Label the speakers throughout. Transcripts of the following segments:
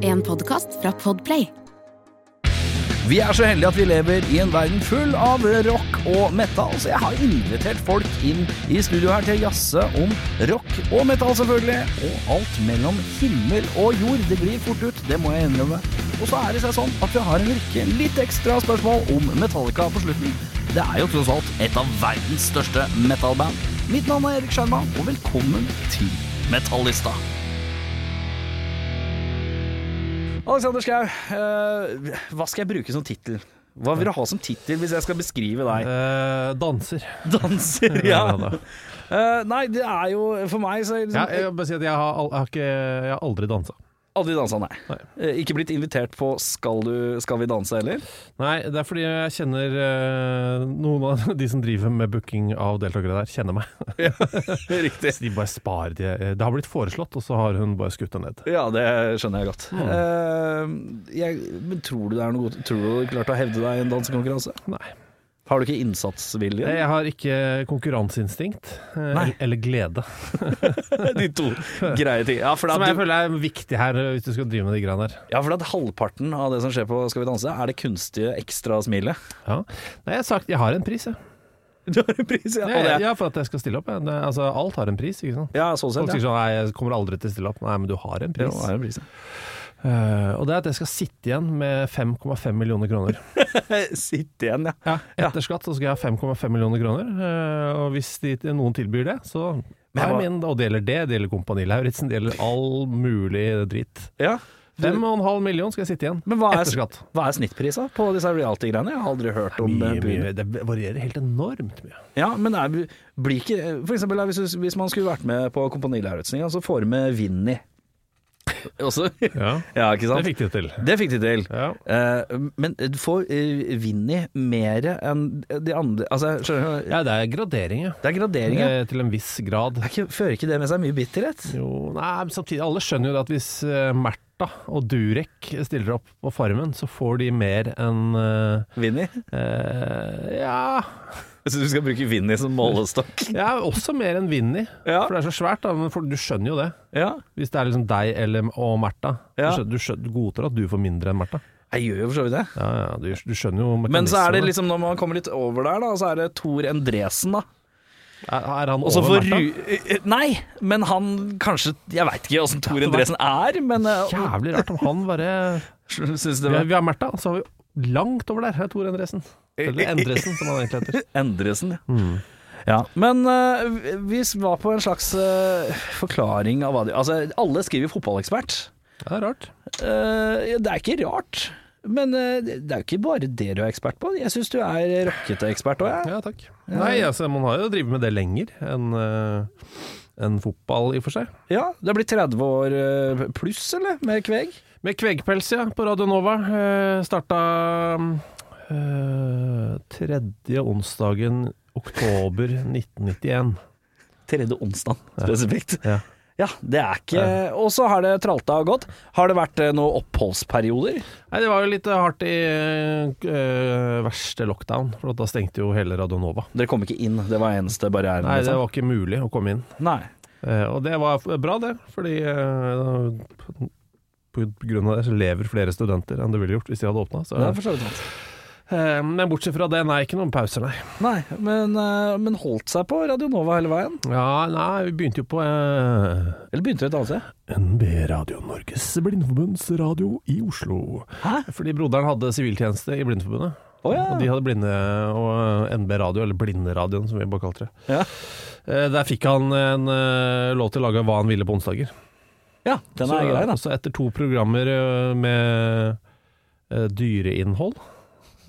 Speaker 1: En podcast fra Podplay.
Speaker 2: Vi er så heldige at vi lever i en verden full av rock og metal, så jeg har invitert folk inn i studio her til å jazze om rock og metal, selvfølgelig. Og alt mellom himmel og jord. Det glir fort ut, det må jeg innrømme. Og så er det seg sånn at vi har en rekke litt ekstra spørsmål om Metallica på slutten. Det er jo tross alt et av verdens største metalband. Mitt navn er Erik Skjerma, og velkommen til Metallista. Alexander Schou, eh, hva skal jeg bruke som tittel? Hva vil du ha som tittel hvis jeg skal beskrive deg?
Speaker 3: Eh, danser.
Speaker 2: Danser, ja. Eh, nei, det er jo For meg så er det
Speaker 3: Ja,
Speaker 2: liksom,
Speaker 3: jeg, vil bare si at jeg, har, al- jeg, har ikke, jeg har aldri dansa.
Speaker 2: Aldri dansa, nei.
Speaker 3: Nei.
Speaker 2: Eh, ikke blitt invitert på skal, du, skal vi danse heller?
Speaker 3: Nei, det er fordi jeg kjenner eh, noen av de som driver med booking av deltakere der, kjenner meg.
Speaker 2: Riktig.
Speaker 3: Så de bare sparer det. Det har blitt foreslått, og så har hun bare skutt det ned.
Speaker 2: Ja, det skjønner jeg
Speaker 3: Mm.
Speaker 2: godt. Eh, jeg, men tror du det er noe godt Tror du du klarte å hevde deg i en dansekonkurranse?
Speaker 3: Nei.
Speaker 2: Har du ikke innsatsvilje?
Speaker 3: Jeg har ikke konkurranseinstinkt eh,
Speaker 2: Nei.
Speaker 3: eller glede,
Speaker 2: De to greie ting. Ja, for
Speaker 3: som
Speaker 2: at
Speaker 3: jeg
Speaker 2: du-
Speaker 3: føler er viktig her eh, hvis du skal drive med de greiene her.
Speaker 2: ja, for at halvparten av det som skjer på Skal vi danse, er det kunstige ekstra smilet.
Speaker 3: Ja. Nei, jeg har sagt jeg har en pris, jeg.
Speaker 2: Du har en pris, ja. Og
Speaker 3: Ja,
Speaker 2: det,
Speaker 3: ja, for at jeg skal stille opp. jeg. Det- Altså, alt har en pris, ikke sant.
Speaker 2: Ja, sånn
Speaker 3: Folk
Speaker 2: sett.
Speaker 3: sier
Speaker 2: Ja.
Speaker 3: sånn nei, jeg kommer aldri til å stille opp. Nei, men du har en
Speaker 2: Jo,
Speaker 3: pris.
Speaker 2: det er en pris, ja.
Speaker 3: Eh, og det er at jeg skal sitte igjen med 5,5 millioner kroner.
Speaker 2: Eh, Sitt igjen, ja.
Speaker 3: Etter skatt så skal jeg ha 5,5 millioner kroner, eh, og hvis de, noen tilbyr det, så
Speaker 2: Men jeg
Speaker 3: er
Speaker 2: var-
Speaker 3: min, og det gjelder det, det gjelder Kompani Lauritzen, det gjelder all mulig dritt.
Speaker 2: ja.
Speaker 3: 5,5 million skal jeg sitte igjen,
Speaker 2: Men hva er,
Speaker 3: etter skatt.
Speaker 2: hva er snittprisa på disse reality-greiene? Jeg har aldri hørt om
Speaker 3: Mye,
Speaker 2: det.
Speaker 3: mye, det varierer helt enormt mye.
Speaker 2: Ja, men er, blir ikke For eksempel hvis, du- hvis man skulle vært med på Kompani Lauritzen, ja, så får du med Vinni. Også?
Speaker 3: Ja,
Speaker 2: Ja, ikke sant?
Speaker 3: det fikk de til.
Speaker 2: Det fikk de til.
Speaker 3: Ja.
Speaker 2: Eh, men du får eh, Vinni mer enn de andre Altså, skjønner du?
Speaker 3: ja, det er gradering, ja.
Speaker 2: Det er gradering, ja.
Speaker 3: Eh, Til en viss grad.
Speaker 2: Er ikke- Fører ikke det med seg mye bitterhet?
Speaker 3: Jo, nei, men samtidig, alle skjønner jo det at hvis eh, Märtha og Durek stiller opp på Farmen, så får de mer enn eh,
Speaker 2: Vinni?
Speaker 3: Eh, ja.
Speaker 2: Så du skal bruke Vinni som målestokk?
Speaker 3: ja, også mer enn Vinni.
Speaker 2: Ja.
Speaker 3: For det er så svært, da, men for, du skjønner jo det.
Speaker 2: Ja.
Speaker 3: Hvis det er liksom deg eller, og Märtha.
Speaker 2: Ja.
Speaker 3: Du, skjønner- du, skjønner- du godtar at du får mindre enn Märtha.
Speaker 2: Jeg gjør jo for så vidt det.
Speaker 3: Ja, ja, du, du skjønner jo
Speaker 2: Men så er det
Speaker 3: mekanismene.
Speaker 2: liksom når man kommer litt over der, da, så er det Tor Endresen, da.
Speaker 3: Er, er han
Speaker 2: Og så
Speaker 3: over
Speaker 2: får
Speaker 3: Märtha?
Speaker 2: Ru... Eh, Nei, men han kanskje Jeg veit ikke åssen Tor
Speaker 3: det var-
Speaker 2: Endresen er, men
Speaker 3: Jævlig rart om han bare
Speaker 2: Syns
Speaker 3: Vi
Speaker 2: det
Speaker 3: har,
Speaker 2: var
Speaker 3: vi har Märtha, og så har vi langt over der. Her er Tor Endresen. Eller Endresen, som han egentlig heter.
Speaker 2: Endresen, ja. ja. Men eh, vi var på en slags eh, forklaring av hva de Altså, alle skriver fotballekspert.
Speaker 3: Ja, Det er rart.
Speaker 2: Eh, det er ikke rart. Men eh, det er jo ikke bare det du er ekspert på. Jeg syns du er rockete ekspert òg, jeg.
Speaker 3: Ja, takk. Nei, altså, man har jo drevet med det lenger enn eh, enn fotball, i og for seg.
Speaker 2: Ja, du er blitt 30 år eh, pluss, eller? Med kveg?
Speaker 3: Med kvegpels, ja, på Radio Nova. Eh, starta eh, tredje onsdagen oktober 1991.
Speaker 2: Tredje onsdag, spesifikt.
Speaker 3: Ja.
Speaker 2: Ja, det er ikke Og så har det tralta og gått. Har det vært eh, noen oppholdsperioder?
Speaker 3: Nei, det var jo litt eh, hardt i eh, verste lockdown, for da stengte jo hele Radio Nova.
Speaker 2: Dere kom ikke inn, det var eneste barrieren?
Speaker 3: Nei, det
Speaker 2: liksom.
Speaker 3: var ikke mulig å komme inn.
Speaker 2: Nei.
Speaker 3: Eh, og det var f- bra, det, fordi eh, på- på grunn av det så lever flere studenter enn det ville gjort hvis de hadde åpna.
Speaker 2: Det er for så vidt sant.
Speaker 3: men bortsett fra det, nei, ikke noen pauser, nei.
Speaker 2: Nei, men, eh, men holdt seg på Radio Nova hele veien?
Speaker 3: Ja, nei, vi begynte jo på eh,
Speaker 2: Eller begynte du et annet sted?
Speaker 3: NB Radio, Norges Blindeforbunds radio i Oslo.
Speaker 2: Hæ?
Speaker 3: Fordi broderen hadde siviltjeneste i Blindeforbundet.
Speaker 2: Å
Speaker 3: Og de
Speaker 2: ja.
Speaker 3: hadde blinde og NB Radio, eller Blinderadioen som vi bare kalte det.
Speaker 2: ja.
Speaker 3: Eh, Der fikk han en eh, lov til å lage hva han ville på onsdager.
Speaker 2: Ja, den er
Speaker 3: så,
Speaker 2: grei, da.
Speaker 3: Så etter to programmer eh, med eh, dyreinnhold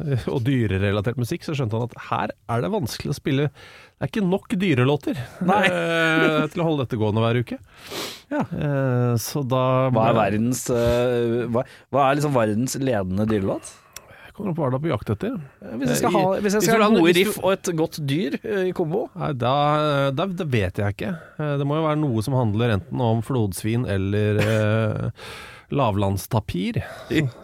Speaker 3: eh, og dyrerelatert musikk, så skjønte han at her er det vanskelig å spille Det er ikke nok dyrelåter
Speaker 2: Nei.
Speaker 3: eh, til å holde dette gående hver uke.
Speaker 2: Ja.
Speaker 3: Eh, Så da
Speaker 2: Hva er verdens eh, hva, hva er liksom verdens ledende dyrelåt?
Speaker 3: Jeg kommer opp hva du er på jakt etter.
Speaker 2: Hvis jeg skal ha, hvis jeg
Speaker 3: Hvis
Speaker 2: skal
Speaker 3: du
Speaker 2: ha
Speaker 3: lander-
Speaker 2: gode
Speaker 3: hvis du-
Speaker 2: riff og et godt dyr eh, i kombo
Speaker 3: Nei, da, da, da vet jeg ikke. Eh, Det må jo være noe som handler enten om flodsvin eller eh, lavlandstapir,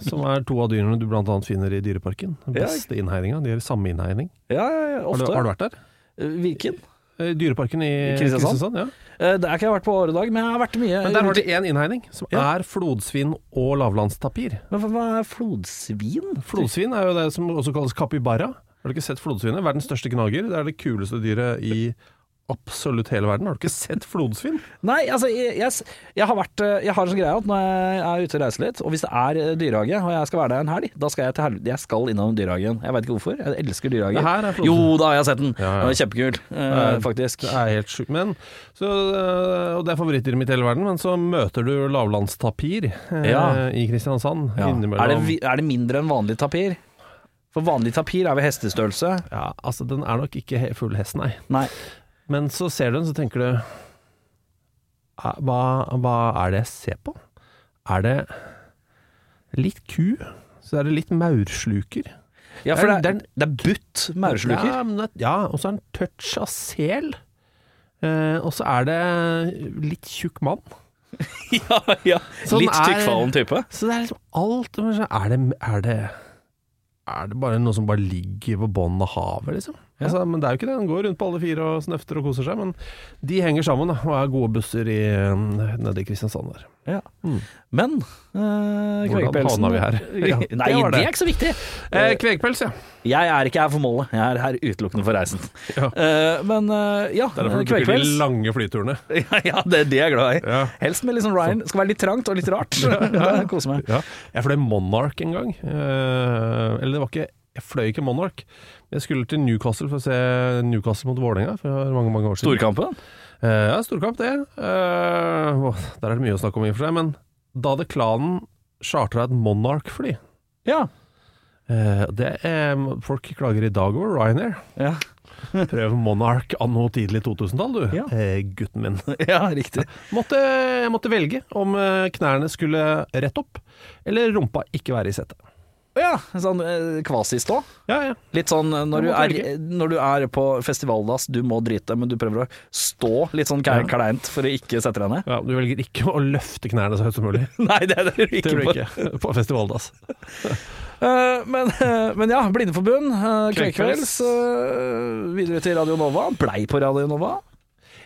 Speaker 3: som er to av dyrene du bl.a. finner i Dyreparken. Den
Speaker 2: Ja.
Speaker 3: beste innhegninga. De gjør samme innhegning.
Speaker 2: Ja, ja, ja
Speaker 3: Har
Speaker 2: ofte.
Speaker 3: du, har du vært der?
Speaker 2: Eh, Virken.
Speaker 3: Eh, I Dyreparken i
Speaker 2: Kristiansand?
Speaker 3: Kristiansand? Eh, ja.
Speaker 2: Eh, Der har ikke jeg vært på åredag, men jeg har vært mye
Speaker 3: Men der har de én innhegning, som
Speaker 2: Ja.
Speaker 3: er flodsvin og lavlandstapir.
Speaker 2: Men hva er flodsvin?
Speaker 3: Flodsvin er jo det som også kalles capybara. Har du ikke sett flodsvinet? Verdens største gnager. Det er det kuleste dyret i absolutt hele verden. Har du ikke sett flodsvin?
Speaker 2: Nei, altså jeg, jeg, s- jeg har vært eh, Jeg har en sånn greie at når jeg er ute og reiser litt, og hvis det er eh, dyrehage, og jeg skal være der en helg, da skal jeg til helvete Jeg skal innom dyrehagen. Jeg veit ikke hvorfor. Jeg elsker
Speaker 3: Det
Speaker 2: dyrehager.
Speaker 3: her er flodsvin.
Speaker 2: jo, da har jeg sett den.
Speaker 3: Ja, ja.
Speaker 2: Det var Kjempekult, eh,
Speaker 3: Nei,
Speaker 2: faktisk.
Speaker 3: Det er helt sjukt. Men så, øh, Og det er favorittdyret mitt i hele verden, men så møter du lavlandstapir eh,
Speaker 2: Ja.
Speaker 3: i Kristiansand.
Speaker 2: Ja.
Speaker 3: Innimellom.
Speaker 2: Er, det, vi- er det mindre enn vanlig tapir? For vanlig tapir er ved hestestørrelse.
Speaker 3: ja, altså, den er nok ikke he- full hest, nei.
Speaker 2: Nei.
Speaker 3: Men så ser du den, så tenker du "Ah, hva, hva er det jeg ser på? Er det litt ku? Så er det litt maursluker.
Speaker 2: Ja, for det
Speaker 3: Det er-
Speaker 2: er, det er butt maursluker.
Speaker 3: Ja, men det- ja og så er det en touch av sel. Eh, og så er det litt tjukk mann.
Speaker 2: Ja, ja.
Speaker 3: Sånn
Speaker 2: Litt
Speaker 3: er-
Speaker 2: tykkfallen type.
Speaker 3: Så det er liksom alt men så er det, er det er det bare noe som bare ligger på bånn av havet, liksom? Altså, men det er jo ikke det. Den går rundt på alle fire og snøfter og koser seg. Men de henger sammen da, og er gode busser i, um, nede i Kristiansand der.
Speaker 2: Ja. Men eh,
Speaker 3: Hvordan
Speaker 2: kvegpelsen-
Speaker 3: havna vi her? Ja,
Speaker 2: Nei,
Speaker 3: det
Speaker 2: det
Speaker 3: var det.
Speaker 2: er ikke så viktig.
Speaker 3: Eh, kvegpels, ja.
Speaker 2: Jeg er ikke her for målet, jeg er her utelukkende for reisen.
Speaker 3: Ja.
Speaker 2: Eh, men eh, ja, kvegkvelds.
Speaker 3: lange flyturene.
Speaker 2: Ja, ja, det er det jeg er glad i.
Speaker 3: Ja.
Speaker 2: Helst med litt sånn Ryan. Det Skal være litt trangt og litt rart. Da Koser meg.
Speaker 3: Ja. Jeg fløy Monarch en gang. Eh, eller det var ikke Jeg fløy ikke Monarch. Jeg skulle til Newcastle for å se Newcastle mot Vålerenga for mange, mange år siden.
Speaker 2: Storkampen?
Speaker 3: Eh, Ja, storkamp det. Eh, åh, der er det mye å snakke om i og for seg, men da hadde klanen chartra et Monarch-fly.
Speaker 2: Ja.
Speaker 3: Eh, det er, folk klager i dag over Ryanair.
Speaker 2: Ja.
Speaker 3: Prøv Monarch anno tidlig 2000-tall, du,
Speaker 2: Ja.
Speaker 3: eh, gutten min.
Speaker 2: ja, riktig.
Speaker 3: Måtte, jeg måtte velge om eh, knærne skulle rett opp, eller rumpa ikke være i setet.
Speaker 2: Ja, sånn eh, kvasistå.
Speaker 3: Ja, ja.
Speaker 2: Litt sånn eh, når
Speaker 3: Du
Speaker 2: du,
Speaker 3: må
Speaker 2: er,
Speaker 3: velge.
Speaker 2: når du er på festivaldass, du må drite, men du prøver å stå litt sånn
Speaker 3: Ja.
Speaker 2: ke- kleint for å ikke sette deg ned.
Speaker 3: ja. Du velger ikke å løfte knærne så høyt som mulig.
Speaker 2: Nei, det er det du
Speaker 3: Det
Speaker 2: ikke.
Speaker 3: gjør
Speaker 2: på.
Speaker 3: du ikke på festivaldass.
Speaker 2: Eh, men, eh, men ja, Blindeforbund, uh,
Speaker 3: Kvegkvelds.
Speaker 2: Kvegkvelds, eh, videre til Radio Nova. Blei på Radio Nova.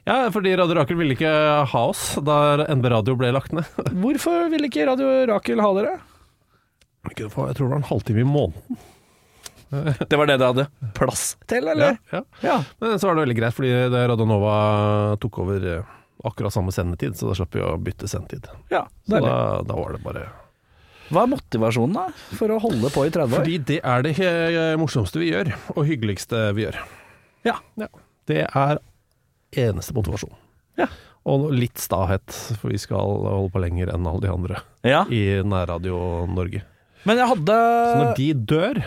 Speaker 3: Ja, fordi Radio Rakel ville ikke ha oss da NB Radio ble lagt ned.
Speaker 2: Hvorfor vil ikke Radio Rakel ha dere?
Speaker 3: Vi kunne få- Jeg tror det var en halvtime i måneden.
Speaker 2: Det var det dere hadde plass til, eller?
Speaker 3: Ja, ja.
Speaker 2: Ja.
Speaker 3: Men så var det veldig greit, fordi det Radionova tok over eh, akkurat samme sendetid, så da slapp vi å bytte sendetid.
Speaker 2: ja,
Speaker 3: Så
Speaker 2: deilig.
Speaker 3: da, da var det bare
Speaker 2: Hva er motivasjonen da, for å holde på i 30 år?
Speaker 3: Fordi det er det eh, morsomste vi gjør, og hyggeligste vi gjør.
Speaker 2: Ja.
Speaker 3: Det er eneste motivasjon.
Speaker 2: Ja.
Speaker 3: Og litt stahet, for vi skal holde på lenger enn alle de andre
Speaker 2: ja.
Speaker 3: i nærradio Norge.
Speaker 2: Men jeg hadde
Speaker 3: Så når de dør,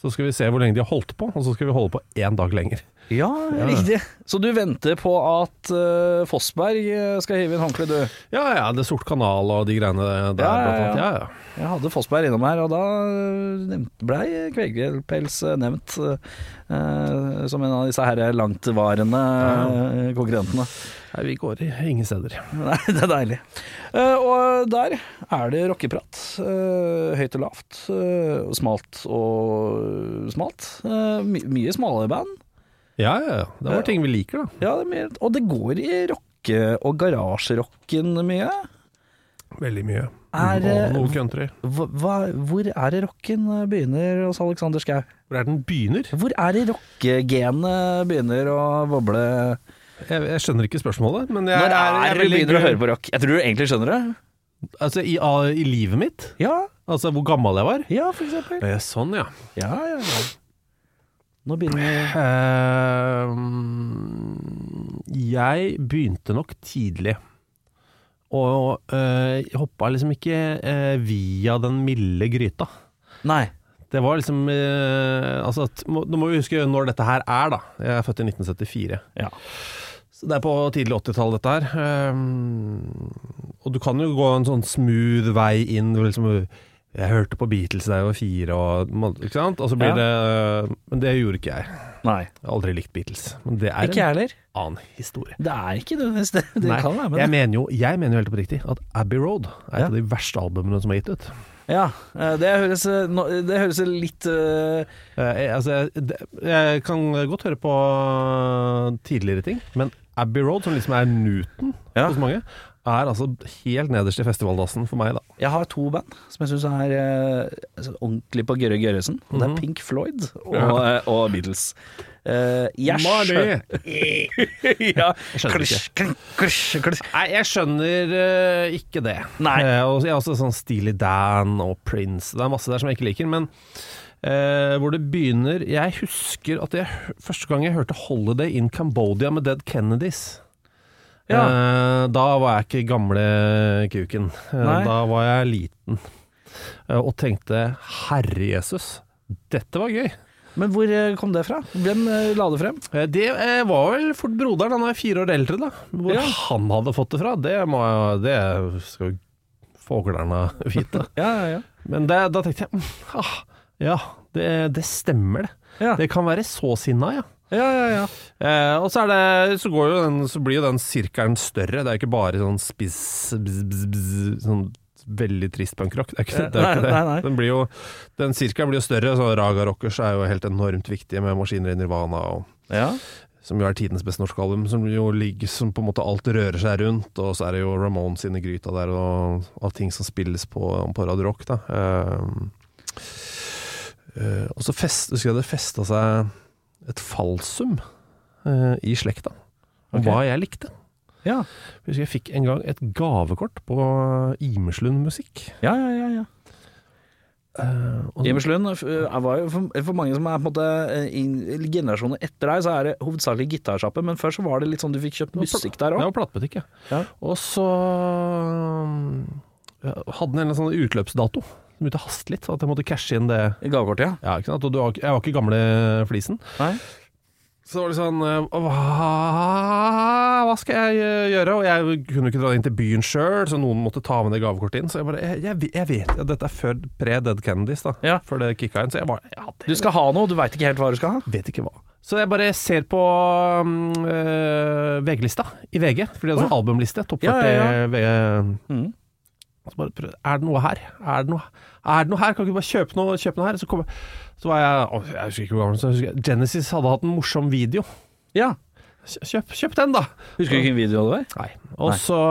Speaker 3: så skal vi se hvor lenge de har holdt på, og så skal vi holde på én dag lenger.
Speaker 2: Ja, riktig. Så du venter på at eh, Fossberg eh, skal hive inn håndkleet, du?
Speaker 3: Ja ja, det er Sort kanal og de greiene der,
Speaker 2: Ja, ja,
Speaker 3: blant annet. Ja,
Speaker 2: ja.
Speaker 3: ja.
Speaker 2: Jeg hadde Fossberg innom her, og da eh, nevnt- blei kvegpels nevnt eh, som en av disse her langtvarende eh, konkurrentene.
Speaker 3: Nei, vi går i- ingen steder.
Speaker 2: Nei, det er deilig. Eh, og der er det rockeprat. eh, høyt og lavt. eh, og smalt og smalt. Eh, my mye smale band.
Speaker 3: Ja ja, ja. Det var ting vi liker, da.
Speaker 2: Ja, det er mye, og det går i rocke- og garasjerocken mye.
Speaker 3: Veldig mye.
Speaker 2: Er, eh,
Speaker 3: og noe country.
Speaker 2: Hva, hva, hvor er det rocken begynner hos Alexander Schou?
Speaker 3: Hvor er den begynner?
Speaker 2: Hvor er det rockegenet begynner å boble?
Speaker 3: Jeg, jeg skjønner ikke spørsmålet, men jeg
Speaker 2: Når
Speaker 3: jeg
Speaker 2: er det du
Speaker 3: veldig-
Speaker 2: begynner å høre på rock? Jeg tror du egentlig skjønner det.
Speaker 3: Altså, i, av- I livet mitt?
Speaker 2: Ja,
Speaker 3: Altså hvor gammel jeg var?
Speaker 2: ja, for eksempel.
Speaker 3: Eh, Sånn, ja.
Speaker 2: Ja, ja, ja. Nå begynner
Speaker 3: Ehm, jeg begynte nok tidlig. eh, Og uh, hoppa liksom ikke eh, via den milde gryta.
Speaker 2: Nei.
Speaker 3: Det var liksom eh, altså at, må, Nå må vi huske når dette her er, da. Jeg er født i 1974.
Speaker 2: Ja.
Speaker 3: Så det er på tidlig 80-tall, dette her. Um, og du kan jo gå en sånn smooth vei inn. hvor Liksom, jeg hørte på Beatles da jeg var fire, og, man- ikke sant? og så blir
Speaker 2: Ja.
Speaker 3: det eh, Men det gjorde ikke jeg. Jeg
Speaker 2: Nei.
Speaker 3: har aldri likt Beatles. Men det er
Speaker 2: Ikke jeg
Speaker 3: en
Speaker 2: heller.
Speaker 3: annen historie.
Speaker 2: Det er ikke det. Det, det
Speaker 3: Nei,
Speaker 2: kan være, men
Speaker 3: jeg, mener jo, jeg mener jo helt oppriktig at Abbey Road er et
Speaker 2: Ja.
Speaker 3: av de verste albumene som er gitt ut.
Speaker 2: Ja, eh, det høres, eh, nå- det høres litt eh,
Speaker 3: Eh, jeg, altså, jeg, det- jeg kan godt høre på eh, tidligere ting, men Abbey Road, som liksom er Newton
Speaker 2: Ja.
Speaker 3: hos mange, er altså helt nederst i festivaldassen for meg, da.
Speaker 2: Jeg har to band som jeg syns er eh, altså, ordentlig på Gørre Gørresen. Og det
Speaker 3: Mhm.
Speaker 2: er Pink Floyd og, eh, og Beatles. Eh, jeg skjønner
Speaker 3: Marley.
Speaker 2: ja,
Speaker 3: Jeg skjønner
Speaker 2: klisj, klink, klisj, klisj.
Speaker 3: Nei, jeg skjønner eh, ikke det.
Speaker 2: Nei.
Speaker 3: Eh, og jeg er også sånn Steely Dan og Prince. Det er masse der som jeg ikke liker, men eh, hvor det begynner Jeg husker at jeg, hø- første gang jeg hørte 'Holiday in Cambodia' med Dead Kennedys. Eh, da var jeg ikke gamle kuken. Eh,
Speaker 2: Nei.
Speaker 3: da var jeg liten eh, og tenkte 'Herre Jesus, dette var gøy'.
Speaker 2: Men hvor eh, kom det fra? Hvem eh, la det frem?
Speaker 3: Eh, Det eh, var vel fort broderen, han er fire år eldre, da. Hvor
Speaker 2: Ja.
Speaker 3: han hadde fått det fra, det, må, jeg- det skal jo fuglene vite.
Speaker 2: Ja, ja,
Speaker 3: Men det, da tenkte jeg mm, ah, ja, det, det stemmer, det.
Speaker 2: ja.
Speaker 3: Det kan være så sinna, ja.
Speaker 2: ja, ja, ja.
Speaker 3: Eh, og så, er det, så, går jo den, så blir jo den sirkelen større. Det er jo ikke bare sånn spiss bzz, bzz, bzz, Sånn veldig trist punkrock. Det er ikke det. Er ikke
Speaker 2: Eh, Nei,
Speaker 3: det.
Speaker 2: nei, nei.
Speaker 3: Den, blir jo, den sirkelen blir jo større. Så Raga Rockers er jo helt enormt viktige med maskiner i Nirvana. og
Speaker 2: ja.
Speaker 3: som jo er tidenes beste norske album, som jo ligger som på en måte alt rører seg rundt, og så er det jo Ramones sine gryta der, og av ting som spilles på, på Radio Rock, da. Ehm, eh, og så fest, husker jeg det festa seg et falsum eh, i slekta,
Speaker 2: Ok.
Speaker 3: om hva jeg likte.
Speaker 2: Ja.
Speaker 3: Jeg husker jeg fikk en gang et gavekort på Imeslund musikk.
Speaker 2: Ja, ja, ja, ja.
Speaker 3: Eh, og-
Speaker 2: Imerslund eh, var jo for, for mange som er på en måte eh, i generasjoner etter deg, så er det hovedsakelig gitarsjappe, men før så var det litt sånn du fikk kjøpt musikk der
Speaker 3: Det
Speaker 2: òg.
Speaker 3: var platebutikk, ja.
Speaker 2: Ja.
Speaker 3: Og så um, ja, hadde den en eller annen sånn utløpsdato. Den begynte å haste litt, så at jeg måtte cashe inn det.
Speaker 2: Gavekort, ja.
Speaker 3: Ja, ikke sant? Og du, var ikke- jeg var ikke gamle flisen.
Speaker 2: Nei.
Speaker 3: Så det var det sånn eh, hva, hva skal jeg eh, gjøre? Og jeg kunne jo ikke dra inn til byen sjøl, så noen måtte ta med det gavekortet inn. Så jeg bare Jeg, jeg, vet- jeg vet ja, Dette er før pre-Dead Kennedys, da.
Speaker 2: Ja.
Speaker 3: Før det kicka inn. Så jeg bare ja, det
Speaker 2: Du skal ha noe, du veit ikke helt hva du skal ha.
Speaker 3: Vet ikke hva. Så jeg bare ser på um, øh, VG-lista i VG, for de hadde sånn albumliste. Topp 40
Speaker 2: Ja, ja,
Speaker 3: VG.
Speaker 2: Mhm.
Speaker 3: Og så bare prøv, er det noe her? Er det noe, er det noe her? Kan ikke bare kjøpe noe, kjøpe noe her? Så, kom, jeg- så var jeg å, Jeg husker ikke hvor gammel så jeg husker, jeg- Genesis hadde hatt en morsom video.
Speaker 2: Ja.
Speaker 3: Kjø- Kjøp, kjøp den, da!
Speaker 2: Husker du hvilken video det var?
Speaker 3: Nei. Og
Speaker 2: Nei.
Speaker 3: så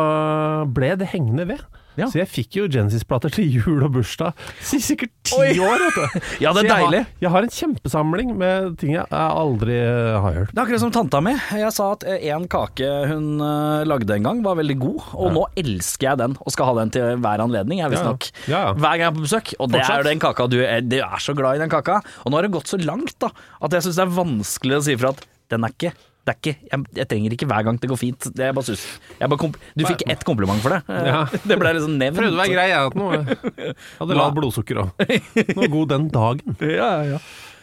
Speaker 3: ble det hengende ved.
Speaker 2: Ja.
Speaker 3: Så jeg fikk jo Genesis-plater til jul og bursdag i sikkert ti
Speaker 2: Oi.
Speaker 3: år. Vet du.
Speaker 2: Ja, det er
Speaker 3: Så jeg
Speaker 2: deilig.
Speaker 3: Har, jeg har en kjempesamling med ting jeg aldri eh, har hørt.
Speaker 2: Det er akkurat som tanta mi. Jeg sa at eh, en kake hun eh, lagde en gang var veldig god, og nå elsker jeg den og skal ha den til hver anledning, jeg visstnok.
Speaker 3: Ja, ja. Ja, ja.
Speaker 2: Hver gang jeg er på besøk. Og det er
Speaker 3: Fortsatt.
Speaker 2: jo den kaka du er, du er så glad i den kaka. Og nå har det gått så langt da, at jeg syns det er vanskelig å si fra at den er ikke det er ikke, jeg, jeg trenger ikke hver gang det går fint. Det er bare sus. Jeg bare komp du fikk ett kompliment for det.
Speaker 3: Ja.
Speaker 2: Det ble liksom nevnt.
Speaker 3: Prøvde å være grei, jeg. At noe. Hadde lavt blodsukker òg. Noe god den dagen.
Speaker 2: Ja, ja.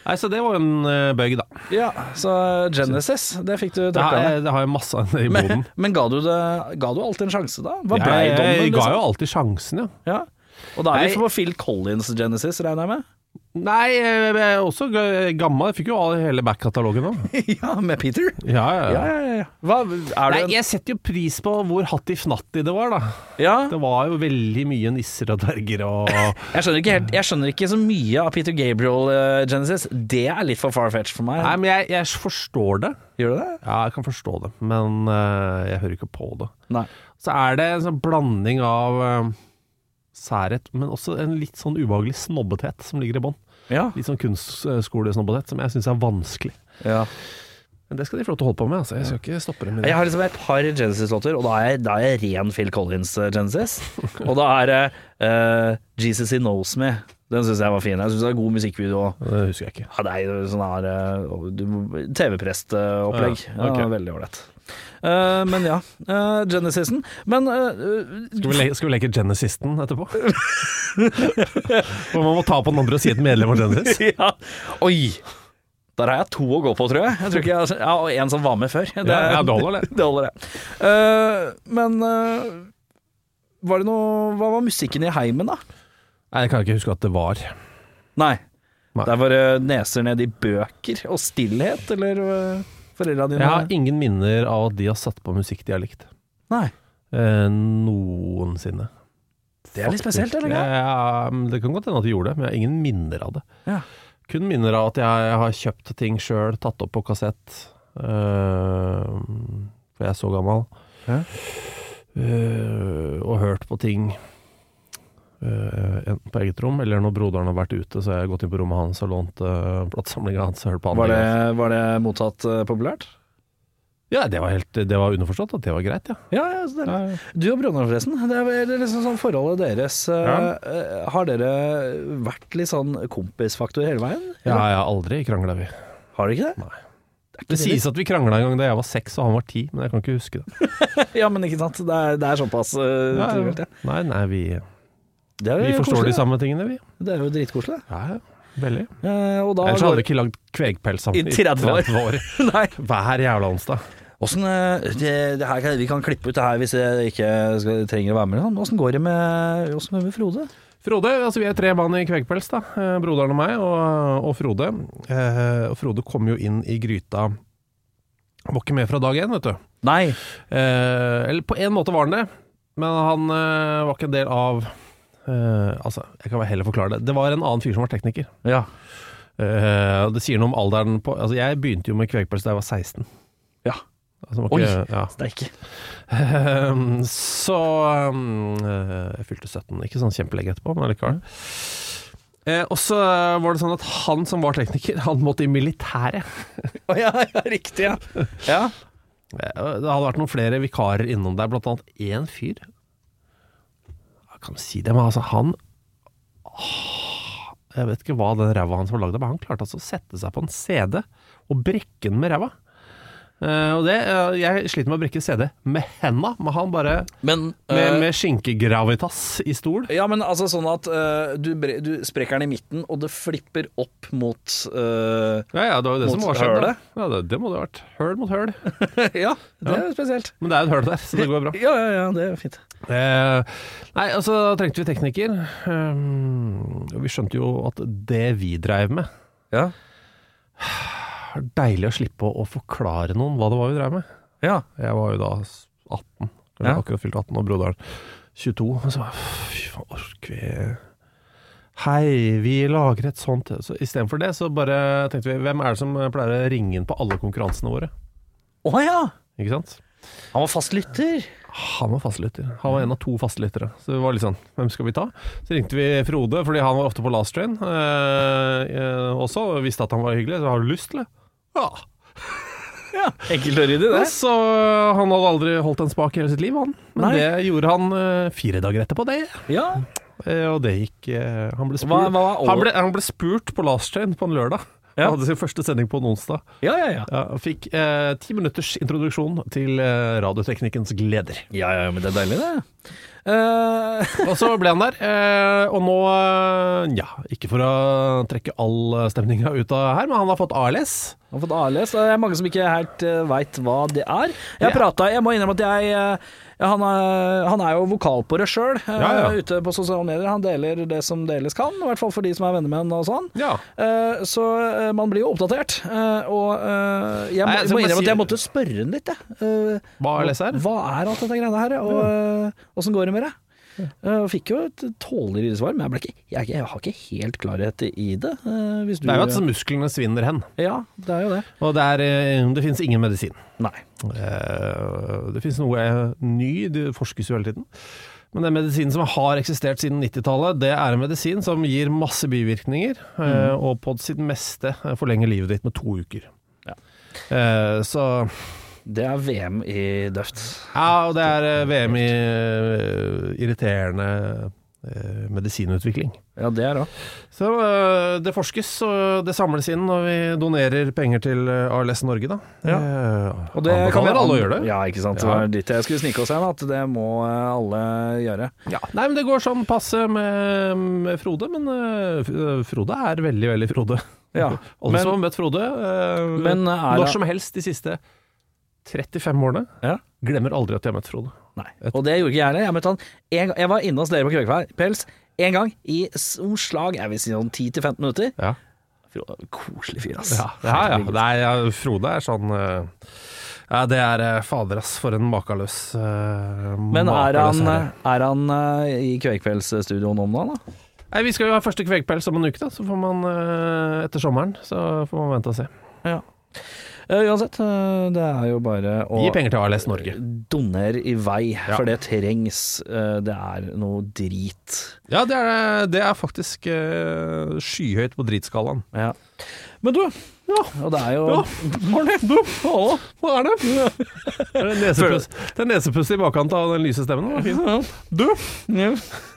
Speaker 3: Nei, Så det var jo en eh, bøgg, da.
Speaker 2: ja, så eh, Genesis, det fikk du
Speaker 3: Det
Speaker 2: trøkka
Speaker 3: har,
Speaker 2: ned.
Speaker 3: jeg, det har jeg masse av i
Speaker 2: Men,
Speaker 3: boden.
Speaker 2: men ga, du det, ga du alltid en sjanse, da? Hva blei
Speaker 3: Jeg,
Speaker 2: dommen?
Speaker 3: jeg ga
Speaker 2: liksom?
Speaker 3: jo alltid sjansen, ja.
Speaker 2: Ja. Og da er
Speaker 3: Jeg-
Speaker 2: vi på Phil Collins Genesis, regner jeg med?
Speaker 3: Nei, eh, jeg er også g- gammel. Jeg fikk jo all- hele back-katalogen òg.
Speaker 2: ja, med Peter.
Speaker 3: Ja, ja, ja.
Speaker 2: Hva, er
Speaker 3: Nei,
Speaker 2: det en,
Speaker 3: jeg setter jo pris på hvor hattifnatti det var, da.
Speaker 2: ja,
Speaker 3: Det var jo veldig mye nisser og dverger og
Speaker 2: jeg skjønner ikke helt Jeg skjønner ikke så mye av Peter Gabriel eh, Genesis. Det er litt for far-fetched for meg.
Speaker 3: Nei, men jeg, jeg forstår det.
Speaker 2: Gjør du det?
Speaker 3: Ja, jeg kan forstå det, men eh, jeg hører ikke på det.
Speaker 2: Nei.
Speaker 3: Så er det en sånn blanding av eh, særhet, men også en litt sånn ubehagelig snobbethet som ligger i bånn.
Speaker 2: Ja.
Speaker 3: Litt sånn kunstskolesnobbethet som jeg syns er vanskelig.
Speaker 2: ja.
Speaker 3: Men det skal de få lov til å holde på med, altså. Jeg skal ikke stoppe dem i det.
Speaker 2: Jeg har liksom et par Genesis-låter, og da er, jeg, da er jeg ren Phil Collins eh, Genesis. Og da er det eh, Jesus He Knows Me. Den syns jeg var fin. Jeg syns det er god musikkvideo òg.
Speaker 3: Det husker jeg ikke.
Speaker 2: Ja, det er jo sånn her eh, du må- TV-prest-opplegg.
Speaker 3: Ja, ok.
Speaker 2: Ja, veldig ålreit. Eh, men ja, eh, Genesisen. Men eh, eh,
Speaker 3: Skal vi, le skal vi leke Genesisten etterpå? Og man må ta på den andre og si et medlem av Genesis.
Speaker 2: ja. Oi! Der har jeg to å gå på, tror jeg. jeg tror ikke jeg ja, og en som var med før. Det,
Speaker 3: Ja, ja, det holder, det.
Speaker 2: det holder, det. Eh, men eh, var det noe Hva var musikken i heimen, da?
Speaker 3: Nei, jeg kan ikke huske at det var.
Speaker 2: Nei.
Speaker 3: Nei.
Speaker 2: Der var det neser ned i bøker og stillhet, eller eh, foreldra dine?
Speaker 3: Jeg har ingen minner av at de har satt på musikk de har likt.
Speaker 2: Nei.
Speaker 3: Eh, noensinne.
Speaker 2: Det er litt spesielt, eller?
Speaker 3: Ja,
Speaker 2: hva?
Speaker 3: ja, men det kan godt hende at de gjorde det, men jeg har ingen minner av det.
Speaker 2: Ja.
Speaker 3: Kun minner av at jeg har kjøpt ting sjøl, tatt opp på kassett. eh, for jeg er så gammel.
Speaker 2: Ja.
Speaker 3: Eh, og hørt på ting eh, enten på eget rom, eller når broderen har vært ute, så har jeg gått inn på rommet hans og lånt uh, platesamlinga hans og hørt på
Speaker 2: Var,
Speaker 3: andre.
Speaker 2: det, var det mottatt eh, populært?
Speaker 3: Ja, det var, helt, det var underforstått at det var greit, ja.
Speaker 2: Ja, ja, så deilig. Du og broderen forresten, det er vel liksom sånn forholdet deres eh, eh, Har dere vært litt sånn kompisfaktor hele veien?
Speaker 3: Ja, ja, aldri krangla vi.
Speaker 2: Har dere ikke det?
Speaker 3: Det sies at vi krangla en gang da jeg var seks og han var ti, men jeg kan ikke huske det.
Speaker 2: Ja, men ikke sant. Det er, det er såpass uh, trivelig. Ja.
Speaker 3: Nei, nei, vi,
Speaker 2: Det er
Speaker 3: vi
Speaker 2: jo
Speaker 3: forstår
Speaker 2: koselig,
Speaker 3: de samme tingene, vi.
Speaker 2: da. Det er jo dritkoselig.
Speaker 3: Ja, ja, veldig.
Speaker 2: Eh, og da
Speaker 3: Ellers
Speaker 2: går-
Speaker 3: hadde vi ikke lagd kvegpels sammen
Speaker 2: I 30 år. Nei.
Speaker 3: Hver jævla onsdag.
Speaker 2: Åssen, eh, det, det her, kan- vi kan klippe ut det her hvis jeg ikke skal, trenger å være med. liksom. Åssen går det med, hvordan går det med Frode?
Speaker 3: Frode, altså vi er tre mann i kvegpels, da. Eh, Broderen og meg, og, og Frode. Eh, og Frode kom jo inn i gryta Var ikke med fra dag én, vet du.
Speaker 2: Nei.
Speaker 3: Eh, eller på en måte var han det, men han eh, var ikke en del av eh, Altså, jeg kan vel heller forklare det. Det var en annen fyr som var tekniker.
Speaker 2: Ja.
Speaker 3: Eh, og det sier noe om alderen på Altså, jeg begynte jo med kvegpels da jeg var 16.
Speaker 2: Ja.
Speaker 3: Altså, det var
Speaker 2: Oi.
Speaker 3: ikke, ja.
Speaker 2: Steike.
Speaker 3: Ehm, Så ehm, eh, Jeg fylte 17, ikke sånn kjempelenge etterpå, men likevel. Eh, og så var det sånn at han som var tekniker, han måtte i militæret.
Speaker 2: Å ja, ja, riktig, ja. ja.
Speaker 3: Eh, Det hadde vært noen flere vikarer innom der, blant annet én fyr. Jeg kan si det, men altså, han Åh, Jeg vet ikke hva den ræva hans var lagd av, men han klarte altså å sette seg på en CD og brekke den med ræva. Eh, og det, eh, jeg sliter med å brekke CD med henda, men han bare
Speaker 2: Men,
Speaker 3: Med,
Speaker 2: eh,
Speaker 3: med skinkegravitas i stol.
Speaker 2: Ja, men altså sånn at eh, du, bre- du sprekker den i midten, og det flipper opp mot eh,
Speaker 3: Ja, ja, det var jo det
Speaker 2: Mot
Speaker 3: som var skjedd. da.
Speaker 2: hølet?
Speaker 3: Ja, det, det må det ha vært. Høl mot høl.
Speaker 2: Ja, det er jo spesielt.
Speaker 3: Men det er jo et høl der, så det går bra.
Speaker 2: Ja, ja, ja, det er fint.
Speaker 3: Eh, nei, altså, da trengte vi tekniker. Um, og vi skjønte jo at det vi dreiv med
Speaker 2: Ja.
Speaker 3: var Deilig å slippe å, å forklare noen hva det var vi dreiv med.
Speaker 2: Ja.
Speaker 3: Jeg var jo da 18, eller
Speaker 2: Ja.
Speaker 3: akkurat fylt 18, og broderen 22. Og så bare, fy faen, orker vi Hei, vi lager et sånt Så Istedenfor det, så bare tenkte vi Hvem er det som pleier å ringe inn på alle konkurransene våre?
Speaker 2: Å ja!
Speaker 3: Ikke sant?
Speaker 2: Han var fast lytter.
Speaker 3: Han var fastlytter. Han var en av to fastlyttere. Så det var litt sånn, hvem skal vi ta? Så ringte vi Frode, fordi han var ofte på last train eh, eh, også, og visste at han var hyggelig. Så har du lyst til det? Ja.
Speaker 2: Enkelt og ryddig, det.
Speaker 3: Så han hadde aldri holdt en spak i hele sitt liv, han. Men
Speaker 2: Nei.
Speaker 3: det gjorde han eh, fire dager etterpå, det.
Speaker 2: Ja.
Speaker 3: Eh, og det gikk eh, han, ble spurt,
Speaker 2: Hva- hva var over-
Speaker 3: han, ble, han ble spurt på last train på en lørdag.
Speaker 2: Ja.
Speaker 3: Han hadde sin første sending på en onsdag.
Speaker 2: Ja, ja, ja.
Speaker 3: Ja, og fikk eh, ti minutters introduksjon til eh, radioteknikkens gleder.
Speaker 2: Ja, ja, men det er deilig, det. Eh,
Speaker 3: Og så ble han der. eh, Og nå, eh, ja, ikke for å trekke all stemninga ut av her, men han har fått ALS.
Speaker 2: han har fått ALS. Det er mange som ikke helt uh, veit hva det er. Jeg
Speaker 3: Ja.
Speaker 2: pratet, jeg må innrømme at jeg eh, ja, han, er, han er jo vokalpårør sjøl
Speaker 3: Ja, ja.
Speaker 2: eh, ute på sosiale medier. Han deler det som deles kan, i hvert fall for de som er venner med han og sånn.
Speaker 3: Ja.
Speaker 2: Eh, Så eh, man blir jo oppdatert. eh, Og eh, jeg må-
Speaker 3: Nei,
Speaker 2: jeg
Speaker 3: altså,
Speaker 2: må
Speaker 3: man
Speaker 2: innrømme at
Speaker 3: sier-
Speaker 2: jeg måtte spørre han litt, jeg. Eh,
Speaker 3: Hva ALS er?
Speaker 2: Hva er alt dette greiene her, og eh, åssen går det med det? Eh, og fikk jo et tålelig lite svar, men jeg, ble ikke, jeg, er ikke- jeg har ikke helt klarhet i det. eh, Hvis du
Speaker 3: Det er jo at musklene svinner hen,
Speaker 2: Ja, det er jo det.
Speaker 3: og det, er, eh, det finnes ingen medisin.
Speaker 2: Nei.
Speaker 3: Eh, Det finnes noe eh, ny, det forskes jo hele tiden. Men den medisinen som har eksistert siden 90-tallet, det er en medisin som gir masse bivirkninger, eh,
Speaker 2: Mm.
Speaker 3: og på sitt meste eh, forlenger livet ditt med to uker.
Speaker 2: Ja.
Speaker 3: Eh, Så
Speaker 2: Det er VM i døft.
Speaker 3: Ja, og det er eh, VM i eh, irriterende eh, medisinutvikling.
Speaker 2: Ja, det er det.
Speaker 3: Så eh, det forskes, og det samles inn, og vi donerer penger til eh, ALS Norge, da.
Speaker 2: Ja.
Speaker 3: Eh,
Speaker 2: Og det kan vi
Speaker 3: anbefaler alle å gjøre det.
Speaker 2: Ja, ikke sant. Det
Speaker 3: Ja.
Speaker 2: var dit jeg skulle snike oss hen, at det må eh, alle gjøre.
Speaker 3: Ja. Nei, men det går sånn passe med, med Frode, men eh, F- eh, Frode er veldig, veldig Frode.
Speaker 2: Ja.
Speaker 3: Alle
Speaker 2: Men,
Speaker 3: som har møtt Frode, eh,
Speaker 2: men er
Speaker 3: når som helst de siste 35 årene,
Speaker 2: Ja.
Speaker 3: glemmer aldri at de har møtt Frode.
Speaker 2: Nei. Og det gjorde ikke jeg heller. Jeg møtte han en, gang- Jeg var inne hos dere på Kvegpels en gang i s- omslag, jeg vil si sånn 10-15 minutter.
Speaker 3: Ja.
Speaker 2: Fy, Koselig fyr, ass.
Speaker 3: Ja, ja, ja. Nei, ja Frode er sånn eh, ja, Det er eh, fader, ass, for en makeløs eh,
Speaker 2: Men er
Speaker 3: makeløs
Speaker 2: han,
Speaker 3: herre.
Speaker 2: er han eh, i Kvegkveldsstudioen om dagen, da?
Speaker 3: Nei, Vi skal jo ha første kvegpels om en uke, da. Så får man eh, etter sommeren. Så får man vente og se.
Speaker 2: Eh, uansett, eh, det er jo bare å
Speaker 3: Gi penger til ALS Norge.
Speaker 2: Doner i vei,
Speaker 3: Ja.
Speaker 2: for det trengs. Eh, Det er noe drit.
Speaker 3: Ja, det er, det er faktisk eh, skyhøyt på dritskalaen.
Speaker 2: Ja. Men du, og det er jo
Speaker 3: Ja.
Speaker 2: Morning, du. Hallo.
Speaker 3: Hva er det? Nesepuss. Det er nesepuss i bakkant av den lyse stemmen. Det var fint. Du!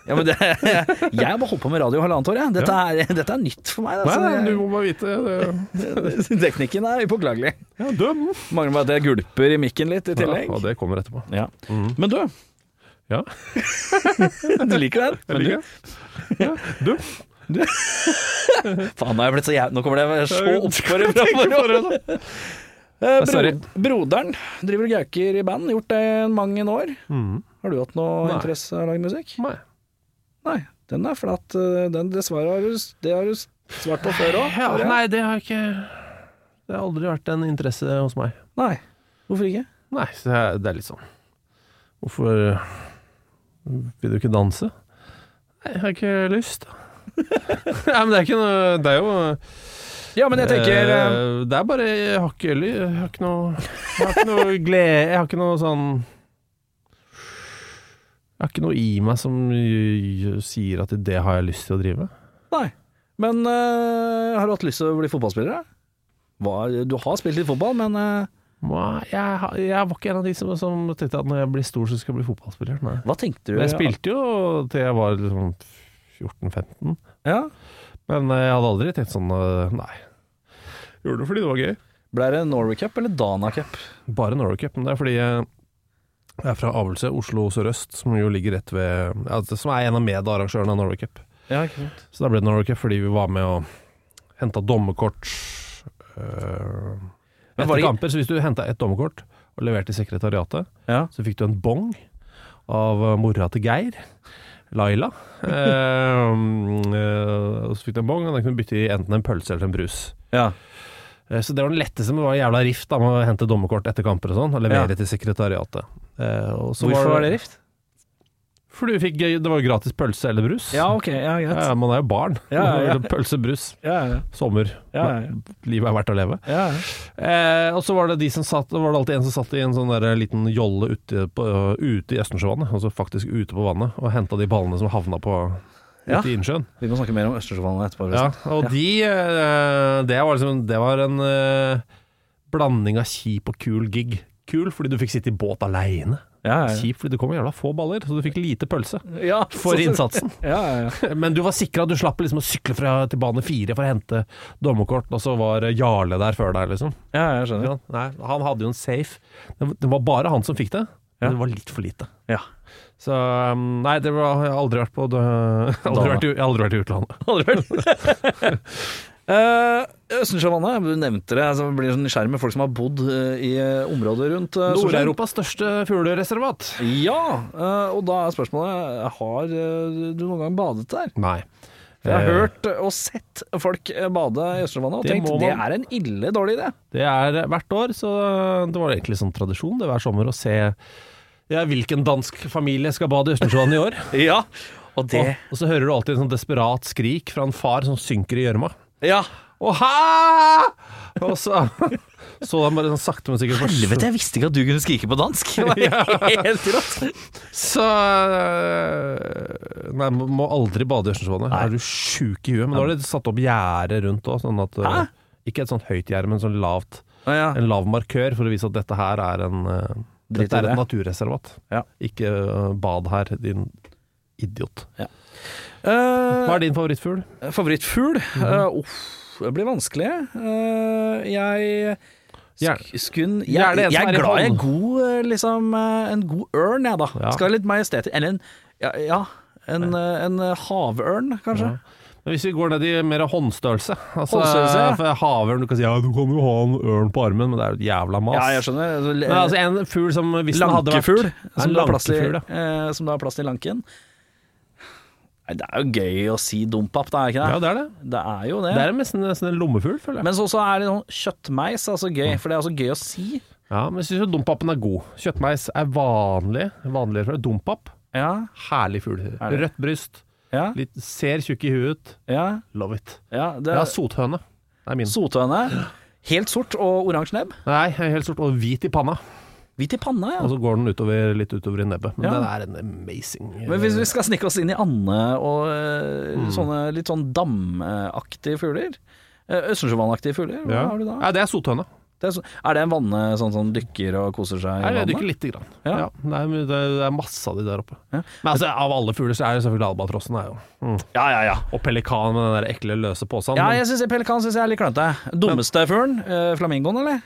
Speaker 2: Ja, men det, jeg har bare holdt på med radio i halvannet år, jeg. Dette, er, dette er nytt for meg.
Speaker 3: Nei,
Speaker 2: Altså,
Speaker 3: nei, du må bare vite det.
Speaker 2: Teknikken er upåklagelig.
Speaker 3: Ja, døm.
Speaker 2: Mangler bare at jeg gulper i mikken litt i tillegg.
Speaker 3: Ja, og det Mhm. kommer etterpå.
Speaker 2: Ja. Men du,
Speaker 3: Ja,
Speaker 2: du liker den?
Speaker 3: jeg
Speaker 2: Men du,
Speaker 3: liker det. Ja, du.
Speaker 2: faen, nå, er jeg blitt så jæv... nå kommer det så oppfordring fra hverandre.
Speaker 3: Nei, altså. sorry.
Speaker 2: Broderen driver og gauker i band, gjort det i mange år.
Speaker 3: Mm.
Speaker 2: Har du hatt noe
Speaker 3: Nei.
Speaker 2: interesse av å lage musikk?
Speaker 3: Nei.
Speaker 2: Nei, den er flat. eh, Den, det svaret har du, det har du svart på før òg.
Speaker 3: Ja, nei, det har ikke Det har aldri vært en interesse hos meg.
Speaker 2: nei. Hvorfor ikke?
Speaker 3: Nei, så det er- det er litt sånn Hvorfor øh, vil du ikke danse? Nei, jeg har ikke lyst. nei, men det er ikke noe Det er jo
Speaker 2: Ja, men jeg tenker eh,
Speaker 3: eh, Det er bare Jeg har ikke ly- Jeg har ikke noe Jeg har ikke noe glede Jeg har ikke noe sånn Jeg har ikke noe i meg som øh, sier at det har jeg lyst til å drive.
Speaker 2: Nei. Men eh, har du hatt lyst til å bli fotballspiller? da? Hva- Du har spilt litt fotball, men eh,
Speaker 3: Nei, Jeg, har- jeg var ikke en av de som, som tenkte at når jeg blir stor, så skal jeg bli fotballspiller. Nei.
Speaker 2: hva tenkte du?
Speaker 3: Men jeg spilte jo til jeg var liksom 14-15,
Speaker 2: Ja.
Speaker 3: men eh, jeg hadde aldri tenkt sånn eh, Nei. Gjorde det fordi det var gøy.
Speaker 2: Ble det Norway Cup eller Dana Cup?
Speaker 3: Bare Norway Cup, men det er fordi jeg er fra Avelse, Oslo sørøst, som jo ligger rett ved altså, Som er en av medarrangørene av Norway Cup.
Speaker 2: Ja, ikke sant.
Speaker 3: Så da ble det Norway Cup fordi vi var med og henta dommerkort øh,
Speaker 2: Men
Speaker 3: etter
Speaker 2: var det ikke-
Speaker 3: kamper. Så hvis du henta ett dommerkort og leverte i sekretariatet,
Speaker 2: Ja.
Speaker 3: så fikk du en bong av mora til Geir, Laila. Ehm, eh, og så fikk du en bong, og den kunne du bytte i enten en pølse eller en brus.
Speaker 2: Ja.
Speaker 3: Eh, Så det var den letteste, men det var en jævla rift da, med å hente dommerkort etter kamper og sånn, og levere
Speaker 2: Ja.
Speaker 3: til sekretariatet. Eh, og så
Speaker 2: Hvorfor var det rift?
Speaker 3: Fordi du fikk, det var gratis pølse eller brus.
Speaker 2: Ja, ok, ja, greit.
Speaker 3: Ja, man er jo barn.
Speaker 2: Ja, ja, ja.
Speaker 3: Pølse, brus,
Speaker 2: Ja, ja,
Speaker 3: sommer.
Speaker 2: ja. ja,
Speaker 3: Livet er verdt å leve.
Speaker 2: ja, ja.
Speaker 3: Eh, og så var det, de som satt, var det alltid en som satt i en sånn der liten jolle ute, på, ute i Østensjøvannet, altså faktisk ute på vannet, og henta de ballene som havna på ute
Speaker 2: Ja.
Speaker 3: i innsjøen.
Speaker 2: Vi må snakke mer om Østersjøvannet etterpå.
Speaker 3: Ja,
Speaker 2: forresten.
Speaker 3: og de eh, Det var liksom Det var en eh, blanding av kjip og kul gig. Kul fordi du fikk sitte i båt aleine.
Speaker 2: Ja, ja,
Speaker 3: Kjip fordi det kom jævla få baller, så du fikk lite pølse
Speaker 2: ja. ja,
Speaker 3: for
Speaker 2: så-
Speaker 3: innsatsen.
Speaker 2: Ja, ja, ja.
Speaker 3: Men du var sikra, du slapp liksom å sykle fra, til bane fire for å hente dommerkort, og så var Jarle der før deg, liksom.
Speaker 2: ja, jeg skjønner.
Speaker 3: Ja, nei, han hadde jo en safe. Det var- Det var bare han som fikk det, men
Speaker 2: Ja.
Speaker 3: det var litt for lite.
Speaker 2: Ja.
Speaker 3: Så um, nei, det var, jeg har aldri vært på det, aldri,
Speaker 2: Dana.
Speaker 3: vært, i- jeg har aldri vært i utlandet.
Speaker 2: Eh, Østersjøvannet, du nevnte det. Altså, det blir sånn nysgjerrig med folk som har bodd eh, i eh, området rundt eh, Solheim.
Speaker 3: Nord-Europas største fuglereservat.
Speaker 2: Ja, eh, og da er spørsmålet Har eh, du noen gang badet der?
Speaker 3: Nei.
Speaker 2: For jeg har
Speaker 3: Eh,
Speaker 2: hørt og sett folk eh, bade i Østersjøvannet og
Speaker 3: Det
Speaker 2: tenkt
Speaker 3: må
Speaker 2: det
Speaker 3: man.
Speaker 2: er en ille dårlig idé.
Speaker 3: Det er eh, hvert år, så det var egentlig sånn tradisjon det hver sommer å se ja, hvilken dansk familie skal bade i Østensjøen i år.
Speaker 2: Ja, og
Speaker 3: Og, og så hører du alltid en sånn desperat skrik fra en far som synker i gjørma.
Speaker 2: Ja.
Speaker 3: Og hæ! Og så så han bare sånn sakte, men sikkert forsvunnet.
Speaker 2: Helvete, jeg visste ikke at du kunne skrike på dansk! Det var helt rått.
Speaker 3: Så øh, Nei, må- må aldri bade i Østersjøvannet. Er du sjuk i huet? Men nå har de satt opp gjerde rundt òg, sånn at øh,
Speaker 2: Hæ?
Speaker 3: Ikke et sånt høyt gjerde, men sånn lavt.
Speaker 2: Ja, ja.
Speaker 3: En lav markør for å vise at dette her er en øh,
Speaker 2: Dritt
Speaker 3: Dette
Speaker 2: i
Speaker 3: er
Speaker 2: det.
Speaker 3: et naturreservat.
Speaker 2: Ja.
Speaker 3: Ikke øh, bad her, din idiot. Hva
Speaker 2: Eh,
Speaker 3: er din favorittfugl?
Speaker 2: favorittfugl?
Speaker 3: Mhm.
Speaker 2: Eh, uff, det blir vanskelig. Eh, jeg
Speaker 3: Gjerne.
Speaker 2: sk skun, jeg,
Speaker 3: Gjerne en som
Speaker 2: jeg
Speaker 3: er
Speaker 2: er
Speaker 3: i
Speaker 2: glad i en
Speaker 3: hånd.
Speaker 2: god, eh, liksom, eh, en god ørn, jeg, da.
Speaker 3: Ja.
Speaker 2: Skal være litt majestetisk. Eller en Ja, ja en, eh, en havørn, kanskje.
Speaker 3: Men hvis vi går ned i mer håndstørrelse altså,
Speaker 2: Håndstørrelse, ja.
Speaker 3: for Havørn, du kan si ja, du kan jo ha en ørn på armen, men det er jo et jævla mas.
Speaker 2: Ja, jeg skjønner. Så,
Speaker 3: Men altså, en fugl som hvis den hadde vært
Speaker 2: Lankefugl,
Speaker 3: Ja,
Speaker 2: som,
Speaker 3: en
Speaker 2: da har plass til-
Speaker 3: lankefugl, ja.
Speaker 2: eh, som da har plass til lanken. Nei, det er jo gøy å si dompap, det er ikke det?
Speaker 3: Ja, det er det.
Speaker 2: Det er jo det.
Speaker 3: Det er nesten, nesten en lommefugl, føler jeg.
Speaker 2: Men så så er det sånn kjøttmeis, altså gøy, for det er også gøy å si.
Speaker 3: ja, men jeg syns jo dompapen er god. Kjøttmeis er vanlig. Vanligere for Dompap,
Speaker 2: Ja,
Speaker 3: herlig fugl.
Speaker 2: det?
Speaker 3: Rødt bryst,
Speaker 2: ja,
Speaker 3: litt, ser tjukk i huet ut.
Speaker 2: ja.
Speaker 3: Love it.
Speaker 2: ja det
Speaker 3: Jeg
Speaker 2: er
Speaker 3: har sothøne. Det er min.
Speaker 2: sothøne. Helt sort og oransje nebb.
Speaker 3: Nei, jeg er helt sort. Og hvit i panna.
Speaker 2: Hvit i panna, ja.
Speaker 3: Og så går den utover, litt utover i nebbet. Men
Speaker 2: Ja.
Speaker 3: den er en amazing
Speaker 2: Men hvis vi skal snikke oss inn i ande og eh, sånne litt sånn damaktige fugler, eh, Østersjøvannaktige fugler, hva
Speaker 3: ja.
Speaker 2: har du da?
Speaker 3: Ja, det er sothøna.
Speaker 2: Det er, så, er det en vanne sånn som dykker og koser seg i
Speaker 3: Nei, Jeg
Speaker 2: vannet?
Speaker 3: dykker lite grann.
Speaker 2: Ja.
Speaker 3: Ja. det, er, det er- det er masse av de der oppe.
Speaker 2: Ja.
Speaker 3: Men altså, av alle fugler så er det selvfølgelig albatrossen. Er jo.
Speaker 2: Ja, ja, ja.
Speaker 3: Og pelikanen med den der ekle, løse posen.
Speaker 2: Ja, jeg synes, Pelikan syns jeg er litt klønete. Dummeste fuglen? Eh, flamingoen, eller?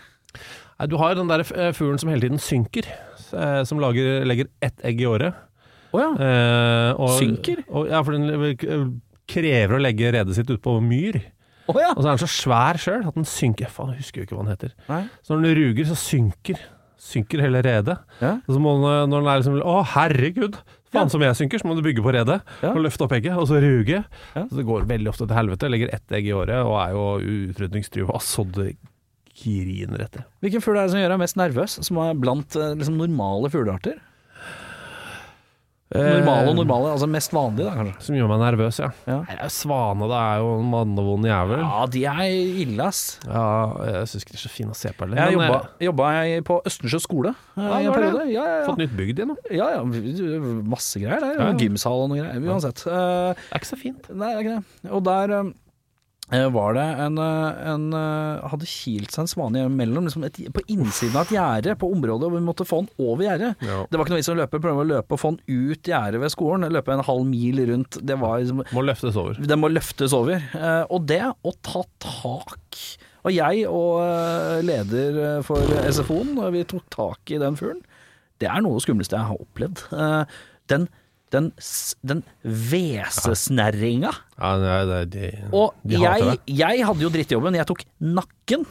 Speaker 3: Nei, Du har den der eh, fuglen som hele tiden synker. eh, Som lager, legger ett egg i året.
Speaker 2: Å ja.
Speaker 3: Eh, og,
Speaker 2: Synker?
Speaker 3: Og, ja, for den eh, krever å legge redet sitt ut på myr.
Speaker 2: Å ja.
Speaker 3: Og så er den så svær sjøl at den synker. Faen, jeg husker jo ikke hva den heter.
Speaker 2: Nei.
Speaker 3: Så når den ruger, så synker Synker hele redet.
Speaker 2: Ja.
Speaker 3: Og så må den, når den er liksom Å, herregud!
Speaker 2: Ja.
Speaker 3: Faen som jeg synker, så må du bygge på redet.
Speaker 2: Ja.
Speaker 3: Og løfte opp egget, og så ruge.
Speaker 2: Ja.
Speaker 3: Så det går veldig ofte til helvete. Legger ett egg i året og er jo utrydningstrua så det griner etter.
Speaker 2: Hvilken fugl er det som gjør deg mest nervøs, som er blant eh, liksom, normale fuglearter? Normale og normale, altså mest vanlige, da, kanskje.
Speaker 3: Som gjør meg nervøs, ja.
Speaker 2: Ja.
Speaker 3: Nei, det er jo svane, det er jo en mannevond jævel.
Speaker 2: Ja, de er ille, ass.
Speaker 3: Ja, jeg syns ikke de er så fine å se på heller.
Speaker 2: Jeg
Speaker 3: men,
Speaker 2: jobba,
Speaker 3: eh,
Speaker 2: jobba jeg på Østensjø skole eh, i
Speaker 3: Ja, gjør
Speaker 2: en
Speaker 3: det.
Speaker 2: periode. Ja, ja,
Speaker 3: eh, Fått
Speaker 2: ja.
Speaker 3: nytt bygd igjen nå.
Speaker 2: ja, ja. Masse greier der.
Speaker 3: Ja, ja.
Speaker 2: Gymsal og noe greier. Uansett. Eh,
Speaker 3: Det er ikke så fint.
Speaker 2: Nei, det er ikke det. Og der eh, var det en, eh, en eh, Hadde kilt seg en svane imellom, liksom et, på innsiden av et gjerde på området, og vi måtte få den over gjerdet.
Speaker 3: Ja.
Speaker 2: Det var ikke noe vits i å løpe, prøve å løpe og få den ut gjerdet ved skolen. Løpe en halv mil rundt. Det var liksom
Speaker 3: Må løftes over.
Speaker 2: Den må løftes over. Eh, Og det å ta tak Og jeg og eh, leder eh, for SFO-en, og vi tok tak i den fuglen. Det er noe av det skumleste jeg har opplevd. Eh, Den, den, s- den hvesesnerringa.
Speaker 3: Ja, nei, det, de,
Speaker 2: Og
Speaker 3: de hater
Speaker 2: jeg, jeg hadde jo drittjobben. Jeg tok nakken.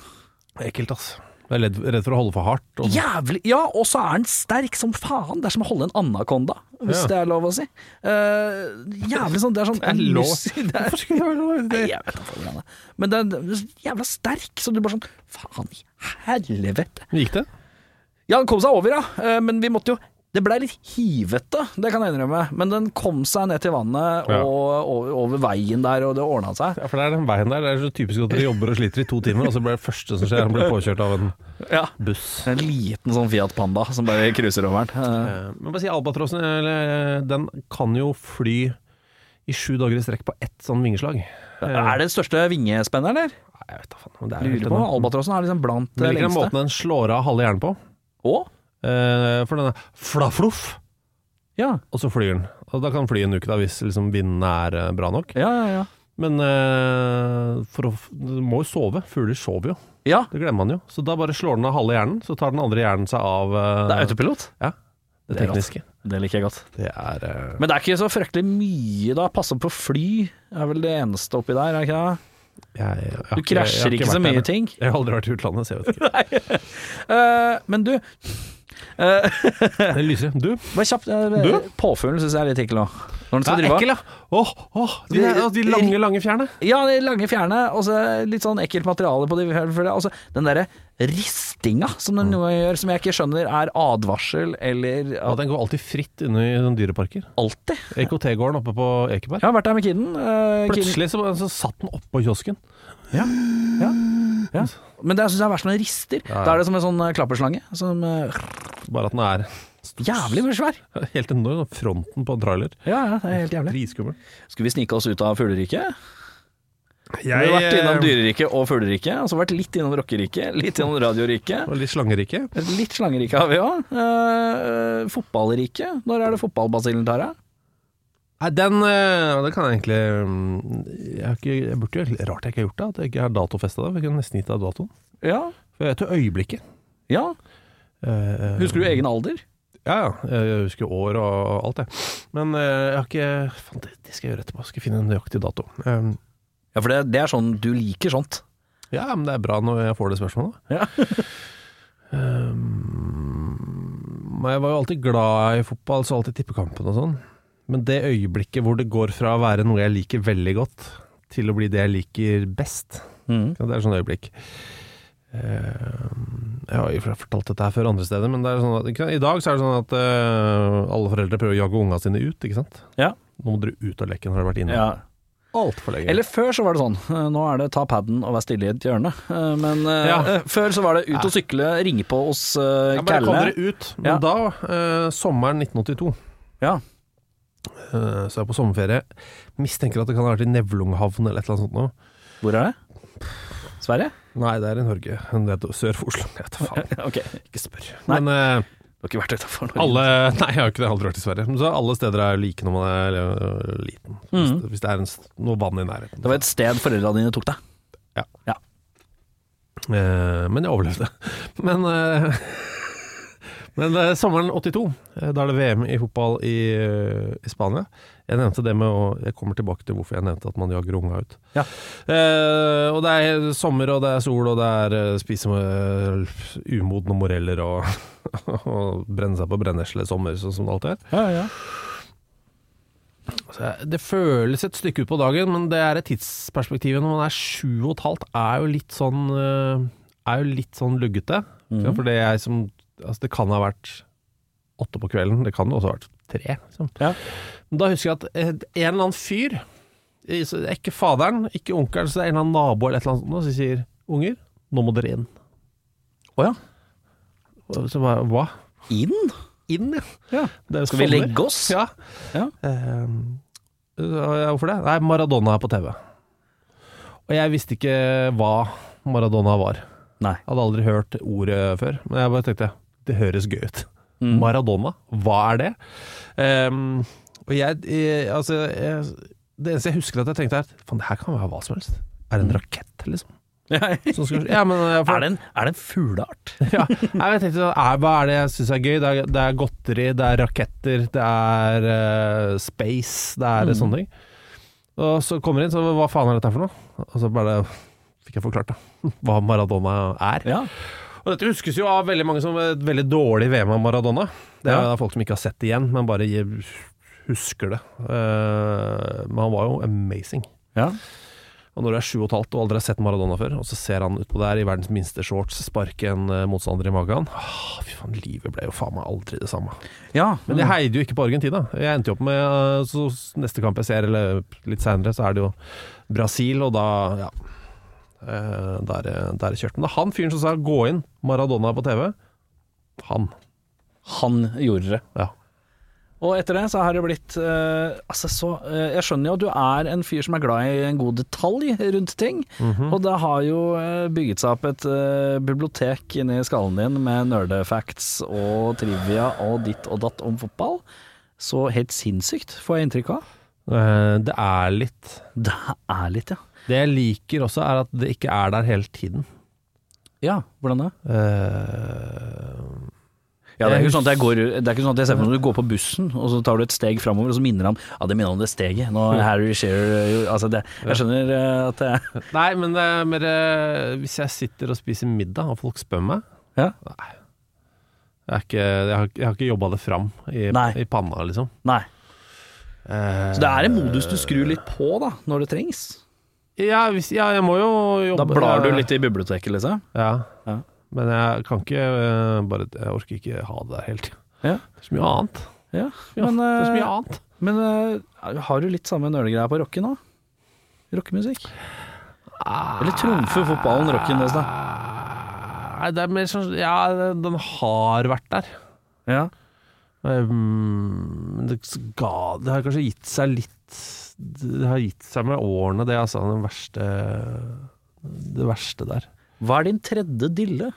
Speaker 3: det. Ekkelt, ass. Jeg er redd, redd for å holde for hardt. og-
Speaker 2: Jævlig Ja, og så er den sterk som faen. Det er som å holde en anakonda, hvis
Speaker 3: Ja.
Speaker 2: det er lov å si. Eh, jævlig sånn Det er sånn
Speaker 3: Det er lov.
Speaker 2: mus- det er-
Speaker 3: Hvorfor skulle det være lov?
Speaker 2: Nei,
Speaker 3: Det-
Speaker 2: jeg vet da faen hva det er. Men den den er så jævla sterk, så du bare sånn Faen i helvete.
Speaker 3: Gikk det?
Speaker 2: Ja, den kom seg over, ja. Eh, Men vi måtte jo det blei litt hivete, det kan jeg innrømme, men den kom seg ned til vannet
Speaker 3: Ja.
Speaker 2: og over, over veien der, og det ordna seg.
Speaker 3: Ja, for det er den veien der. Det er så typisk at dere jobber og sliter i to timer, og så blir det første som skjer, han blir påkjørt av en
Speaker 2: Ja.
Speaker 3: buss.
Speaker 2: En liten sånn Fiat Panda som bare cruiser over den. Eh,
Speaker 3: Eh, Men bare si albatrossen, eller, eh, den kan jo fly i sju dager i strekk på ett sånn vingeslag.
Speaker 2: Er det den største vingespenneren, eller?
Speaker 3: Nei, jeg vet da faen. Men det er
Speaker 2: Lurer på om albatrossen er liksom blant
Speaker 3: Men
Speaker 2: det
Speaker 3: liker den
Speaker 2: lengste.
Speaker 3: måten den slår av halve hjernen på.
Speaker 2: Å?
Speaker 3: Eh, for den er flafloff,
Speaker 2: Ja.
Speaker 3: og så flyr den. Og da kan den fly en uke da, hvis liksom, vindene er eh, bra nok.
Speaker 2: Ja, ja, ja.
Speaker 3: Men eh, for å, f- du må jo sove. Fugler sover jo.
Speaker 2: Ja,
Speaker 3: Det glemmer man jo. Så da bare slår den av halve hjernen, så tar den andre hjernen seg av eh,
Speaker 2: det er altså. autopilot.
Speaker 3: det tekniske.
Speaker 2: Det liker jeg godt.
Speaker 3: Det er eh,
Speaker 2: Men det er ikke så fryktelig mye, da. Passe på fly er vel det eneste oppi der, er det ikke det?
Speaker 3: jeg, jeg har
Speaker 2: Du krasjer
Speaker 3: jeg har
Speaker 2: ikke så
Speaker 3: vært der.
Speaker 2: mye ting.
Speaker 3: Jeg har aldri vært i utlandet, så jeg vet ikke.
Speaker 2: Eh, men du eh,
Speaker 3: Det lyser. Du?
Speaker 2: Bare kjapt.
Speaker 3: Du?
Speaker 2: eh, Påfuglen syns jeg er litt ekkel nå. Når den skal drive av.
Speaker 3: ja. Åh, åh, de, der- åh, de lange, lange fjærene.
Speaker 2: Ja, de lange fjærene, og så litt sånn ekkelt materiale på de fjærene. Altså, den derre ristinga som den noen ganger gjør, som jeg ikke skjønner er advarsel eller
Speaker 3: Mm. Ja, den går alltid fritt inne i sånne dyreparker.
Speaker 2: Alltid.
Speaker 3: EKT-gården oppe på Ekeberg.
Speaker 2: Jeg har vært der med kiden. eh, kiden.
Speaker 3: Plutselig så, så satt den oppå kiosken.
Speaker 2: Ja. Men det syns jeg er verst når den rister.
Speaker 3: Ja.
Speaker 2: Da er det som en sånn eh, klapperslange. Som eh,
Speaker 3: Bare at den er
Speaker 2: Jævlig mye svær.
Speaker 3: helt enorm. Fronten på en trailer.
Speaker 2: Ja, ja, det er helt jævlig.
Speaker 3: Dritskummel.
Speaker 2: Skulle vi snike oss ut av fugleriket? Vi
Speaker 3: Jeg eh,
Speaker 2: har vært innom dyreriket og fugleriket, og så vært litt innom rockeriket, litt innom radioriket.
Speaker 3: Og litt slangerike.
Speaker 2: Litt eh, slangerike har vi òg. Eh, fotballriket. Når er det fotballbasillen tar deg?
Speaker 3: Nei, den eh, Det kan jeg egentlig mm, jeg, har ikke, jeg burde jo Rart jeg ikke har gjort det, at jeg ikke har datofesta det. for Jeg kunne nesten gitt deg datoen.
Speaker 2: Ja.
Speaker 3: For jeg vet jo øyeblikket.
Speaker 2: ja.
Speaker 3: Eh,
Speaker 2: Husker du egen alder?
Speaker 3: Ja, ja. Jeg husker år og alt, jeg. Men eh, jeg har ikke Faen, det, det skal jeg gjøre etterpå. Skal jeg finne en nøyaktig dato. Eh,
Speaker 2: Ja, for det, det er sånn du liker sånt.
Speaker 3: ja, men det er bra når jeg får det spørsmålet.
Speaker 2: Ja.
Speaker 3: Men jeg var jo alltid glad i fotball, så alltid tippekampen og sånn. Men det øyeblikket hvor det går fra å være noe jeg liker veldig godt, til å bli det jeg liker best,
Speaker 2: Mm.
Speaker 3: ja, det er et sånt øyeblikk. Eh, Jeg har jo fortalt dette her før andre steder, men det er sånn at, ikke sant? i dag så er det sånn at eh, alle foreldre prøver å jage unga sine ut, ikke sant?
Speaker 2: Ja.
Speaker 3: Nå må dere ut av leken, har dere vært inne
Speaker 2: ja.
Speaker 3: altfor lenge.
Speaker 2: Eller før så var det sånn, eh, nå er det ta paden og vær stille i et hjørne. Eh, Men eh,
Speaker 3: Ja.
Speaker 2: eh, før så var det ut og sykle, ringe på hos uh,
Speaker 3: ja, bare kom
Speaker 2: Kalle.
Speaker 3: dere ut. Men
Speaker 2: Ja.
Speaker 3: da, eh, sommeren 1982,
Speaker 2: Ja.
Speaker 3: eh, så er jeg på sommerferie. Mistenker at det kan ha vært i Nevlunghavn eller et eller annet sånt nå.
Speaker 2: Hvor er det? Sverige?
Speaker 3: Nei, det er i Norge. Det er sør for Oslo. Jeg vet da faen,
Speaker 2: Ok,
Speaker 3: ikke spør.
Speaker 2: Nei.
Speaker 3: Men eh,
Speaker 2: du har ikke vært utenfor Norge.
Speaker 3: alle Nei, jeg har jo ikke det. Jeg har aldri vært i Sverige. Men så alle steder er jo like når man er eh, liten. Hvis,
Speaker 2: Mhm.
Speaker 3: det, hvis det er en, s- noe vann i nærheten.
Speaker 2: Det var et sted foreldrene dine tok deg.
Speaker 3: Eh, men jeg overlevde. Men, eh, men det er sommeren 82, eh, da er det VM i fotball i, eh, i Spania. Jeg nevnte det med å Jeg kommer tilbake til hvorfor jeg nevnte at man jager unga ut.
Speaker 2: Ja.
Speaker 3: Eh, og det er sommer, og det er sol, og det er eh, spise med eh, umodne moreller og, og brenne seg på brennesle sommer, sånn som det alltid er.
Speaker 2: Ja, ja.
Speaker 3: Så jeg- Det føles et stykke ut på dagen, men det er et tidsperspektiv når man er sju og et halvt, er jo litt sånn øh, Er jo litt sånn luggete. Ja,
Speaker 2: Mhm.
Speaker 3: For det jeg som Altså, det kan ha vært åtte på kvelden, det kan jo også ha vært tre. Liksom.
Speaker 2: Ja.
Speaker 3: Men da husker jeg at eh, en eller annen fyr, i- så det er ikke faderen, ikke onkelen, så det er en eller annen nabo eller et eller annet sånt, nå, som sier 'Unger, nå må dere inn'.
Speaker 2: Å ja.
Speaker 3: Og Så bare, hva?
Speaker 2: Inn?
Speaker 3: Inn, ja.
Speaker 2: Ja.
Speaker 3: Det er jo
Speaker 2: Skal vi
Speaker 3: sommer.
Speaker 2: legge oss?
Speaker 3: Ja.
Speaker 2: Ja.
Speaker 3: Eh, ja, hvorfor det? Nei, Maradona er på TV. Og jeg visste ikke hva Maradona var.
Speaker 2: Nei.
Speaker 3: Hadde aldri hørt ordet før. Men jeg bare tenkte det høres gøy ut.
Speaker 2: Mm.
Speaker 3: Maradona, hva er det? Ehm, og jeg, eh, altså jeg, Det eneste jeg husker at jeg tenkte, er at faen, det her kan være hva som helst. Er det en rakett, liksom?
Speaker 2: er, det
Speaker 3: Som skal, ja, men, eh, for-
Speaker 2: en, Mm. er det en fugleart?
Speaker 3: ja. Nei, men jeg tenkte sånn, er, Hva er det jeg syns er gøy? Det er, det er godteri, det er raketter, det er eh, space, det
Speaker 2: Mm.
Speaker 3: er eh, sånne ting. Og så kommer jeg inn, så hva faen er dette her for noe? Og så bare fikk jeg forklart da, hva Maradona er.
Speaker 2: Ja.
Speaker 3: Og dette huskes jo av veldig mange som et veldig dårlig VM av Maradona. Det
Speaker 2: Ja.
Speaker 3: er da folk som ikke har sett det igjen, men bare gi- husker det. Eh, men han var jo amazing.
Speaker 2: Ja.
Speaker 3: Og når du er sju og et halvt og aldri har sett Maradona før, og så ser han utpå der i verdens minste shorts sparke en eh, motstander i magen ah, Fy faen, livet ble jo faen meg aldri det samme.
Speaker 2: ja.
Speaker 3: Men jeg heide jo ikke på Argentina. Jeg endte jo opp med eh, Så neste kamp jeg ser, eller litt seinere, så er det jo Brasil, og da Ja. Eh, Da er det da er det kjørt. Men det er han fyren som sa 'gå inn', Maradona er på TV. Han.
Speaker 2: Han gjorde det.
Speaker 3: Ja.
Speaker 2: Og etter det så har det blitt eh, Altså så eh, Jeg skjønner jo at du er en fyr som er glad i en god detalj rundt ting. Og det har jo eh, bygget seg opp et eh, bibliotek inni skallen din med nerdefacts og trivia og ditt og datt om fotball. Så helt sinnssykt, får jeg inntrykk av.
Speaker 3: Eh, Det er litt
Speaker 2: Det er litt, ja.
Speaker 3: Det jeg liker også, er at det ikke er der hele tiden.
Speaker 2: Ja, hvordan det?
Speaker 3: Eh,
Speaker 2: Ja, det, er ikke sånn at jeg går, det er ikke sånn at jeg ser for meg når du går på bussen, og så tar du et steg framover, og så minner han Ja, det minner om det steget. Nå er Harry Shearer eh, jo, Altså, det, jeg skjønner eh, at det
Speaker 3: Nei, men det er mer eh, Hvis jeg sitter og spiser middag, og folk spør meg
Speaker 2: Ja.
Speaker 3: Nei. Jeg, er ikke, jeg, har, jeg har ikke jobba det fram i,
Speaker 2: Nei.
Speaker 3: i panna, liksom.
Speaker 2: Nei.
Speaker 3: Eh,
Speaker 2: Så det er en modus du skrur litt på, da, når det trengs.
Speaker 3: Eh, ja, hvis, ja, jeg må jo jobbe
Speaker 2: Da blar du litt i biblioteket, liksom.
Speaker 3: Ja.
Speaker 2: Ja.
Speaker 3: Men jeg kan ikke eh, bare Jeg orker ikke ha det der hele tida.
Speaker 2: Ja.
Speaker 3: Det er så mye annet.
Speaker 2: Ja,
Speaker 3: Ja,
Speaker 2: men,
Speaker 3: Det er så
Speaker 2: eh,
Speaker 3: mye annet.
Speaker 2: men eh, har du litt samme nølegreia på rocken òg? Rockemusikk? Eller trumfer fotballen rocken deres, da?
Speaker 3: Nei, det er mer sånn Ja, den har vært der.
Speaker 2: Ja.
Speaker 3: Um, det, ga, det har kanskje gitt seg litt Det har gitt seg med årene, det altså. Den verste Det verste der.
Speaker 2: Hva er din tredje dille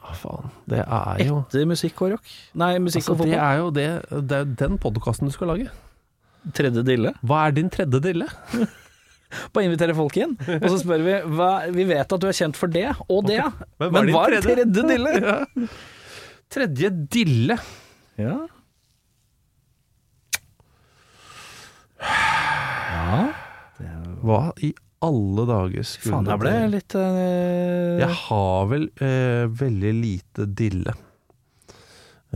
Speaker 2: Ah,
Speaker 3: Hva faen. Det er jo
Speaker 2: etter musikk og rock? Nei, musikk
Speaker 3: altså,
Speaker 2: og
Speaker 3: Det
Speaker 2: fotball.
Speaker 3: er jo det Det er jo den podkasten du skal lage.
Speaker 2: tredje dille.
Speaker 3: Hva er din tredje dille?
Speaker 2: Bare invitere folk inn, og så spør vi hva, Vi vet at du er kjent for det og det,
Speaker 3: Men
Speaker 2: men
Speaker 3: hva er din
Speaker 2: hva er
Speaker 3: tredje?
Speaker 2: tredje dille?
Speaker 3: Tredje dille.
Speaker 2: Ja.
Speaker 3: Hva i alle dager skulle
Speaker 2: Faen, jeg ble
Speaker 3: det-
Speaker 2: litt eh,
Speaker 3: Jeg har vel eh, veldig lite dille.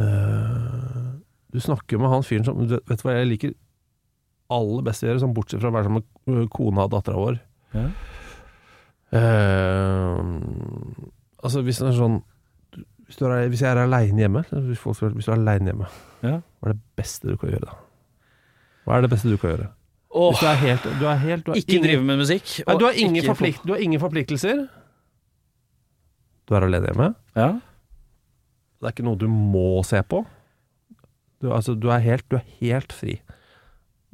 Speaker 3: Eh, du snakker med han fyren som du Vet vet du hva jeg liker aller best å gjøre, sånn bortsett fra å være sammen med eh, kona og dattera vår?
Speaker 2: Ja.
Speaker 3: Eh, altså, hvis det er sånn Hvis, du er, hvis jeg er aleine hjemme Hvis folk spør hvis du er alene hjemme,
Speaker 2: Ja.
Speaker 3: hva er det beste du kan gjøre da? Hva er det beste du kan gjøre?
Speaker 2: Åh,
Speaker 3: Hvis du er helt, du er helt du har
Speaker 2: ikke
Speaker 3: ingen-
Speaker 2: drive med musikk.
Speaker 3: Nei,
Speaker 2: og
Speaker 3: du, har ingen
Speaker 2: ikke-
Speaker 3: forplikt, du har ingen forpliktelser. Du er alene hjemme.
Speaker 2: Ja.
Speaker 3: Det er ikke noe du må se på. Du, altså, du, er, helt, du er helt fri.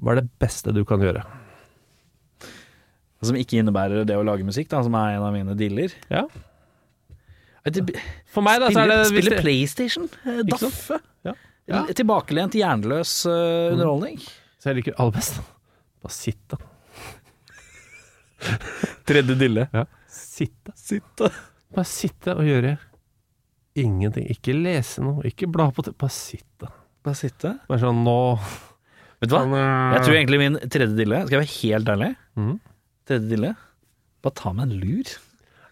Speaker 3: Hva er det beste du kan gjøre?
Speaker 2: Som ikke innebærer det å lage musikk, da, som er en av mine dealer.
Speaker 3: Ja.
Speaker 2: Spille,
Speaker 3: For meg, da, så er det
Speaker 2: spille PlayStation, eh,
Speaker 3: Ikke sant?
Speaker 2: daffe.
Speaker 3: Ja. Ja.
Speaker 2: Tilbakelent, jernløs eh, underholdning.
Speaker 3: Så jeg liker aller best. Bare sitte.
Speaker 2: Tredje dille.
Speaker 3: Sitte.
Speaker 2: Sitte.
Speaker 3: Bare sitte og gjøre ingenting. Ikke lese noe, ikke bla på TV. Bare sitte.
Speaker 2: Bare sitte. eh.
Speaker 3: Bare sånn nå
Speaker 2: Vet du hva? Jeg tror egentlig min tredje dille Skal jeg være helt ærlig?
Speaker 3: Mhm.
Speaker 2: Tredje dille Bare ta meg en lur.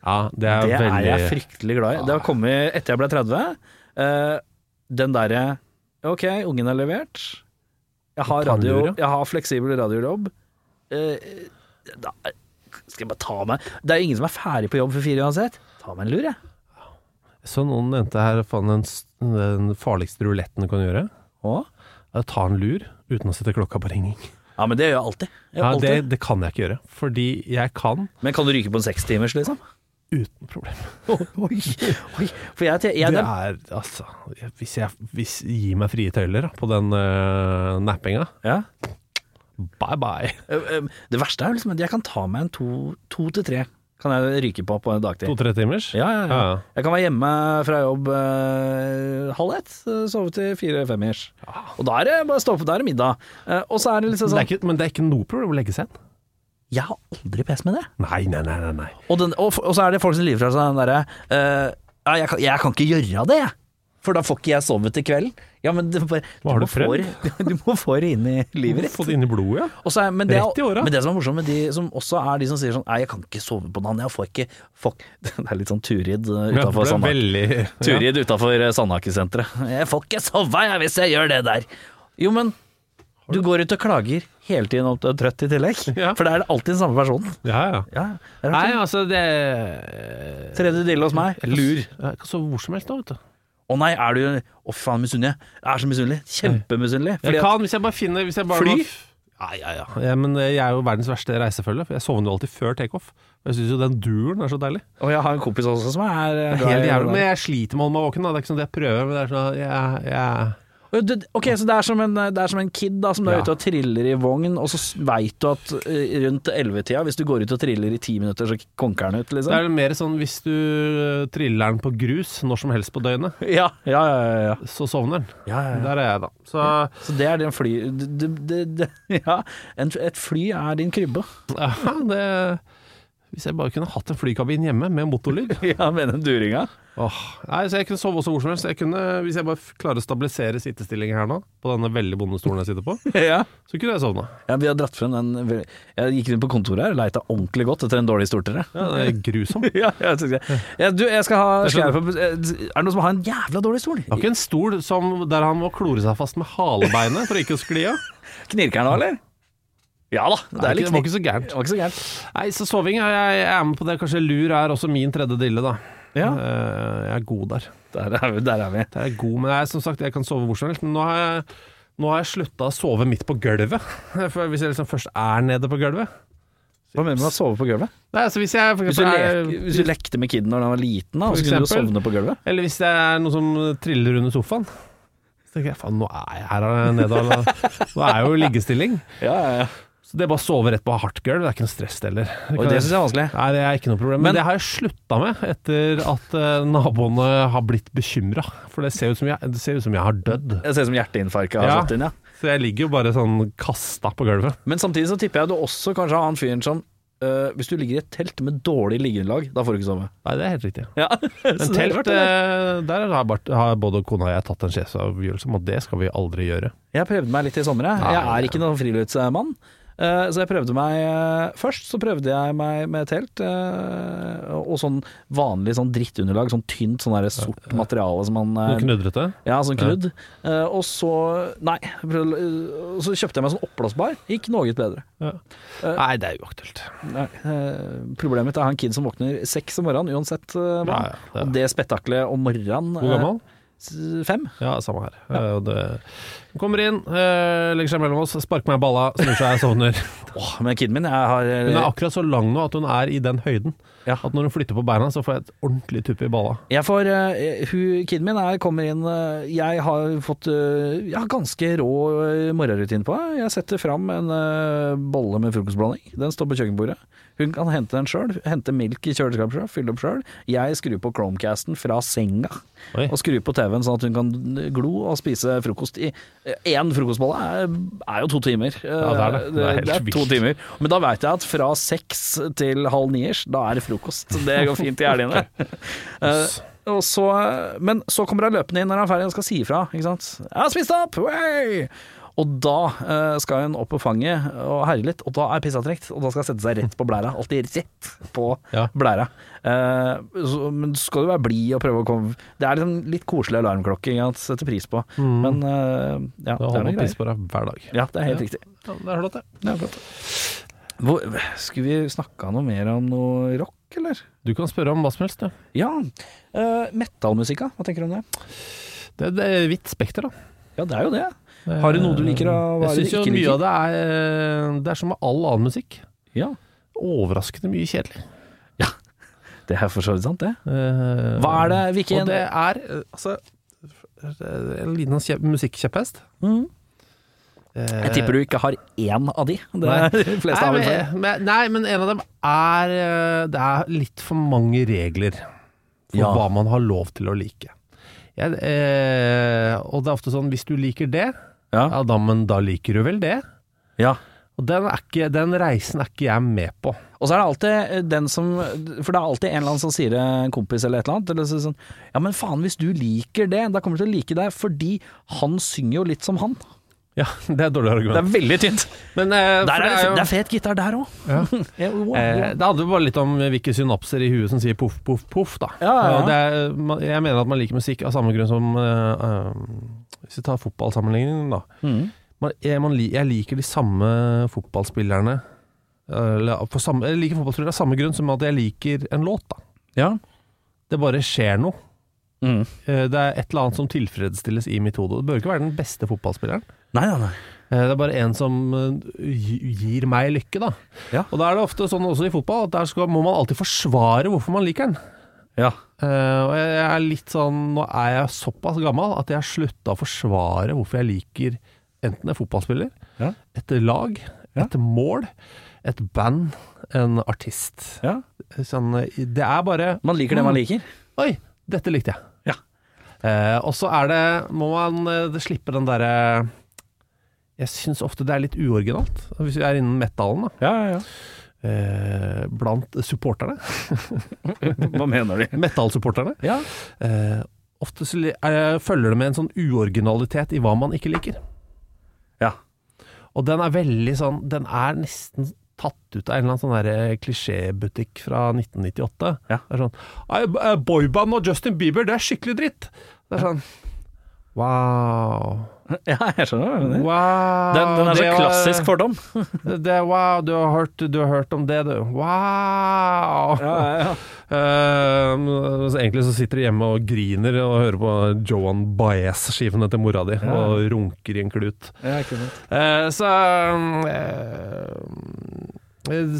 Speaker 3: Ja, det er
Speaker 2: det
Speaker 3: veldig
Speaker 2: er jeg fryktelig glad i. Det har kommet etter jeg ble 30. eh, den derre Ok, ungen er levert. Jeg har,
Speaker 3: Ta en
Speaker 2: radio,
Speaker 3: lur, ja.
Speaker 2: jeg har fleksibel radiojobb. Eh, da skal jeg bare ta meg Det er jo ingen som er ferdig på jobb for fire uansett. Ta meg en lur, jeg.
Speaker 3: Så noen nevnte her faen, den, s- den farligste ruletten du kan gjøre,
Speaker 2: Å?
Speaker 3: er å ta en lur uten å sette klokka på ringing.
Speaker 2: Ja, men det gjør jeg alltid. Jeg gjør
Speaker 3: Ja, det,
Speaker 2: alltid.
Speaker 3: det kan jeg ikke gjøre, fordi jeg kan
Speaker 2: Men kan du ryke på en sekstimers, liksom?
Speaker 3: uten problem.
Speaker 2: Oi, oi. For jeg, jeg, jeg,
Speaker 3: Det er altså jeg- Hvis jeg hvis, gir meg frie tøyler da, på den øh, nappinga,
Speaker 2: ja.
Speaker 3: bye bye.
Speaker 2: Eh, eh, Det verste er jo liksom at jeg kan ta meg en to, to til tre. Kan jeg ryke på på en dagtid.
Speaker 3: To-tre timers?
Speaker 2: Ja, ja, ja.
Speaker 3: Ja, ja.
Speaker 2: Jeg kan være hjemme fra jobb eh, halv ett, eh, sove til fire-femmers. Og da er det bare å stå opp, da er det middag. Eh, og så er det liksom
Speaker 3: Det er
Speaker 2: sånn
Speaker 3: ikke, men det er ikke noe problem å legge seg inn.
Speaker 2: Jeg har aldri pes med det.
Speaker 3: Nei, nei, nei. nei, nei.
Speaker 2: Og, den, og, f- og så er det folk som lyver fra seg den derre eh, ja, jeg, kan- 'Jeg kan ikke gjøre det, jeg'. For da får ikke jeg sove til kvelden. Ja, men det, bare,
Speaker 3: Hva har du
Speaker 2: må få det- du må få det inn i livet ditt.
Speaker 3: Få det inn i blodet, ja.
Speaker 2: Og så er, men, det,
Speaker 3: Rett i åra.
Speaker 2: men det som er morsomt med de som også er de som sier sånn Nei, jeg kan ikke sove på natten, jeg får ikke fuck. Det er litt sånn Turid eh,
Speaker 3: Ja,
Speaker 2: utenfor
Speaker 3: for det er
Speaker 2: Sandhagen.
Speaker 3: veldig
Speaker 2: Turid utafor Sandhakesenteret. Jeg får ikke sove jeg, hvis jeg gjør det der. Jo, men du går ut og klager hele tiden om at du er trøtt i tillegg.
Speaker 3: Ja.
Speaker 2: For da er det alltid den samme personen.
Speaker 3: Ja, ja.
Speaker 2: Ja, det er
Speaker 3: Nei,
Speaker 2: rart.
Speaker 3: altså, det
Speaker 2: Tredje dille hos meg. Lur.
Speaker 3: Jeg kan sove hvor som helst nå, vet du.
Speaker 2: Å nei, er du Å faen, misunner jeg. Jeg er så misunnelig. Kjempemisunnelig.
Speaker 3: Jeg
Speaker 2: Fordi at-
Speaker 3: kan, hvis jeg bare finner hvis jeg bare
Speaker 2: Fly?
Speaker 3: må- Ja, ja, ja. ja. Men jeg er jo verdens verste reisefølge, for jeg sovner jo alltid før takeoff. Jeg syns jo den duren er så deilig.
Speaker 2: Og jeg har en kompis også som er eh,
Speaker 3: Det er
Speaker 2: glad i
Speaker 3: helt
Speaker 2: det
Speaker 3: jævlig,
Speaker 2: der.
Speaker 3: men jeg sliter med å holde meg våken. Da. Det er ikke sånn at jeg prøver, men det er sånn at jeg, jeg
Speaker 2: Og det- Ok, så det er som en, det er som en kid da, som da er
Speaker 3: Ja.
Speaker 2: ute og triller i vogn, og så veit du at eh, rundt 11-tida, hvis du går ut og triller i ti minutter, så konker den ut,
Speaker 3: Det
Speaker 2: liksom.
Speaker 3: er mer sånn hvis du eh, triller den på grus når som helst på døgnet,
Speaker 2: Ja, ja, ja. ja, ja.
Speaker 3: så sovner den.
Speaker 2: ja, ja, ja.
Speaker 3: Der er jeg, da. Så
Speaker 2: Så det er din fly... Det, det, det, det, ja, en, et fly er din krybbe.
Speaker 3: ja, det Hvis jeg bare kunne hatt en flykabin hjemme med motorlyd
Speaker 2: Ja, med den duringa.
Speaker 3: Åh, Nei, så jeg kunne sove også hvor som helst. Jeg kunne, hvis jeg bare f- klarer å stabilisere sittestillingen her nå, på denne veldig bonde stolen jeg sitter på,
Speaker 2: Ja.
Speaker 3: så kunne jeg sovna.
Speaker 2: ja, vi har dratt frem den Jeg gikk inn på kontoret her og leita ordentlig godt etter en dårlig stortere.
Speaker 3: Ja, det er grusomt.
Speaker 2: Ja, jeg synes jeg. Ja, du, jeg skal ha skal
Speaker 3: skjønner.
Speaker 2: jeg få- Er det noen som har en jævla dårlig stol?
Speaker 3: Det var ikke en stol som, der han må klore seg fast med halebeinet for ikke å skli av.
Speaker 2: Knirker den nå, eller? Ja da. Det,
Speaker 3: Det
Speaker 2: er
Speaker 3: er
Speaker 2: litt
Speaker 3: ikke- det var
Speaker 2: knirk.
Speaker 3: ikke så gærent.
Speaker 2: Det var ikke så gærent.
Speaker 3: Nei, så soving er jeg, jeg er med på det. Kanskje lur er også min tredje dille, da.
Speaker 2: Ja.
Speaker 3: Eh, Jeg er god der.
Speaker 2: Der er vi. Der er vi.
Speaker 3: Der er jeg god, men jeg, som sagt, jeg kan sove hvor som helst. Men nå har jeg, nå har jeg slutta å sove midt på gulvet. For hvis jeg liksom først er nede på gulvet
Speaker 2: Hva mener du med å sove på gulvet?
Speaker 3: Nei, altså hvis jeg for
Speaker 2: Hvis du,
Speaker 3: eksempel er-
Speaker 2: leker, hvis du lekte med kiden da han var liten, da, så
Speaker 3: For
Speaker 2: kunne du
Speaker 3: eksempel.
Speaker 2: sovne på gulvet?
Speaker 3: Eller hvis det er noe som triller under sofaen. Så tenker jeg faen, nå er jeg her eh, nede. Eller, nå er jeg jo i liggestilling.
Speaker 2: Ja, ja, ja.
Speaker 3: Så det er bare å sove rett på hardt gulv. Det er ikke noe stress det heller.
Speaker 2: Og
Speaker 3: kan
Speaker 2: det
Speaker 3: jeg-
Speaker 2: syns jeg er vanskelig.
Speaker 3: Nei, det er ikke noe problem. Men,
Speaker 2: Men-
Speaker 3: det har jeg slutta med etter at eh, naboene har blitt bekymra. For det ser ut som jeg, det ser ut som jeg har dødd.
Speaker 2: Jeg ser ut som hjerteinfarktet har
Speaker 3: Ja.
Speaker 2: slått inn, ja.
Speaker 3: Så jeg ligger jo bare sånn kasta på gulvet.
Speaker 2: Men samtidig så tipper jeg du også kanskje har han fyren som øh, Hvis du ligger i et telt med dårlig liggeunderlag, da får du ikke sove.
Speaker 3: Nei, det er helt riktig.
Speaker 2: Ja.
Speaker 3: Men telt, eh, der har, Bart, har både kona og jeg tatt en sjefsavgjørelse om at det skal vi aldri gjøre.
Speaker 2: Jeg prøvde meg litt i sommer. Jeg, jeg er ikke noen friluftsmann. Eh, Så jeg prøvde meg eh, Først så prøvde jeg meg med telt, eh, og sånn vanlig sånn drittunderlag. Sånn tynt, sånn der sort materiale som man
Speaker 3: Noe
Speaker 2: eh,
Speaker 3: knudrete.
Speaker 2: Ja, sånn knudd. Eh, Og så Nei. jeg prøvde- eh, og Så kjøpte jeg meg sånn oppblåsbar. Gikk noe bedre.
Speaker 3: Nei, det er uaktuelt.
Speaker 2: Nei, eh, Problemet mitt er han kid som våkner seks om morgenen uansett eh, hva.
Speaker 3: Ja, ja, det er-
Speaker 2: Og det spetakkelet om morgenen
Speaker 3: Hvor
Speaker 2: eh,
Speaker 3: gammel?
Speaker 2: s- Fem?
Speaker 3: Ja, samme her. Eh, og Det Hun kommer inn, eh, legger seg mellom oss, sparker meg i balla, snur seg, sovner.
Speaker 2: Åh, men kiden min, jeg har eh,
Speaker 3: Hun er akkurat så lang nå at hun er i den høyden.
Speaker 2: Ja.
Speaker 3: At når hun flytter på beina, så får jeg et ordentlig tupp i balla.
Speaker 2: Jeg får, eh, hun, Kiden min er, kommer inn eh, Jeg har fått eh, jeg har ganske rå eh, morgenrutine på meg. Jeg setter fram en eh, bolle med frokostblanding. Den står på kjøkkenbordet. Hun kan hente den sjøl. Hente melk i kjøleskapet sjøl, fylle opp sjøl. Jeg skrur på Chromecasten fra senga.
Speaker 3: Oi.
Speaker 2: Og skrur på TV-en sånn at hun kan glo og spise frokost i eh, Én frokostbolle er, er jo to timer. Eh,
Speaker 3: Ja, det er det. Det er helt
Speaker 2: to
Speaker 3: vilt.
Speaker 2: timer. Men da veit jeg at fra seks til halv niers, da er det frokost. Det går fint i helgene. Eh, og så, men så kommer han løpende inn når han er ferdig og skal si ifra. Ikke sant? 'Jeg har spist opp!' Wey! Og da eh, skal hun opp på fanget og herje litt, og da er pissa trukket. Og da skal hun sette seg rett på blæra. Alltid rett på
Speaker 3: Ja.
Speaker 2: blæra. Eh, så, men så skal du være blid og prøve å komme Det er liksom litt koselig alarmklokke. Ikke sant? Setter pris på. Men eh, ja,
Speaker 3: Mm. Da
Speaker 2: det er
Speaker 3: holder
Speaker 2: noe
Speaker 3: hun piss
Speaker 2: greier.
Speaker 3: på deg hver dag.
Speaker 2: Ja, det er helt riktig.
Speaker 3: Ja, det er flott, det.
Speaker 2: Det er flott. Hvor, skulle vi snakka noe mer om noe rock, eller?
Speaker 3: Du kan spørre om hva som helst, du.
Speaker 2: Ja. Uh, Metallmusikk, da? Hva tenker du om det?
Speaker 3: Det, det er vidt spekter, da.
Speaker 2: Ja, det er jo det. Eh, Har du noe du liker, og hva er det du
Speaker 3: Eh, Jeg syns jo
Speaker 2: ikke
Speaker 3: mye
Speaker 2: liker?
Speaker 3: av det er eh, Det er som med all annen musikk.
Speaker 2: Ja,
Speaker 3: Overraskende mye kjedelig.
Speaker 2: det er for så vidt sant, det.
Speaker 3: Eh,
Speaker 2: Hva er det, hvilken
Speaker 3: Og det er eh, altså eh, En liten kje- musikkkjepphest.
Speaker 2: Mhm.
Speaker 3: Eh,
Speaker 2: Jeg tipper du ikke har én av de. Det
Speaker 3: Nei.
Speaker 2: er de fleste
Speaker 3: nei,
Speaker 2: av dem.
Speaker 3: men, men, nei, men en av dem er eh, Det er litt for mange regler for
Speaker 2: Ja.
Speaker 3: hva man har lov til å like. Jeg, eh, og det er ofte sånn hvis du liker det,
Speaker 2: Ja.
Speaker 3: ja da, men da liker du vel det.
Speaker 2: Ja.
Speaker 3: Og den, er ikke, den reisen er ikke jeg med på.
Speaker 2: Og så er det alltid eh, den som For det er alltid en eller annen som sier det, en kompis eller et eller annet. Eller så, sånn Ja, men faen, hvis du liker det, da kommer du til å like det, fordi han synger jo litt som han.
Speaker 3: Ja, Det er et dårlig
Speaker 2: Det
Speaker 3: argument.
Speaker 2: er veldig tynt.
Speaker 3: Men, eh,
Speaker 2: Der
Speaker 3: for
Speaker 2: er det, liksom-
Speaker 3: jo-
Speaker 2: det er fet gitar der òg. Ja. wow,
Speaker 3: Eh,
Speaker 2: wow.
Speaker 3: Det handler bare litt om hvilke synapser i huet som sier poff, poff, poff, da.
Speaker 2: Ja, ja, ja.
Speaker 3: Eh, Det er, man- jeg mener at man liker musikk av samme grunn som eh, eh, Hvis vi tar fotballsammenligningen, da.
Speaker 2: Mhm.
Speaker 3: Man, jeg, man, li- jeg liker de samme fotballspillerne eh, eller, på samme, Jeg liker fotballspillere av samme grunn som at jeg liker en låt, da.
Speaker 2: ja.
Speaker 3: Det bare skjer noe.
Speaker 2: Mhm.
Speaker 3: Eh, Det er et eller annet som tilfredsstilles i mitt hode. Det bør ikke være den beste fotballspilleren.
Speaker 2: Nei, nei, nei.
Speaker 3: Eh, Det er bare en som eh, gi- gir meg lykke, da.
Speaker 2: Ja.
Speaker 3: Og da er det ofte sånn også i fotball at der skal, må man alltid forsvare hvorfor man liker den.
Speaker 2: Ja.
Speaker 3: Eh, og jeg er litt sånn, Nå er jeg såpass gammel at jeg har slutta å forsvare hvorfor jeg liker enten en fotballspiller,
Speaker 2: Ja.
Speaker 3: et lag,
Speaker 2: Ja.
Speaker 3: et mål, et band, en artist.
Speaker 2: ja.
Speaker 3: Sånn, eh, det er bare
Speaker 2: Man liker det man liker.
Speaker 3: Oi, dette likte
Speaker 2: Ja.
Speaker 3: jeg. Eh, og så er det Må man eh, slippe den derre Jeg syns ofte det er litt uoriginalt, hvis vi er innen metallen, da.
Speaker 2: Ja, ja,
Speaker 3: Eh, blant supporterne.
Speaker 2: ja. Hva mener de?
Speaker 3: Metallsupporterne.
Speaker 2: Ja.
Speaker 3: Eh, ofte så li- eh, følger det med en sånn uoriginalitet i hva man ikke liker.
Speaker 2: Ja.
Speaker 3: Og den er veldig sånn Den er nesten tatt ut av en eller annen sånn der, eh, klisjébutikk fra 1998.
Speaker 2: Ja.
Speaker 3: Det er sånn «Ei, b- eh, Boyband og Justin Bieber, det er skikkelig dritt! Det er sånn Wow.
Speaker 2: ja, jeg skjønner hva du mener.
Speaker 3: wow.
Speaker 2: Den, den er
Speaker 3: det
Speaker 2: så
Speaker 3: var-
Speaker 2: klassisk fordom.
Speaker 3: det, det, Wow, du har, hørt, du har hørt om det, du. Wow!
Speaker 2: ja,
Speaker 3: Ehm, så egentlig så sitter du hjemme og griner og hører på Johan Baez-skivene til mora di, og runker i en klut.
Speaker 2: ja. Ikke sant.
Speaker 3: Eh, så eh,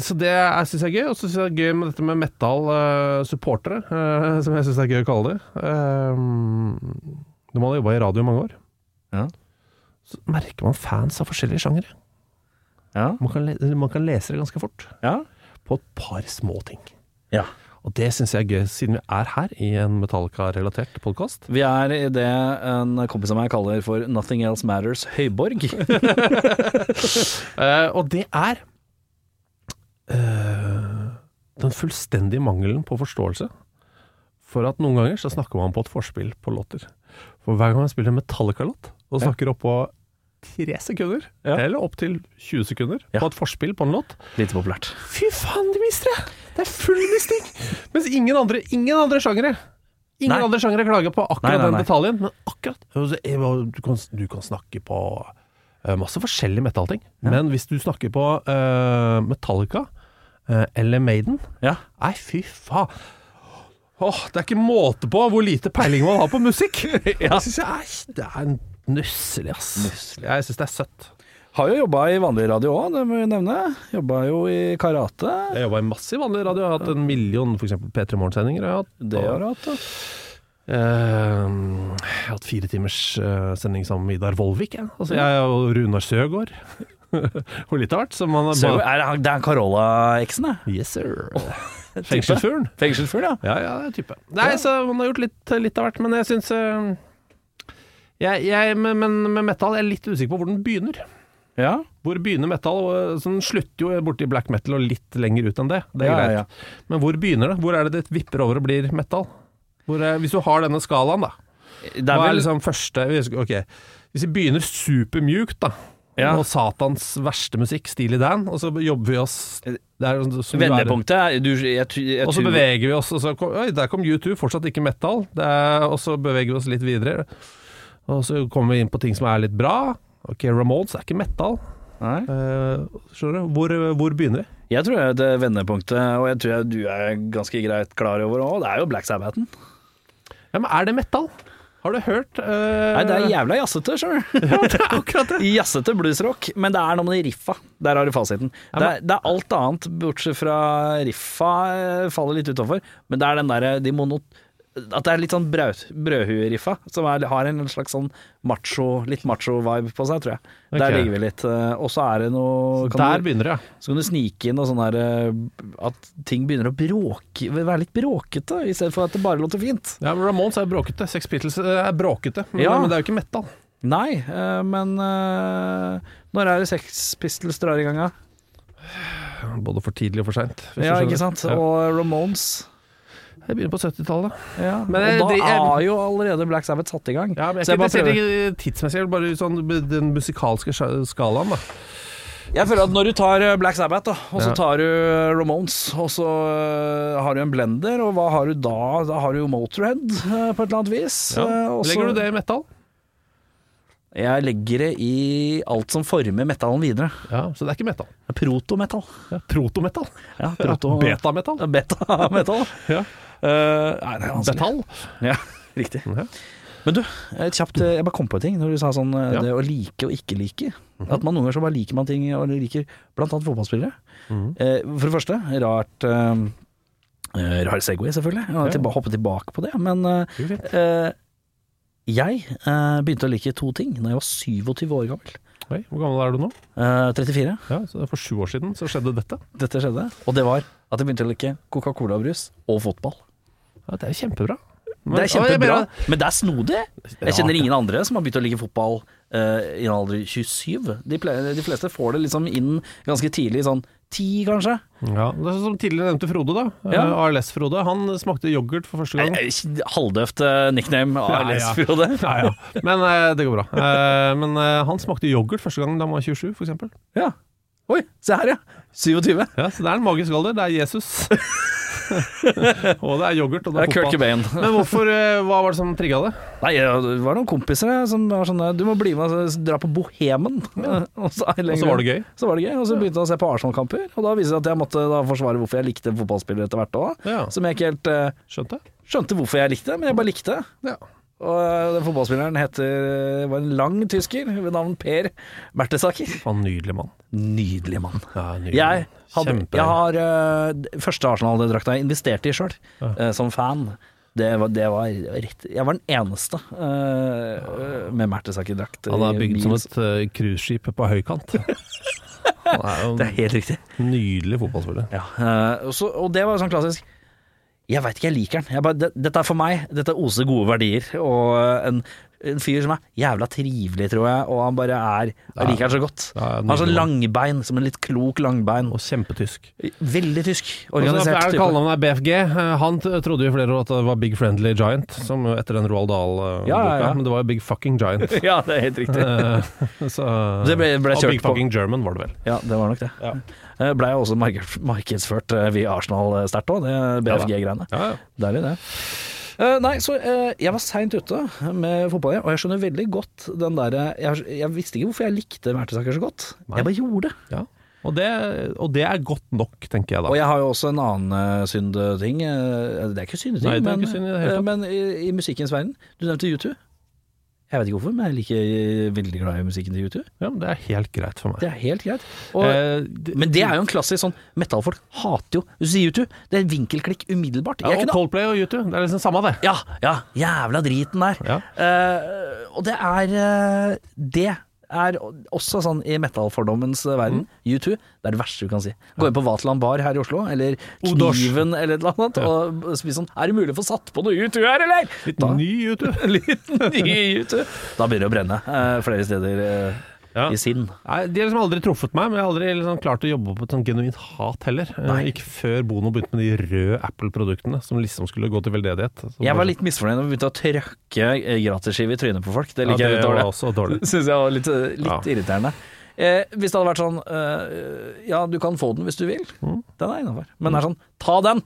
Speaker 3: Så det syns jeg er gøy. Og så syns jeg det er gøy med dette med metal-supportere, eh, som jeg syns det er gøy å kalle det. Eh, Ehm, når man har jobba i radio i mange år,
Speaker 2: Ja.
Speaker 3: så merker man fans av forskjellige sjangere.
Speaker 2: Ja.
Speaker 3: Man, kan le- man kan lese det ganske fort.
Speaker 2: Ja.
Speaker 3: På et par små ting.
Speaker 2: Ja.
Speaker 3: Og det syns jeg er gøy, siden vi er her i en Metallica-relatert podkast.
Speaker 2: Vi er i det en kompis av meg kaller for Nothing Else Matters Høyborg.
Speaker 3: Eh, og det er eh, den fullstendige mangelen på forståelse for at noen ganger så snakker man på et forspill på låter. For hver gang man spiller en Metallica-låt og snakker oppå tre sekunder,
Speaker 2: Ja.
Speaker 3: eller opptil 20 sekunder,
Speaker 2: Ja.
Speaker 3: på et forspill på en låt
Speaker 2: Lite populært.
Speaker 3: Fy faen, de mister det! Det er full misting! Mens ingen andre, ingen andre sjangere Ingen
Speaker 2: Nei.
Speaker 3: andre sjangere klager på akkurat
Speaker 2: Nei, nei, nei.
Speaker 3: den detaljen, men akkurat altså, Du kan, du kan snakke på eh, masse forskjellige metallting, men hvis du snakker på eh, Metallica eh, eller Maiden
Speaker 2: Ja.
Speaker 3: Nei, fy faen! Åh, det er ikke måte på hvor lite peiling man har på musikk! Det synes jeg er, det er nusselig, ass. Jeg syns det er søtt.
Speaker 2: Har jo jobba i vanlig radio òg, det må vi nevne. Jobba jo i karate.
Speaker 3: Jeg jobba i massiv vanlig radio, jeg har hatt en million for eksempel P3 Morgen-sendinger. jeg har hatt.
Speaker 2: Det har du hatt, da.
Speaker 3: Eh, jeg har hatt fire timers eh, sending sammen med Idar Vollvik. Jeg, altså, jeg og Runar Søgaard. og litt av hvert. Så man
Speaker 2: Så er det, han- det er Carola-eksen, det.
Speaker 3: Yes, sir. Fengselsfuglen.
Speaker 2: Fengselsfugl, ja.
Speaker 3: Ja, ja, det er type. Nei, så man har gjort litt, litt av hvert. Men jeg syns eh, jeg, jeg, men, men med metal jeg er litt usikker på hvor den begynner.
Speaker 2: ja.
Speaker 3: Hvor begynner metal? Og, så den slutter jo borti black metal og litt lenger ut enn det. Det er
Speaker 2: Ja,
Speaker 3: greit.
Speaker 2: ja, ja.
Speaker 3: Men hvor begynner det? Hvor er det det vipper over og blir metal? Hvor, eh, hvis du har denne skalaen, da.
Speaker 2: Det er
Speaker 3: Hva er
Speaker 2: vel
Speaker 3: liksom første Ok, hvis vi begynner supermjukt, da.
Speaker 2: Ja.
Speaker 3: Og Satans verste musikk, Steely Dan, og så jobber vi oss
Speaker 2: Eh,
Speaker 3: det er sånn som du er.
Speaker 2: vendepunktet er- du, jeg, tu- jeg,
Speaker 3: Og så
Speaker 2: tror-
Speaker 3: beveger vi oss, og så kom, Oi, der kom U2, fortsatt ikke metal. Det er, og så beveger vi oss litt videre. Og så kommer vi inn på ting som er litt bra. Ok, Ramones er ikke metal.
Speaker 2: Nei.
Speaker 3: Eh, skjønner du? Hvor, hvor begynner vi?
Speaker 2: Jeg tror jeg er det vendepunktet, og jeg tror jeg du er ganske greit klar over òg, det er jo Black Sabbathen.
Speaker 3: Ja, men er det metal? Har du hørt eh,
Speaker 2: Nei, det er jævla jazzete, skjønner du.
Speaker 3: akkurat det.
Speaker 2: Jazzete bluesrock, men det er noe med de riffa. Der har du fasiten. Det er, det er alt annet, bortsett fra riffa eh, faller litt utafor, men det er den derre de mono... At det er litt sånn braut, brødhueriffa, som er, har en slags sånn macho, litt macho-vibe på seg, tror jeg. Der
Speaker 3: Ok.
Speaker 2: ligger vi litt. eh, Og så er det noe kan
Speaker 3: Der
Speaker 2: du-
Speaker 3: begynner det, ja.
Speaker 2: Så kan du snike inn noe sånn der eh, At ting begynner å bråke Være litt bråkete I stedet for at det bare låter fint
Speaker 3: Ja, men Ramones er bråkete. Sex Pistols eh, er bråkete, men,
Speaker 2: Ja.
Speaker 3: men det er jo ikke metal.
Speaker 2: Nei, eh, men eh, Når er det Sex Pistols drar i gang da?
Speaker 3: Både for tidlig og for seint.
Speaker 2: Ja, ikke sant? Og Ramones
Speaker 3: Jeg begynner på 70-tallet.
Speaker 2: ja.
Speaker 3: Men jeg-
Speaker 2: Og
Speaker 3: de-
Speaker 2: da
Speaker 3: jeg-
Speaker 2: er jo allerede Black Sabbath satt i gang
Speaker 3: Ja, men jeg
Speaker 2: Så
Speaker 3: er
Speaker 2: jeg
Speaker 3: ikke
Speaker 2: bare
Speaker 3: interessert
Speaker 2: prøver
Speaker 3: i tidsmessig, jeg vil bare sånn den musikalske sja- skalaen, da.
Speaker 2: Jeg føler at når du tar eh, Black Sabbath da Og så
Speaker 3: Ja.
Speaker 2: tar du eh, Ramones Og så eh, har du en blender Og hva har du da? Da har du jo Motorhead eh, På et eller annet vis eh, og så-
Speaker 3: Legger du det i metal?
Speaker 2: Jeg legger det i alt som former metallen videre.
Speaker 3: Ja, så det er ikke metal.
Speaker 2: Det er Protometall.
Speaker 3: Ja, protometal.
Speaker 2: Ja,
Speaker 3: Ja,
Speaker 2: proto
Speaker 3: Betametal.
Speaker 2: Beta-metall.
Speaker 3: Ja.
Speaker 2: Eh, nei, det er vanskelig.
Speaker 3: Metal.
Speaker 2: Ja, riktig.
Speaker 3: Ja.
Speaker 2: Men du, et kjapt, eh, jeg bare kom på en ting når du sa sånn eh,
Speaker 3: Ja. Mhm.
Speaker 2: det å like og ikke like. At man noen ganger så bare liker man ting og liker blant annet fotballspillere.
Speaker 3: Mhm.
Speaker 2: Eh, for det første, rart eh, eh, Rar Segway, selvfølgelig. Jeg har
Speaker 3: Ja.
Speaker 2: tilba hoppet tilbake på det. Men eh,
Speaker 3: Det går fint.
Speaker 2: eh, jeg eh, begynte å like to ting da jeg var 27 år gammel.
Speaker 3: Oi, hvor gammel er du nå?
Speaker 2: Eh, 34.
Speaker 3: Ja, så det er For sju år siden så skjedde dette.
Speaker 2: dette skjedde, og det var at jeg begynte å like Coca-Cola-brus og fotball.
Speaker 3: Ja, Det er jo kjempebra.
Speaker 2: Det
Speaker 3: Men-
Speaker 2: er kjempebra,
Speaker 3: Ja, jeg mener-
Speaker 2: men det er snodig. Jeg kjenner ingen andre som har begynt å like fotball eh, i en alder 27. De, ple- de fleste får det liksom inn ganske tidlig, sånn 10 kanskje.
Speaker 3: Ja, det er sånn Som tidligere nevnte Frode, da.
Speaker 2: Ja.
Speaker 3: Eh, ALS-Frode. Han smakte yoghurt for første gang.
Speaker 2: Eh, eh, Halvdøvt eh, nickname av
Speaker 3: Ja, ja.
Speaker 2: Lesfjorde.
Speaker 3: Ja, ja. Men eh, det går bra. Eh, men eh, han smakte yoghurt første gang da han var 27, f.eks.
Speaker 2: Ja. Oi, se her ja. 27.
Speaker 3: Ja, så det er en magisk alder. Det er Jesus. og det er yoghurt, og
Speaker 2: Det er
Speaker 3: det er
Speaker 2: Kurt
Speaker 3: fotball.
Speaker 2: Cobain.
Speaker 3: Men hvorfor, eh, hva var det som trigga det?
Speaker 2: Nei, eh, det var noen kompiser eh, som var sånn eh, Du må bli med og dra på Bohemen. Og så
Speaker 3: Og så var det gøy.
Speaker 2: Så var det gøy, og så begynte jeg å se på Arsenal-kamper. Og da viser det seg at jeg måtte da forsvare hvorfor jeg likte fotballspillere etter hvert òg.
Speaker 3: Ja.
Speaker 2: Som jeg ikke helt eh,
Speaker 3: Skjønte jeg.
Speaker 2: skjønte hvorfor jeg likte, men jeg bare likte.
Speaker 3: Ja.
Speaker 2: Og eh, den fotballspilleren heter, eh, var en lang tysker ved navn Per Bertesaker.
Speaker 3: Faen, nydelig mann.
Speaker 2: Nydelig mann.
Speaker 3: Ja, nydelig.
Speaker 2: Jeg, hadde,
Speaker 3: Kjempe-
Speaker 2: jeg har eh, d- Første Arsenal-drakta jeg investerte i sjøl, som fan. Det var, det var rett Jeg var den eneste eh, med Mertesaker-drakt.
Speaker 3: Han
Speaker 2: i
Speaker 3: er bygd
Speaker 2: bil.
Speaker 3: som et eh, cruiseskip på høykant. Han er jo
Speaker 2: Det er
Speaker 3: en
Speaker 2: helt riktig.
Speaker 3: nydelig fotballspiller.
Speaker 2: Ja, eh, og så, og det var sånn klassisk Jeg veit ikke, jeg liker den. Jeg bare, det, dette er for meg. Dette oser gode verdier. Og eh, en, en fyr som er jævla trivelig, tror jeg, og han bare er Jeg liker han så godt.
Speaker 3: Ja, ja,
Speaker 2: han har sånn
Speaker 3: nydelig.
Speaker 2: langbein, som en litt klok langbein.
Speaker 3: Og kjempetysk.
Speaker 2: Veldig tysk.
Speaker 3: Altså,
Speaker 2: Organisert
Speaker 3: er det
Speaker 2: type.
Speaker 3: Kallenavnet er BFG. Eh, Han t- trodde jo i flere år at det var Big Friendly Giant, som etter den Roald Dahl-boka,
Speaker 2: Ja, ja, ja.
Speaker 3: men det var jo Big Fucking Giant.
Speaker 2: Ja, det er helt riktig.
Speaker 3: Så, eh,
Speaker 2: Det ble- ble
Speaker 3: og
Speaker 2: kjørt
Speaker 3: Big
Speaker 2: på.
Speaker 3: Fucking German var det vel.
Speaker 2: Ja, det var nok det. Eh, Blei også mark- markedsført eh, via Arsenal eh, sterkt òg, det BFG-greiene.
Speaker 3: Ja, ja.
Speaker 2: Deilig, det. Eh, nei, så eh, jeg var seint ute med fotball, jeg, og jeg skjønner veldig godt den derre jeg, jeg visste ikke hvorfor jeg likte Mertesaker så godt. Jeg bare gjorde det.
Speaker 3: Ja. Og, det, og det er godt nok, tenker jeg da.
Speaker 2: Og jeg har jo også en annen eh, syndeting. eh, det er ikke syndeting,
Speaker 3: Nei, det er
Speaker 2: men,
Speaker 3: ikke synd i det hele
Speaker 2: eh,
Speaker 3: tatt.
Speaker 2: men i, i musikkens verden. Du nevnte U2. Jeg vet ikke hvorfor, men jeg er like eh, veldig glad i musikken til U2.
Speaker 3: Ja, men det er helt greit for meg.
Speaker 2: Det er helt greit. Og,
Speaker 3: Eh, det-
Speaker 2: men det er jo en klassisk sånn Metallfolk hater jo Hvis du sier U2, det er en vinkelklikk umiddelbart.
Speaker 3: ja,
Speaker 2: Jeg
Speaker 3: og
Speaker 2: kunne
Speaker 3: Coldplay og YouTube, det er liksom samme det.
Speaker 2: Ja, ja, jævla driten der.
Speaker 3: Ja.
Speaker 2: Eh, og det er eh, Det er også sånn i metallfordommens eh, verden.
Speaker 3: Mm.
Speaker 2: U2, det er det verste du kan si. Gå inn på Vaterland Bar her i Oslo, eller
Speaker 3: Odors.
Speaker 2: Kniven eller et eller annet, og spise sånn Er det mulig å få satt på noe U2 her, eller? Da,
Speaker 3: Ny YouTube.
Speaker 2: litt ny U2. Da begynner det å brenne eh, flere steder eh,
Speaker 3: Ja.
Speaker 2: i sinn.
Speaker 3: Nei, de har liksom aldri truffet meg, men jeg har aldri liksom klart å jobbe opp et sånn genuint hat heller. Eh, Ikke før Bono begynte med de røde Apple-produktene, som liksom skulle gå til veldedighet. Så
Speaker 2: Jeg
Speaker 3: bare-
Speaker 2: var litt misfornøyd da vi begynte å trøkke eh, gratisskive i trynet på folk. Det
Speaker 3: sånn, ja,
Speaker 2: liker jeg
Speaker 3: det
Speaker 2: litt
Speaker 3: var
Speaker 2: dårlig.
Speaker 3: også dårlig.
Speaker 2: Syns jeg var litt, litt
Speaker 3: Ja.
Speaker 2: irriterende. Eh, hvis det hadde vært sånn eh, Ja, du kan få den hvis du vil. Den er innafor. Men det er sånn Ta den!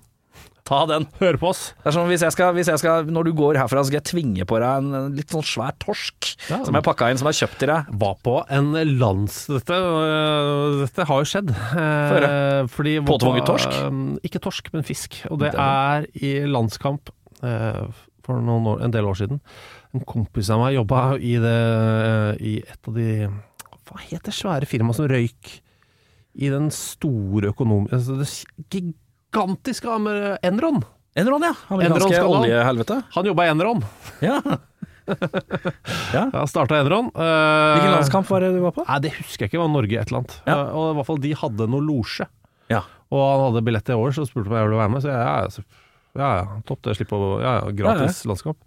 Speaker 2: Ta den!
Speaker 3: Hør på oss!
Speaker 2: Det er sånn, hvis jeg skal, hvis jeg skal, Når du går herfra, så skal jeg tvinge på deg en, en litt sånn svær torsk
Speaker 3: Ja.
Speaker 2: som jeg pakka inn, som jeg har kjøpt til deg.
Speaker 3: Var på en lands... Dette, øh, dette har jo skjedd. Eh, fordi var på-
Speaker 2: Påtvunget torsk?
Speaker 3: eh, Ikke torsk, men fisk. Og det er i landskamp eh, for noen år, en del år siden. En kompis av meg jobba i, det- eh, i et av de Hva het det svære firmaet som røyk i den store økonomi... Altså det gigantiske Amer- Enron!
Speaker 2: Enron, ja.
Speaker 3: Enron
Speaker 2: Amerikanske
Speaker 3: skal han.
Speaker 2: oljehelvete.
Speaker 3: Han jobba i Enron.
Speaker 2: Ja.
Speaker 3: Ja, Starta Enron. Eh,
Speaker 2: Hvilken landskamp var det du var på?
Speaker 3: Nei, det husker jeg ikke. Det var Norge et eller annet.
Speaker 2: Ja.
Speaker 3: Eh, Og i hvert fall de hadde noe losje.
Speaker 2: Ja.
Speaker 3: Og han hadde billett til år, så spurte han om jeg ville være med. Så jeg, ja, ja, så- ja, ja, topp det, slipp å ja, ja, gratis landskamp.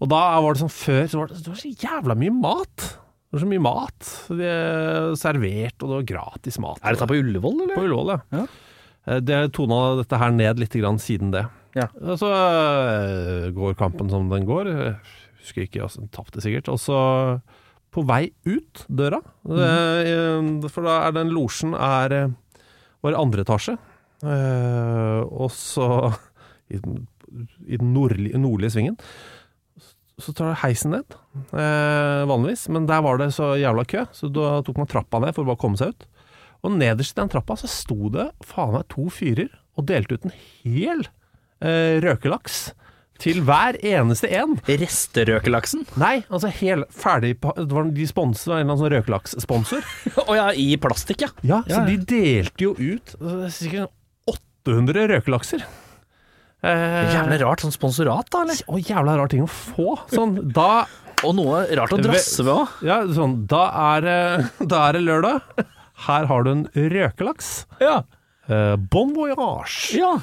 Speaker 3: Og da var det sånn før, så var det, det var så jævla mye mat. Det var så mye mat. Det er servert, og det var gratis mat.
Speaker 2: Er dette på Ullevål,
Speaker 3: På
Speaker 2: eller?
Speaker 3: Ullevål, ja.
Speaker 2: Ja.
Speaker 3: Eh, Det tona dette her ned litt grann siden det.
Speaker 2: Ja.
Speaker 3: Og Så eh, går kampen som den går. Jeg Husker ikke, altså, den tapte sikkert. Og så på vei ut døra,
Speaker 2: Mhm.
Speaker 3: eh, for da er den losjen er eh, var i andre etasje. Eh, og så i den, i den nordlige, nordlige svingen. Så tar det heisen ned, eh, vanligvis, men der var det så jævla kø, så da tok man trappa ned for å bare komme seg ut. Og nederst i den trappa så sto det faen meg to fyrer og delte ut en hel eh, røkelaks til hver eneste en.
Speaker 2: Resterøkelaksen?
Speaker 3: Nei, altså hel, ferdig pa- det var, De sponset var en eller annen sånn røkelakssponsor.
Speaker 2: Å ja, i plastikk, ja.
Speaker 3: Ja, så
Speaker 2: Ja, ja.
Speaker 3: de delte jo ut eh, sikkert 800 røkelakser. Eh,
Speaker 2: Jævlig rart sånn sponsorat, da, eller?
Speaker 3: og jævla rar ting å få. Sånn, da,
Speaker 2: Og noe rart å drasse ved òg.
Speaker 3: ja, sånn, da, er, det- da er det lørdag. Her har du en røkelaks.
Speaker 2: Ja.
Speaker 3: Eh, bon voyage!
Speaker 2: ja.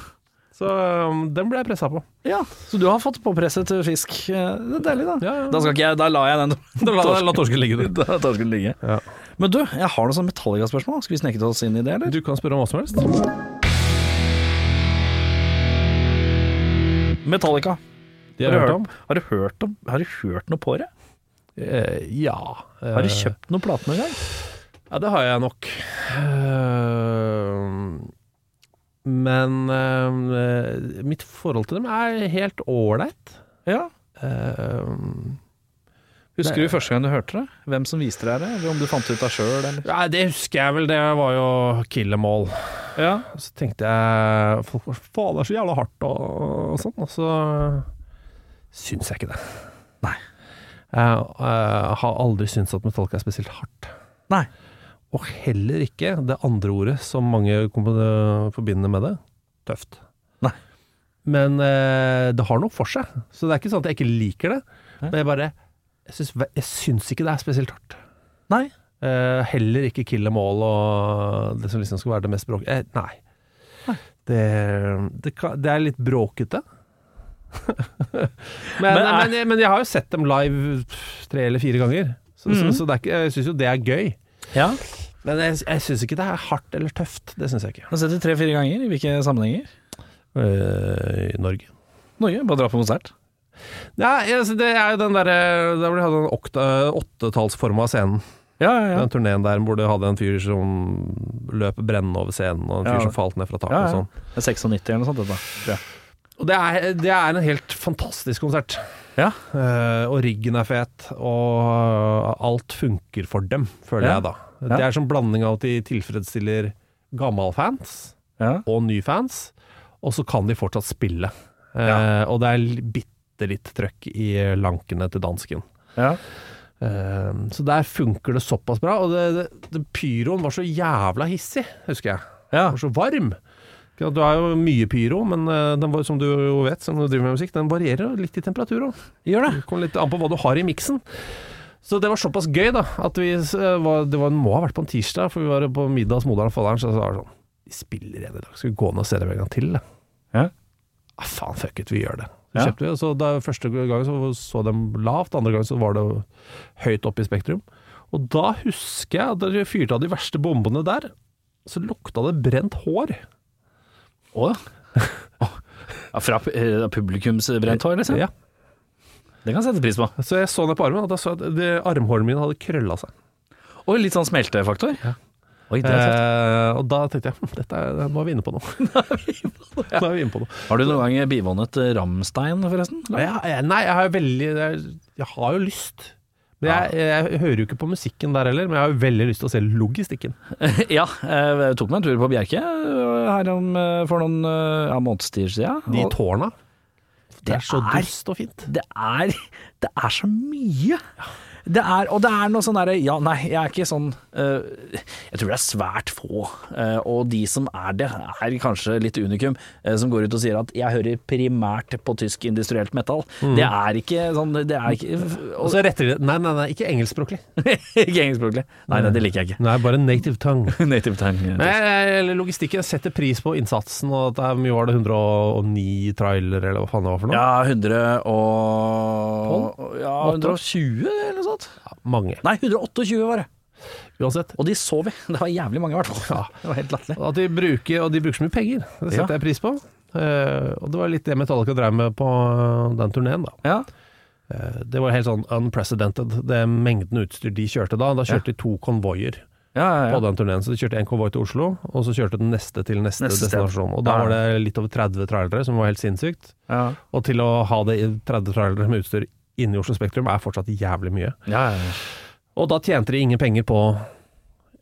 Speaker 3: Så um, den ble jeg pressa på.
Speaker 2: Ja, så du har fått påpresset fisk. Eh, Det er deilig, da.
Speaker 3: Ja, ja.
Speaker 2: Da, skal ikke jeg, da lar jeg den torsken-
Speaker 3: torsken ligge,
Speaker 2: da lar torsken ligge.
Speaker 3: Ja.
Speaker 2: Men du, jeg har noen sånne Metallica-spørsmål. Skal vi sneke oss inn i det, eller?
Speaker 3: Du kan spørre om hva som helst.
Speaker 2: Metallica.
Speaker 3: De
Speaker 2: Har du,
Speaker 3: har jeg hørt
Speaker 2: hørt,
Speaker 3: om.
Speaker 2: har, du hørt om, har du hørt noe på det?
Speaker 3: Eh, ja. Eh,
Speaker 2: Har du kjøpt noen plate noen gang?
Speaker 3: Ja, det har jeg nok. Eh, men eh, mitt forhold til dem er helt ålreit.
Speaker 2: Ja.
Speaker 3: Eh,
Speaker 2: Husker du første gang du hørte det? Hvem som viste deg det? Eller om du fant det ut av sjøl, eller?
Speaker 3: Nei, det husker jeg vel. Det var jo kill em all.
Speaker 2: Ja.
Speaker 3: Og så tenkte jeg folk var faen, det er så jævla hardt og, og sånn. Og så syns jeg ikke det.
Speaker 2: Nei.
Speaker 3: Jeg, eh, har aldri syntes at Metallica er spesielt hardt.
Speaker 2: Nei.
Speaker 3: Og heller ikke det andre ordet som mange kom- eh, forbinder med det. Tøft.
Speaker 2: Nei.
Speaker 3: Men eh, det har noe for seg. Så det er ikke sånn at jeg ikke liker det. Men jeg bare Jeg syns, jeg syns ikke det er spesielt hardt.
Speaker 2: Nei.
Speaker 3: Eh, heller ikke kill em all og det som liksom skal være det mest bråk... Eh, nei. Det, det, kan- det er litt bråkete. men, men,
Speaker 2: er-
Speaker 3: jeg- men jeg har jo sett dem live tre eller fire ganger, så, så, så det er ikke, jeg syns jo det er gøy.
Speaker 2: Ja,
Speaker 3: Men jeg, jeg syns ikke det er hardt eller tøft. Det syns jeg ikke.
Speaker 2: Du har sett det tre-fire ganger. I hvilke sammenhenger?
Speaker 3: I Norge?
Speaker 2: Eh, Norge, bare dra på konsert.
Speaker 3: Ja, jeg- altså, det er jo den derre Da hvor de hadde den okta- åttetallsforma scenen.
Speaker 2: Ja, ja, ja.
Speaker 3: Den turneen der hvor de hadde en fyr som løp brennende over scenen, og en fyr
Speaker 2: Ja.
Speaker 3: som falt ned fra taket
Speaker 2: Ja,
Speaker 3: og
Speaker 2: ja.
Speaker 3: sånn.
Speaker 2: Det er 96 eller noe sånt. Dette, tror jeg.
Speaker 3: Og det er, det er en helt fantastisk konsert.
Speaker 2: Ja.
Speaker 3: Eh, og ryggen er fet, og alt funker for dem, føler
Speaker 2: Ja.
Speaker 3: jeg da.
Speaker 2: Ja.
Speaker 3: Det er som blanding av at de tilfredsstiller gammalfans
Speaker 2: Ja.
Speaker 3: og nyfans, og så kan de fortsatt spille. Eh, Og det er l- bitte litt trøkk i lankene til dansken.
Speaker 2: Ja.
Speaker 3: Eh, så der funker det såpass bra. Og det, det, det, pyroen var så jævla hissig, husker jeg.
Speaker 2: Ja.
Speaker 3: Den var så varm. Ja, Du er jo mye pyro, men eh, den var, som du jo vet, som du driver med musikk, den varierer jo litt i temperatur òg.
Speaker 2: Gjør det.
Speaker 3: Det kommer litt an på hva du har i miksen. Så det var såpass gøy, da, at vi eh, var Det var, må ha vært på en tirsdag, for vi var på middag hos moderen og faderen, så var det sånn De spiller igjen i dag, skal vi gå ned og se dem en gang til, da?
Speaker 2: Ja.
Speaker 3: Ah, faen, fuck it, vi gjør det. Så
Speaker 2: Ja.
Speaker 3: kjøpte vi, og så da, Første gang så, så dem lavt, andre gang så var det høyt oppe i Spektrum. Og da husker jeg at de fyrte av de verste bombene der. Så lukta det brent hår.
Speaker 2: Å ja. Fra pu- eh, publikumsbrent hår, liksom?
Speaker 3: Ja.
Speaker 2: Det kan jeg sette pris på.
Speaker 3: Så jeg så ned på armen, og da så jeg at det, armhårene mine hadde krølla seg.
Speaker 2: Og litt sånn smeltefaktor. Oi, det er tøft.
Speaker 3: Eh, og da tenkte jeg "Hm, dette er, nå er vi inne på noe. nå er vi inne på noe.
Speaker 2: Har du noen gang bivånet eh, Rammstein, forresten?
Speaker 3: Nei, jeg, jeg- nei, jeg har jo veldig jeg, jeg har jo lyst. Men jeg, jeg, hører jo ikke på musikken der heller, men jeg har jo veldig lyst til å se logistikken.
Speaker 2: ja, jeg tok meg en tur på Bjerke eh, her om, eh, for noen eh, ja, månedstider siden.
Speaker 3: De
Speaker 2: Og
Speaker 3: tårna. Det
Speaker 2: det
Speaker 3: er så
Speaker 2: er-
Speaker 3: dust og fint.
Speaker 2: det er, det er så mye. Det er, og det er noe sånn derre Ja, nei, jeg er ikke sånn eh, Jeg tror det er svært få, eh, og de som er det, er kanskje litt unikum, eh, som går ut og sier at 'jeg hører primært på tysk industrielt metal'. Det er ikke sånn Det er ikke
Speaker 3: Og
Speaker 2: og,
Speaker 3: så retter de det Nei, nei, nei, ikke engelskspråklig.
Speaker 2: Ikke engelskspråklig. Nei, nei, det liker jeg ikke.
Speaker 3: Nei, bare native tongue.
Speaker 2: Native tongue.
Speaker 3: Nei, jeg- eller logistikken. Jeg setter pris på innsatsen og at det er hvor mye var det 109 trailere, eller hva faen det var for noe.
Speaker 2: Ja, 100 og ja,
Speaker 3: Åtte?
Speaker 2: 120 eller noe sånt.
Speaker 3: Mange.
Speaker 2: Nei, 128 var det.
Speaker 3: Uansett.
Speaker 2: Og de så vi. Det var jævlig mange, i hvert fall. Det var helt latterlig.
Speaker 3: At de bruker, og de bruker så mye penger. Det
Speaker 2: Ja.
Speaker 3: setter jeg pris på. Eh, og det var litt det Metallica drev med på eh, den turneen, da.
Speaker 2: Ja.
Speaker 3: Det var helt sånn unprecedented, det mengden utstyr de kjørte da. Da kjørte de to konvoier
Speaker 2: Ja, ja,
Speaker 3: på
Speaker 2: ja.
Speaker 3: den turneen. Så de kjørte en konvoi til Oslo, og så kjørte den neste til neste,
Speaker 2: Neste sted.
Speaker 3: destinasjon. Og da
Speaker 2: Ja.
Speaker 3: var det litt over 30 trailere, som var helt sinnssykt.
Speaker 2: ja.
Speaker 3: Og til å ha det i 30 trailere med utstyr inne i Oslo Spektrum er fortsatt jævlig mye.
Speaker 2: ja, ja, ja.
Speaker 3: Og da tjente de ingen penger på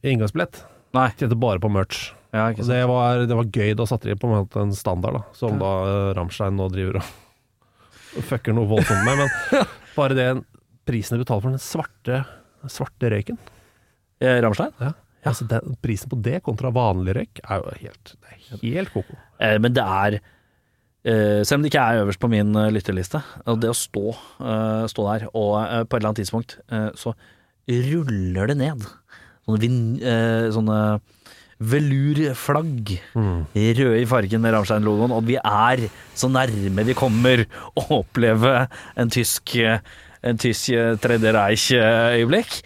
Speaker 3: inngangsbillett.
Speaker 2: Nei.
Speaker 3: Tjente bare på merch.
Speaker 2: Ja,
Speaker 3: Og
Speaker 2: ikke sant.
Speaker 3: det var, det var gøy. Da satte de på en måte en standard, da, som da eh, Rammstein nå driver og og fucker noe voldsomt med. Men bare det prisen de betaler for den svarte, den svarte røyken
Speaker 2: Eh, Rammstein?
Speaker 3: altså den, Prisen på det kontra vanlig røyk er jo helt, det er helt koko.
Speaker 2: Eh, men det er eh, Selv om det ikke er øverst på min eh, lytterliste, og det å stå, eh, stå der, og eh, på et eller annet tidspunkt eh, så ruller det ned sånne, vin, eh, sånne velurflagg, røde i fargen med Rammstein-logoen, og vi er så nærme vi kommer å oppleve en tysk eh, en tysk eh, Tredje Reich-øyeblikk.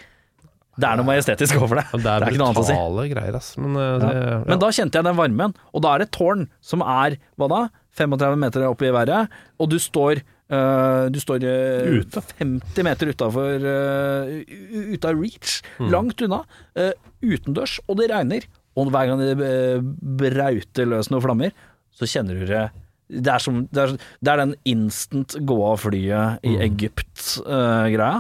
Speaker 2: Det er noe majestetisk over det.
Speaker 3: Men det er,
Speaker 2: ikke noe annet å si.
Speaker 3: brutale greier, ass. Men, eh,
Speaker 2: Ja.
Speaker 3: det, ja.
Speaker 2: Men da kjente jeg den varmen, og da er det et tårn som er hva da? 35 meter oppe i været, og du står øh, du står øh, 50 meter utafor øh, u- Ute av reach,
Speaker 3: Mm.
Speaker 2: langt unna, øh, utendørs, og det regner. Og hver gang det øh, brauter løs noen flammer, så kjenner du det Det er, som, det er, det er den instant gå av flyet
Speaker 3: Mm.
Speaker 2: i Egypt-greia.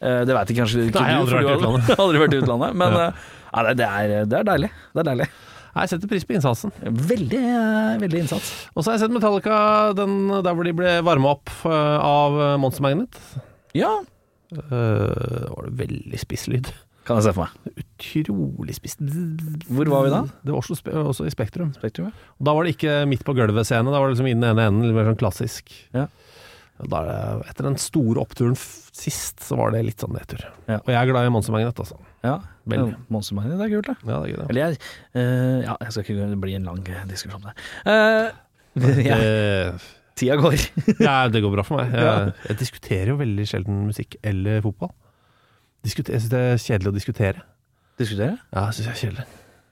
Speaker 2: Øh, det veit kanskje ikke
Speaker 3: Nei, jeg
Speaker 2: du,
Speaker 3: har
Speaker 2: for
Speaker 3: aldri
Speaker 2: du
Speaker 3: vært i
Speaker 2: har aldri vært i utlandet. Men øh, nei, det, er, det er deilig. Det er deilig.
Speaker 3: Nei, Jeg setter pris på innsatsen.
Speaker 2: Veldig, eh, veldig innsats.
Speaker 3: Og så har jeg sett Metallica den, der hvor de ble varma opp eh, av eh, Monster Magnet.
Speaker 2: Ja,
Speaker 3: Eh, Det var det veldig spiss lyd.
Speaker 2: kan jeg se for meg.
Speaker 3: Utrolig spiss.
Speaker 2: Hvor var vi da?
Speaker 3: Det var også, spe- også i Spektrum.
Speaker 2: Spektrum, ja.
Speaker 3: Da var det ikke midt på gulvet-scene, da var det liksom inn i ene enden, litt mer sånn klassisk.
Speaker 2: Ja.
Speaker 3: Da er det, etter den store oppturen f sist, så var det litt sånn nedtur.
Speaker 2: Ja.
Speaker 3: Og jeg er glad i Monster Magnet, altså.
Speaker 2: Ja,
Speaker 3: Veldig.
Speaker 2: Monster Magnet, det er kult, det.
Speaker 3: Ja, det er gøy, det.
Speaker 2: Eller jeg eh, Ja, jeg skal ikke Det blir en lang eh, diskusjon der. Eh, ja,
Speaker 3: Eh,
Speaker 2: tida går.
Speaker 3: Ja, det går bra for meg. Jeg, jeg diskuterer jo veldig sjelden musikk eller fotball. Diskuter, jeg syns det er kjedelig å diskutere.
Speaker 2: Diskutere?
Speaker 3: Ja, jeg synes jeg er kjedelig.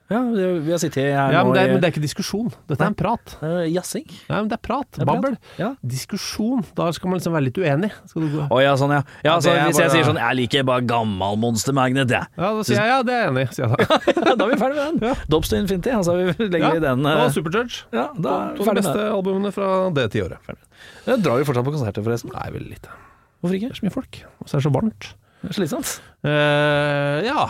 Speaker 2: Ja, det- vi har sittet her
Speaker 3: Ja,
Speaker 2: nå
Speaker 3: men, det er,
Speaker 2: i-
Speaker 3: men det er ikke diskusjon. Dette er en prat.
Speaker 2: eh, Jazzing.
Speaker 3: Nei, men det er prat.
Speaker 2: er prat.
Speaker 3: Babbel.
Speaker 2: Ja.
Speaker 3: Diskusjon. Da skal man liksom være litt uenig. Skal du gå?
Speaker 2: Å ja, sånn ja. ja
Speaker 3: Ja,
Speaker 2: så
Speaker 3: det er
Speaker 2: hvis jeg
Speaker 3: bare-
Speaker 2: sier sånn 'jeg liker bare gammal Monster Magnet', jeg.
Speaker 3: Ja, da sier jeg ja, det er jeg enig i, sier jeg da.
Speaker 2: Ja, da er vi ferdig med den.
Speaker 3: Ja.
Speaker 2: Dobbs to Infinity, altså vi legger i den.
Speaker 3: og
Speaker 2: eh,
Speaker 3: Superjudge.
Speaker 2: Ja, da er
Speaker 3: To
Speaker 2: vi
Speaker 3: av de
Speaker 2: ferdig med
Speaker 3: beste
Speaker 2: den.
Speaker 3: albumene fra det tiåret.
Speaker 2: Jeg drar jo fortsatt på konserter, forresten.
Speaker 3: Nei, veldig lite.
Speaker 2: Hvorfor
Speaker 3: Det
Speaker 2: ikke?
Speaker 3: er så mye folk, og så er det så varmt.
Speaker 2: Det er Slitsomt.
Speaker 3: Eh, ja.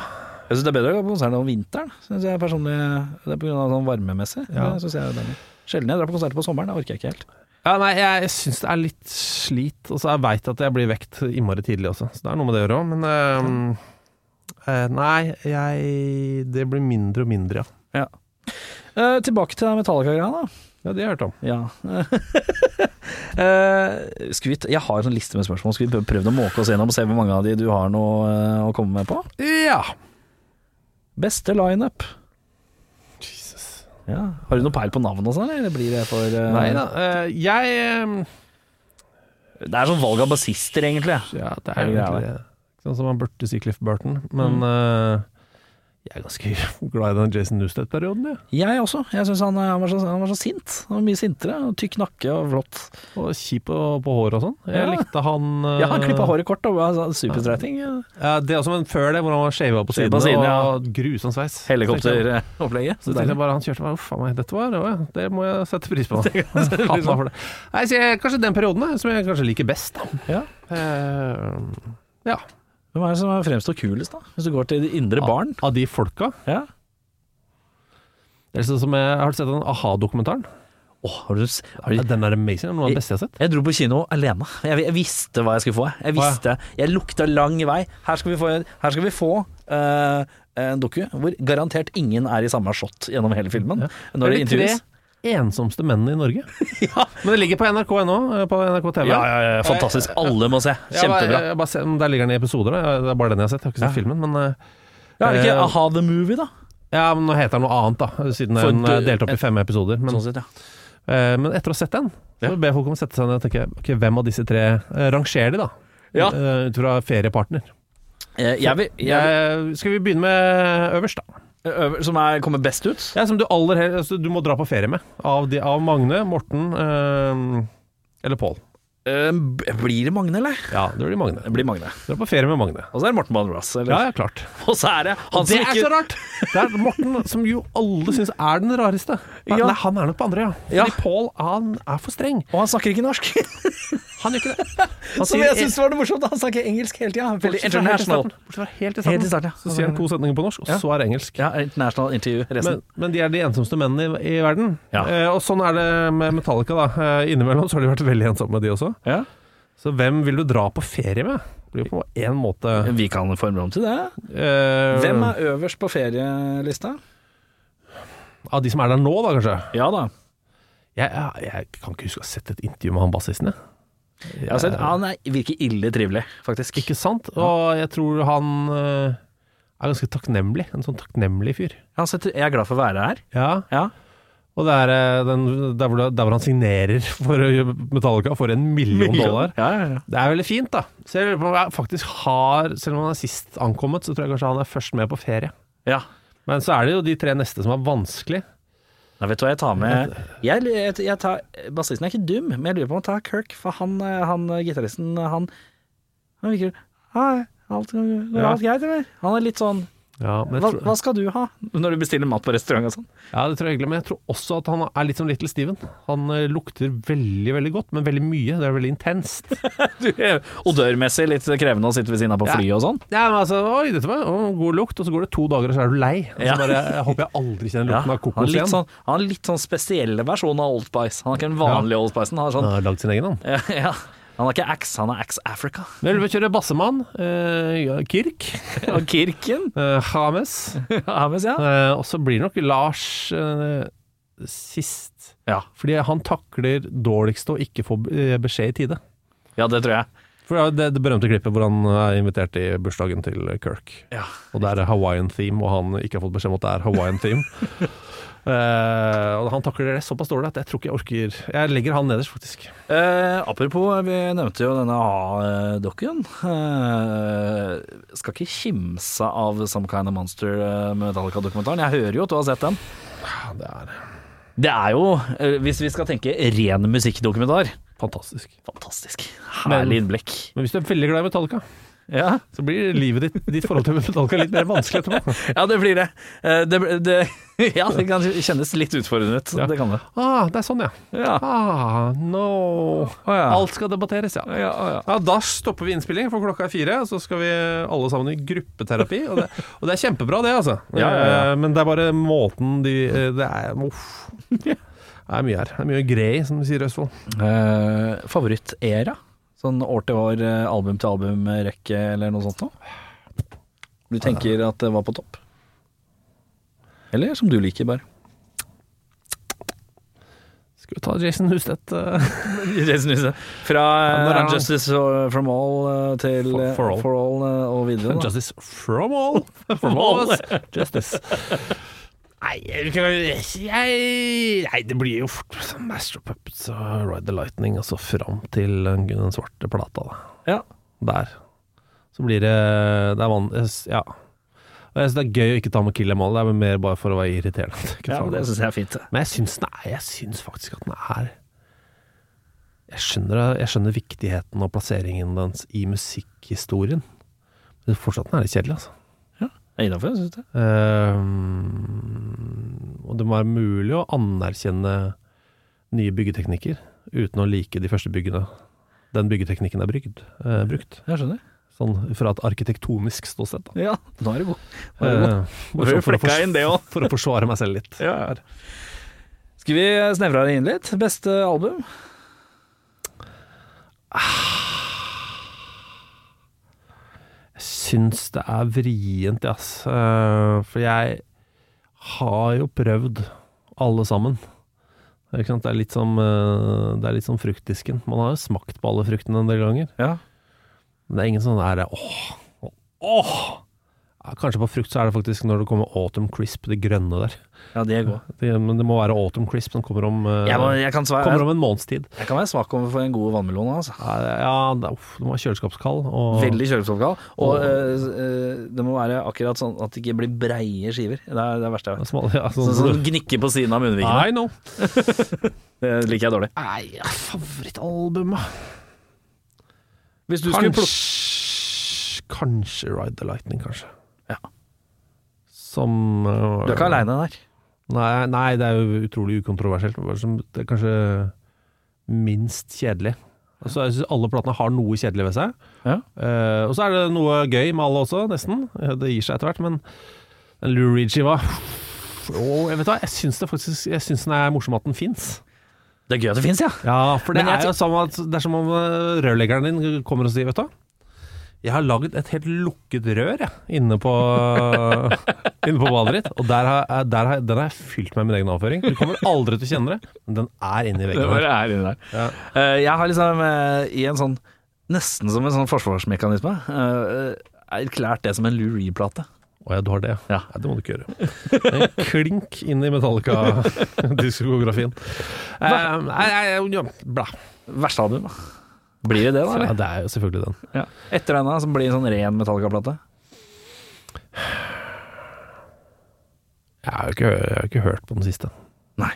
Speaker 2: Jeg syns det er bedre å gå på konsert om vinteren, synes jeg personlig. Det er på grunn av sånn varmemessig.
Speaker 3: Ja.
Speaker 2: Det synes jeg er deilig. Sjelden jeg drar på konserter på sommeren, det orker jeg ikke helt.
Speaker 3: ja. Nei, jeg syns det er litt slit. Og så jeg veit at jeg blir vekt innmari tidlig også, så det er noe med det å gjøre òg. Men eh, eh, nei, jeg Det blir mindre og mindre, ja.
Speaker 2: Eh, tilbake til den Metallica-greia, da.
Speaker 3: Ja, Det har jeg hørt om.
Speaker 2: Ja. Eh, skal vi t- jeg har en sånn liste med spørsmål. Skal vi prøve- prøve å måke oss gjennom og se hvor mange av de du har noe eh, å komme med på?
Speaker 3: Ja.
Speaker 2: Beste lineup.
Speaker 3: Jesus.
Speaker 2: Ja. Har du noe peil på navn og sånn, eller blir det for eh,
Speaker 3: Nei da. eh, jeg eh,
Speaker 2: Det er sånn valg av bassister, egentlig.
Speaker 3: Ja, det
Speaker 2: Er
Speaker 3: er
Speaker 2: det
Speaker 3: jo
Speaker 2: greia
Speaker 3: egentlig det. Ikke Sånn som han Børte sier Cliff Burton. Men eh, jeg er ganske glad i den Jason Newsted-perioden, jeg.
Speaker 2: Jeg også. Jeg syns han, eh, han, var så- han var så sint. Han var Mye sintere. og Tykk nakke og flott.
Speaker 3: Og kjip på, på håret og sånn. Jeg
Speaker 2: Ja.
Speaker 3: likte han eh,
Speaker 2: Ja, han klippa håret kort og var sånn superstreiting.
Speaker 3: Ja, det er også, men før det, hvor han var shava på
Speaker 2: Shavet
Speaker 3: siden,
Speaker 2: på siden, ja.
Speaker 3: og grusom sveis. Så tenkte jeg-
Speaker 2: Helikopteropplegget. Så
Speaker 3: Så tenkte
Speaker 2: deilig.
Speaker 3: jeg bare han kjørte meg, uff a meg, dette var rå, ja. Det må jeg sette pris på. Hatt meg for det. Nei, så jeg, kanskje den perioden da, som jeg kanskje liker best. Da.
Speaker 2: Ja.
Speaker 3: Eh, ja.
Speaker 2: Hvem er det som fremstår kulest, da? Hvis du går til de indre barn?
Speaker 3: Av de folka.
Speaker 2: Ja.
Speaker 3: Eller sånn som jeg, har du sett den A-ha-dokumentaren?
Speaker 2: Åh, har du, s- har du,
Speaker 3: Ja, Den er amazing, noe av det beste jeg har sett.
Speaker 2: Jeg dro på kino alene. Jeg, jeg visste hva jeg skulle få. jeg. Jeg visste, jeg lukta lang vei. Her skal vi få, her skal vi få eh, en doku hvor garantert ingen er i samme shot gjennom hele filmen. Når det
Speaker 3: Er de tre
Speaker 2: intervjues.
Speaker 3: ensomste mennene i Norge.
Speaker 2: Ja.
Speaker 3: Men det ligger på nrk.no, eh, på NRK TV.
Speaker 2: Ja, ja, ja, fantastisk. Alle må se.
Speaker 3: Jeg,
Speaker 2: Kjempebra.
Speaker 3: bare- jeg bare ser, der ligger den i episoder, da. det er bare den jeg har sett. Jeg har ikke sett filmen, men eh,
Speaker 2: Ja, er det
Speaker 3: eh,
Speaker 2: ikke Aha the Movie, da?
Speaker 3: Ja, men nå heter den noe annet, da, siden
Speaker 2: For
Speaker 3: den
Speaker 2: du-
Speaker 3: er delt opp i fem episoder. Men,
Speaker 2: Sånn sett, ja.
Speaker 3: eh, men etter å ha sett den, så ber jeg folk om å sette seg ned og tenke ok, hvem av disse tre eh, rangerer de, da?
Speaker 2: Ja.
Speaker 3: Eh, Ut fra feriepartner.
Speaker 2: Eh, Jeg vil, jeg
Speaker 3: Jeg, skal vi begynne med øverst, da?
Speaker 2: vil, øver- som er, kommer best ut?
Speaker 3: Ja, som du aller helst altså, Du må dra på ferie med. Av, de, av Magne, Morten eh, eller Pål.
Speaker 2: Eh, b- blir det Magne, eller?
Speaker 3: Ja, det blir Magne.
Speaker 2: Det blir Magne.
Speaker 3: Dra på ferie med Magne.
Speaker 2: Og så er det Morten Bonn Ross.
Speaker 3: Ja,
Speaker 2: Eller?
Speaker 3: ja, klart.
Speaker 2: Og så er det han
Speaker 3: det
Speaker 2: som
Speaker 3: er så
Speaker 2: ikke
Speaker 3: rart! Det er Morten, som jo alle syns er den rareste. Nei,
Speaker 2: Ja.
Speaker 3: nei, han er nok på andre, ja.
Speaker 2: Ja.
Speaker 3: Fordi Pål, han er for streng.
Speaker 2: Og han snakker ikke norsk!
Speaker 3: Han gjør ikke det. Han
Speaker 2: Som jeg
Speaker 3: sier-
Speaker 2: syns var det morsomt. Han snakker engelsk hele tida. Veldig
Speaker 3: bortsett fra helt i
Speaker 2: international.
Speaker 3: starten- Bortsett fra helt
Speaker 2: Helt i
Speaker 3: i starten.
Speaker 2: starten, ja.
Speaker 3: Så sier han to setninger på norsk, og
Speaker 2: Ja.
Speaker 3: så er det engelsk.
Speaker 2: Ja, international intervju resten.
Speaker 3: Men, men de er de ensomste mennene i, i verden.
Speaker 2: Ja.
Speaker 3: Eh, og sånn er det med Metallica, da. Eh, innimellom så har de vært veldig ensomme, de også.
Speaker 2: Ja.
Speaker 3: Så hvem vil du dra på ferie med? Det blir jo på én måte
Speaker 2: Vi kan forme om til det.
Speaker 3: eh,
Speaker 2: Hvem er øverst på ferielista?
Speaker 3: Av de som er der nå, da, kanskje?
Speaker 2: Ja da.
Speaker 3: Jeg, jeg, jeg kan ikke huske å ha sett et intervju med han bassisten, jeg.
Speaker 2: Jeg har sett, han er, virker ille trivelig, faktisk.
Speaker 3: Ikke sant? Og jeg tror han eh, er ganske takknemlig. En sånn takknemlig fyr.
Speaker 2: Jeg, har sett, jeg er glad for å være her.
Speaker 3: Ja.
Speaker 2: Ja.
Speaker 3: Og det er eh, den, der, hvor, det- der hvor han signerer for eh, Metallica for en million dollar.
Speaker 2: Ja, ja, ja.
Speaker 3: Det er veldig fint, da. Så jeg lurer på om jeg faktisk har Selv om han er sist ankommet, så tror jeg kanskje han er først med på ferie.
Speaker 2: ja.
Speaker 3: Men så er det jo de tre neste som er vanskelig.
Speaker 2: Nei, vet du hva jeg tar med jeg, jeg, jeg tar, Bassisten er ikke dum, men jeg lurer på om jeg tar Kirk, for han, eh, han eh, gitaristen, han, han virker Hei, alt, går
Speaker 3: Ja.
Speaker 2: alt greit, eller? Han er litt sånn
Speaker 3: Ja, men
Speaker 2: hva,
Speaker 3: jeg tror,
Speaker 2: hva skal du ha? Når du bestiller mat på restaurant og sånn.
Speaker 3: ja, det tror jeg egentlig, men jeg tror også at han er litt som Little Steven. Han eh, lukter veldig, veldig godt, men veldig mye. Det er veldig intenst.
Speaker 2: Du er Odørmessig litt krevende å sitte ved siden av på
Speaker 3: Ja.
Speaker 2: flyet og sånn.
Speaker 3: Ja, men altså, oi, dette var å, god lukt, og så går det to dager, og så er du lei. Og så
Speaker 2: Ja.
Speaker 3: bare, jeg håper jeg aldri kjenner lukten av
Speaker 2: han
Speaker 3: kokos
Speaker 2: er litt
Speaker 3: igjen.
Speaker 2: sånn, han har litt sånn spesiell versjon av Old Spice. Han er ikke den vanlige Old Spice. Han, har
Speaker 3: Han
Speaker 2: sånn,
Speaker 3: har lagd sin egen, han.
Speaker 2: ja. han er ikke Axe, han er Axe Africa.
Speaker 3: Men vi kjører Bassemann, eh, ja, Kirk,
Speaker 2: Og Kirken
Speaker 3: eh, James,
Speaker 2: Hames, ja.
Speaker 3: eh, og så blir det nok Lars eh, sist.
Speaker 2: Ja.
Speaker 3: Fordi han takler dårligst å ikke få eh, beskjed i tide.
Speaker 2: Ja, det tror jeg.
Speaker 3: For det, er jo det, det berømte klippet hvor han eh, er invitert i bursdagen til Kirk.
Speaker 2: Ja.
Speaker 3: Og det er Hawaiian theme, og han ikke har fått beskjed om at det er Hawaiian theme. Eh, og han takler det såpass dårlig at jeg tror ikke jeg orker Jeg legger han nederst, faktisk.
Speaker 2: Eh, apropos, vi nevnte jo denne A-dokken. Eh, skal ikke kimse av Some Kind of Monster eh, Metallica-dokumentaren. Jeg hører jo at du har sett den.
Speaker 3: det er
Speaker 2: Det er jo, eh, hvis vi skal tenke ren musikkdokumentar,
Speaker 3: fantastisk.
Speaker 2: fantastisk. Herlig innblikk.
Speaker 3: Men hvis du er veldig glad i Metallica,
Speaker 2: Ja.
Speaker 3: så blir livet ditt, ditt forhold til Metallica litt mer vanskelig etterpå.
Speaker 2: ja, det blir det. Eh, det, det ja, det kan kjennes litt utfordrende ut.
Speaker 3: Ja.
Speaker 2: Det kan det.
Speaker 3: Ah, det er sånn, ja.
Speaker 2: Ja.
Speaker 3: Ah, no.
Speaker 2: ja.
Speaker 3: Alt skal debatteres, ja.
Speaker 2: Ja, ja.
Speaker 3: Ja, Da stopper vi innspilling, for klokka er fire. og Så skal vi alle sammen i gruppeterapi. Og det, og det er kjempebra, det, altså.
Speaker 2: Ja, ja, ja.
Speaker 3: Eh, Men det er bare måten de eh, Det er uff. Det er mye her. Det er mye grei, som de sier i Østfold.
Speaker 2: Eh, Favorittera? Sånn år til år, eh, album til album-rekke eller noe sånt noe? Du tenker at det var på topp? Eller som du liker, bare.
Speaker 3: Skal vi ta Jason Hustedt eh,
Speaker 2: Fra
Speaker 3: Ja,
Speaker 2: eh,
Speaker 3: når er
Speaker 2: Justice From All eh, til
Speaker 3: For-
Speaker 2: eh,
Speaker 3: For All.
Speaker 2: eh, og videre. Da.
Speaker 3: Justice from all. From all us. Justice. Nei, jeg, jeg- nei, det blir jo fort Master of Puppets og Ride the Lightning, altså fram til den den svarte plata. Da.
Speaker 2: Ja.
Speaker 3: Der. Så blir det Det er van... Ja. Og jeg synes det er gøy å ikke ta med Kill Em All, det er mer bare for å være irriterende. Ikke
Speaker 2: Ja,
Speaker 3: altså. ta
Speaker 2: men
Speaker 3: med
Speaker 2: det
Speaker 3: det.
Speaker 2: syns jeg er fint. det.
Speaker 3: Men jeg syns, den er, jeg syns faktisk at den er jeg skjønner, jeg skjønner viktigheten og plasseringen dens i musikkhistorien. Men fortsatt den er litt kjedelig, altså.
Speaker 2: Det er innafor, syns jeg.
Speaker 3: Ehm, og det må være mulig å anerkjenne nye byggeteknikker uten å like de første byggene. Den byggeteknikken er brygd, eh, brukt,
Speaker 2: Jeg skjønner.
Speaker 3: sånn fra et arkitektonisk ståsted. Da.
Speaker 2: Ja, nå er det god. Nå er det god.
Speaker 3: Eh,
Speaker 2: Nå får
Speaker 3: bare
Speaker 2: vi
Speaker 3: for, å
Speaker 2: flekka inn det
Speaker 3: forsvare,
Speaker 2: også.
Speaker 3: for å forsvare meg selv litt.
Speaker 2: Ja. Skal vi snevre det inn litt? Beste album?
Speaker 3: Jeg syns det er vrient, jeg, ass. Eh, for jeg har jo prøvd alle sammen. Ikke sant? Det er litt som, eh, det er litt som fruktdisken. Man har jo smakt på alle fruktene en del ganger.
Speaker 2: Ja.
Speaker 3: Men det er ingen sånn der åh, åh. Ja, kanskje på frukt så er det faktisk når det kommer autumn crisp, det grønne der.
Speaker 2: Ja, de er gode.
Speaker 3: Det, men det må være autumn crisp som kommer om, eh,
Speaker 2: Jeg, må, jeg, kan svare,
Speaker 3: kommer
Speaker 2: jeg,
Speaker 3: om en måneds tid.
Speaker 2: jeg kan være svak overfor en god vannmelon. Altså.
Speaker 3: Ja, ja det, uff, det må være kjøleskapskald. Og,
Speaker 2: Veldig kjøleskapskald. Og
Speaker 3: Åh.
Speaker 2: eh, eh, det må være akkurat sånn at det ikke blir breie skiver. Det er det er verste jeg vet.
Speaker 3: Smal, ja,
Speaker 2: Sånn
Speaker 3: sånn,
Speaker 2: som gnikker på siden av munnvikene.
Speaker 3: I know.
Speaker 2: Det liker jeg dårlig.
Speaker 3: Nei, ja, favorittalbum da.
Speaker 2: Hvis du skulle plukke
Speaker 3: Kanskje, kanskje Ride the Lightning, kanskje.
Speaker 2: Ja.
Speaker 3: Som eh,
Speaker 2: Du er ikke aleine der.
Speaker 3: Nei, nei, det er jo utrolig ukontroversielt. Det er som- Det er kanskje minst kjedelig. Altså, jeg synes alle platene har noe kjedelig ved seg.
Speaker 2: Ja.
Speaker 3: Eh, og så er det noe gøy med alle også, nesten. Eh, Det gir seg etter hvert, men den Lou Reed-skiva Åh, jeg vet hva, jeg syns det faktisk Jeg syns den er morsom at den fins.
Speaker 2: Det er gøy at det fins, ja.
Speaker 3: Ja, for det
Speaker 2: Men jeg
Speaker 3: er jo som at Det er som om eh, rørleggeren din kommer og sier, vet du hva Jeg har lagd et helt lukket rør, jeg, inne på Inne på badet ditt. Og der har, jeg- der har, jeg- den har jeg fylt med min egen avføring. Du kommer aldri til å kjenne det, men den er inni
Speaker 2: Det
Speaker 3: veggen. her.
Speaker 2: bare er inni der. Eh, jeg har liksom eh, i en sånn Nesten som en sånn forsvarsmekanisme eh, erklært det som en Lou Reed-plate.
Speaker 3: Å ja, du har det?
Speaker 2: Ja.
Speaker 3: Nei, det må du ikke gjøre. En klink inn i Metallica-diskografien. Eh, nei, nei, ja, bla.
Speaker 2: Verste album. da. Blir det det, da?
Speaker 3: Ja,
Speaker 2: Eller?
Speaker 3: det er jo selvfølgelig den.
Speaker 2: Ja. Etter denne som blir en sånn ren Metallica-plate.
Speaker 3: Jeg har jo ikke, jeg har ikke hørt på den siste.
Speaker 2: Nei.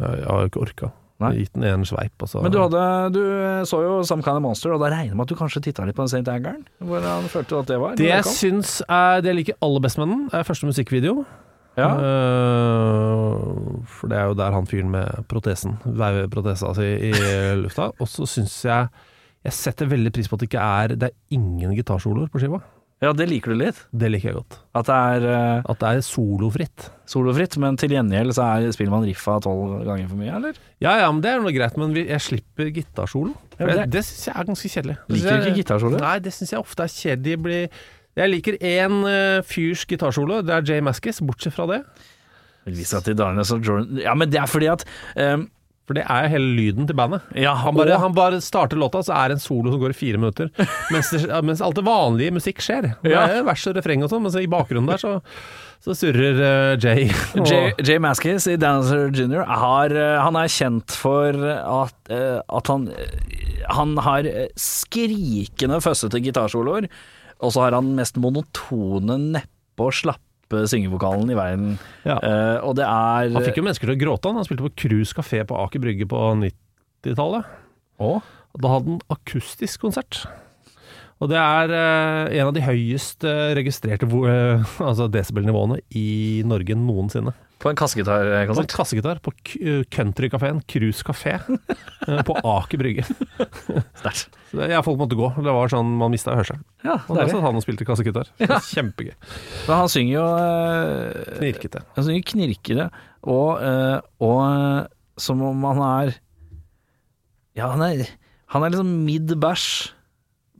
Speaker 3: Jeg, jeg har jo ikke orka.
Speaker 2: Nei.
Speaker 3: Jeg har Gitt den en sveip, og så
Speaker 2: Men du, hadde, du eh, så jo Some Kind of Monster, og da regner jeg med at du kanskje titta litt på St. Angeren? Hvordan følte du at det var?
Speaker 3: Det jeg
Speaker 2: Når kom?
Speaker 3: syns er det jeg liker aller best med den, er første musikkvideo.
Speaker 2: ja.
Speaker 3: Eh, for det er jo der han fyren med protesen, veiveprotesa si i lufta. Og så syns jeg Jeg setter veldig pris på at det ikke er Det er ingen gitarsoloer på skiva.
Speaker 2: ja, det liker du litt.
Speaker 3: Det liker jeg godt.
Speaker 2: At det er eh,
Speaker 3: At det er solofritt.
Speaker 2: solofritt, men til gjengjeld så er, spiller man riffa tolv ganger for mye, eller?
Speaker 3: Ja ja, men det er noe greit, men vi- jeg slipper gitarsolo.
Speaker 2: Ja,
Speaker 3: For
Speaker 2: men
Speaker 3: jeg- Det syns jeg er ganske kjedelig.
Speaker 2: Liker du ikke gitarsolo?
Speaker 3: Nei, det syns jeg ofte er kjedelig. De blir- Jeg liker én eh, fyrs gitarsolo, det er Jay Maskis. Bortsett fra det.
Speaker 2: Elvis at de darene så Jordan Ja, men det er fordi at eh,
Speaker 3: For det er jo hele lyden til bandet.
Speaker 2: Ja,
Speaker 3: Han bare,
Speaker 2: og-
Speaker 3: han bare starter låta, så er det en solo som går i fire minutter. Mens, det, mens alt det vanlige musikk skjer. Det
Speaker 2: Ja.
Speaker 3: er vers og refreng og sånn, men så i bakgrunnen der så, så surrer eh, Jay. Og,
Speaker 2: Jay, Jay Mascis i Dancer Junior har, eh, han er kjent for at, eh, at han, eh, han har eh, skrikende føssete gitarsoloer, og så har han den mest monotone, neppe og slappe syngevokalen i verden.
Speaker 3: Ja.
Speaker 2: Eh, og det er
Speaker 3: Han fikk jo mennesker til å gråte. Han, han spilte på Cruise Café på Aker Brygge på 90-tallet. Da hadde han akustisk konsert. Og det er eh, en av de høyest eh, registrerte vo- eh, altså desibelnivåene i Norge noensinne.
Speaker 2: på en
Speaker 3: Og en
Speaker 2: kassegitarkonsert.
Speaker 3: kassegitar på k- countrykafeen Cruise Café eh, på Aker Brygge.
Speaker 2: Sterkt.
Speaker 3: Så det- Ja, folk måtte gå. Det var sånn man mista hørselen.
Speaker 2: Ja,
Speaker 3: Og der
Speaker 2: deilig.
Speaker 3: satt han og spilte kassegitar. Så det var Kjempegøy.
Speaker 2: Men han synger jo eh,
Speaker 3: Knirkete.
Speaker 2: Han synger knirkere, og, eh, og eh, som om han er Ja, han er, han er liksom midd bæsj,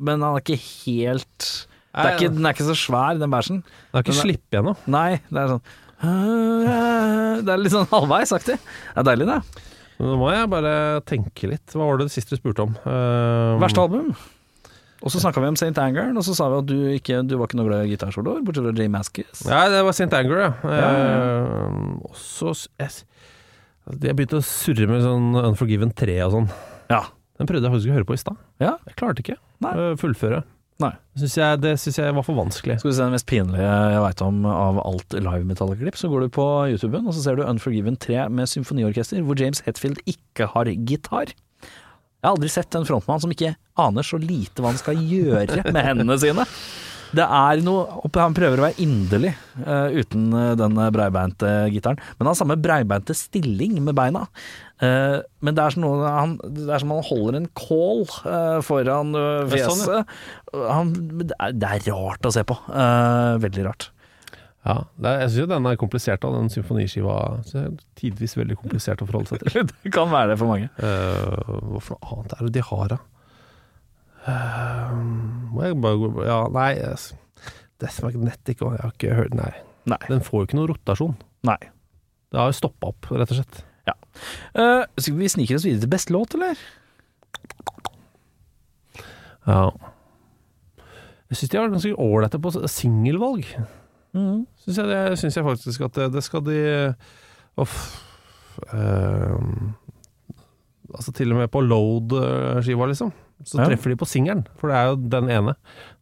Speaker 2: men han er ikke helt det er
Speaker 3: Nei,
Speaker 2: ikke, Den er ikke så svær, den bæsjen.
Speaker 3: Det har ikke
Speaker 2: Men det-
Speaker 3: slipp igjen nå.
Speaker 2: Nei, det er sånn Det er litt sånn halvveisaktig. Det er deilig, det.
Speaker 3: Nå må jeg bare tenke litt. Hva var det siste du spurte om? Eh,
Speaker 2: Verste album. Og så snakka vi om St. Anger, og så sa vi at du, ikke, du var ikke noe glad i gitarsoloer, bortsett fra Jay Maskis.
Speaker 3: Ja, det var St. Anger, ja. Eh, også s- jeg, s- altså, jeg begynte å surre med sånn Unforgiven 3 og sånn.
Speaker 2: Ja.
Speaker 3: Den prøvde jeg faktisk å høre på i stad.
Speaker 2: Ja.
Speaker 3: Jeg klarte ikke
Speaker 2: Nei.
Speaker 3: å fullføre.
Speaker 2: Nei.
Speaker 3: Synes jeg, det syns jeg var for vanskelig.
Speaker 2: Skal du se det mest pinlige jeg veit om av alt live metallklipp, så går du på YouTuben og så ser du Unforgiven 3 med symfoniorkester, hvor James Hetfield ikke har gitar. Jeg har aldri sett en frontmann som ikke aner så lite hva han skal gjøre med hendene sine. Det er noe opp- Han prøver å være inderlig eh, uten eh, den breibeinte gitaren, men han har samme breibeinte stilling med beina. Eh, men det er, som noe, han, det er som han holder en kål eh, foran eh,
Speaker 3: Ja,
Speaker 2: fjeset.
Speaker 3: sånn,
Speaker 2: han, det, er, det er rart å se på. Eh, veldig rart.
Speaker 3: Ja, det er, jeg syns den er komplisert, da. Den symfoniskiva synes jeg er tidvis veldig komplisert å forholde seg til.
Speaker 2: Det kan være det for mange.
Speaker 3: Eh, hva for noe annet er det de har, da? Eh, må jeg bare gå Ja, nei jeg s- Death Magnetic og Jeg har ikke hørt Nei.
Speaker 2: Nei.
Speaker 3: Den får jo ikke noe rotasjon.
Speaker 2: Nei.
Speaker 3: Det har jo stoppa opp, rett og slett.
Speaker 2: Eh, skal vi snike oss videre til beste låt, eller?
Speaker 3: Ja. Jeg syns de har vært ganske ålreite på s- singelvalg.
Speaker 2: Mm.
Speaker 3: Syns jeg, det- synes jeg faktisk at det, det skal de Uff. Ehm, altså til og med på Load-skiva, liksom. Så
Speaker 2: Ja.
Speaker 3: treffer de på singelen, for det er jo den ene.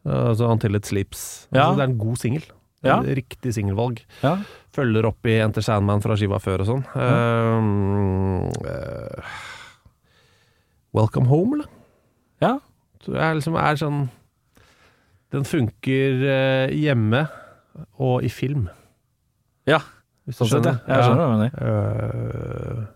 Speaker 3: Eh, Altså Until It Sleeps.
Speaker 2: Ja.
Speaker 3: Altså, det er en god singel.
Speaker 2: Ja.
Speaker 3: Riktig singelvalg.
Speaker 2: Ja.
Speaker 3: Følger opp i Enter Sandman fra skiva før og sånn. Ehm, eh, Welcome Home, eller?
Speaker 2: ja.
Speaker 3: Så jeg liksom er sånn Den funker eh, hjemme og i film.
Speaker 2: Ja,
Speaker 3: hvis du
Speaker 2: Sånn sett, ja.
Speaker 3: skjønner.
Speaker 2: Jeg skjønner hva du mener.
Speaker 3: Øh,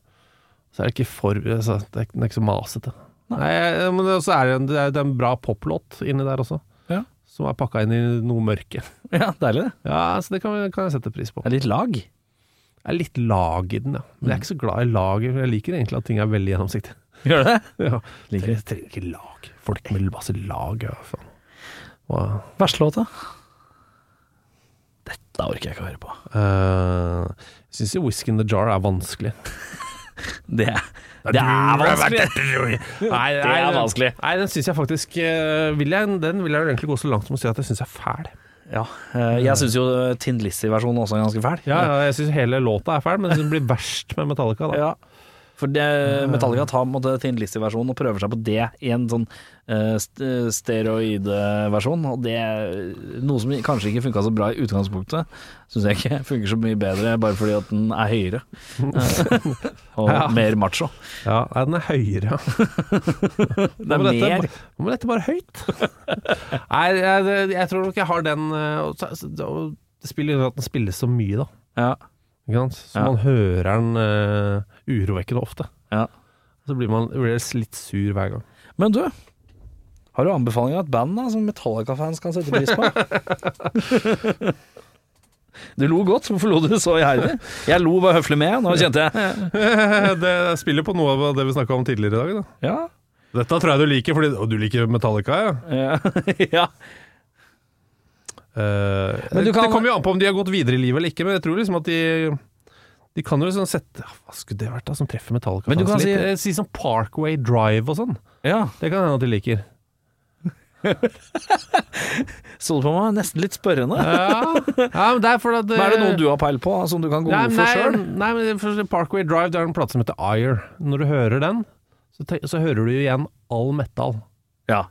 Speaker 3: så er det ikke for altså, det er, ikke- Den er ikke så masete. Nei, jeg- men så er det, en, det er- det er en bra poplåt inni der også,
Speaker 2: Ja.
Speaker 3: som er pakka inn i noe mørke.
Speaker 2: Ja, deilig det.
Speaker 3: Ja, så det kan, kan jeg sette pris på.
Speaker 2: Det er litt lag.
Speaker 3: Det er litt lag i den, ja. Men
Speaker 2: Mm.
Speaker 3: jeg er ikke så glad i lag. Jeg liker egentlig at ting er veldig gjennomsiktig.
Speaker 2: Gjør det?
Speaker 3: Ja.
Speaker 2: Liker
Speaker 3: Jeg trenger ikke lag. Folk med masse lag, ja, faen. Wow.
Speaker 2: Verste låta? Dette orker jeg ikke å høre på.
Speaker 3: Eh, Jeg syns jo Whisky in the Jar er vanskelig.
Speaker 2: Det, det er vanskelig!
Speaker 3: Nei,
Speaker 2: Det
Speaker 3: nei,
Speaker 2: er
Speaker 3: den-
Speaker 2: vanskelig.
Speaker 3: Nei, den syns jeg faktisk eh, vil jeg, Den vil jeg vel egentlig gå så langt som å si at jeg syns er fæl.
Speaker 2: Ja, eh, jeg syns jo Tin Lizzie-versjonen også er ganske fæl.
Speaker 3: Ja, ja, jeg syns hele låta er fæl, men jeg synes den blir verst med Metallica. Da.
Speaker 2: Ja. For det, Metallica tar på en måte Tin Lizzie-versjonen og prøver seg på det i en sånn eh, st- steroid-versjon. Og det Noe som kanskje ikke funka så bra i utgangspunktet, syns jeg ikke funker så mye bedre bare fordi at den er høyere. eh, og
Speaker 3: Ja.
Speaker 2: mer macho.
Speaker 3: Ja, nei, den er høyere.
Speaker 2: Det er
Speaker 3: Nå må dette-
Speaker 2: mer
Speaker 3: Nå må dette bare høyt. nei, jeg, jeg tror nok jeg har den eh, og så- så- og Det spiller inn at den spilles så mye, da.
Speaker 2: ja.
Speaker 3: Ikke sant? Så
Speaker 2: Ja.
Speaker 3: man hører den eh, urovekkende ofte.
Speaker 2: Ja.
Speaker 3: Så blir man blir litt sur hver gang.
Speaker 2: Men du, har du anbefalinger av et band da, som Metallica-fans kan sette pris på? du lo godt. Hvorfor lo du så iherdig? Jeg lo bare høflig med. Nå kjente jeg
Speaker 3: det spiller på noe av det vi snakka om tidligere i dag. Da.
Speaker 2: Ja.
Speaker 3: Dette tror jeg du liker, fordi og du liker Metallica, ja.
Speaker 2: ja. ja.
Speaker 3: Eh,
Speaker 2: Men du
Speaker 3: det
Speaker 2: kan-
Speaker 3: Eh, kommer jo an på om de har gått videre i livet eller ikke, men jeg tror liksom at de De kan jo sånn sette ja, Hva skulle det vært, da, som treffer Metallica?
Speaker 2: Men du
Speaker 3: fansen
Speaker 2: kan si-
Speaker 3: litt? Eh, si sånn Parkway Drive og sånn.
Speaker 2: Ja.
Speaker 3: Det kan hende at de liker.
Speaker 2: Så du på meg nesten litt spørrende?
Speaker 3: Ja, ja men det er for at eh,
Speaker 2: Men er det noe du har peil på som du kan gå
Speaker 3: nei,
Speaker 2: god for
Speaker 3: nei,
Speaker 2: sjøl?
Speaker 3: nei, men for Parkway Drive det er en plate som heter Ire. Når du hører den, så, te- så hører du jo igjen all metal.
Speaker 2: Ja.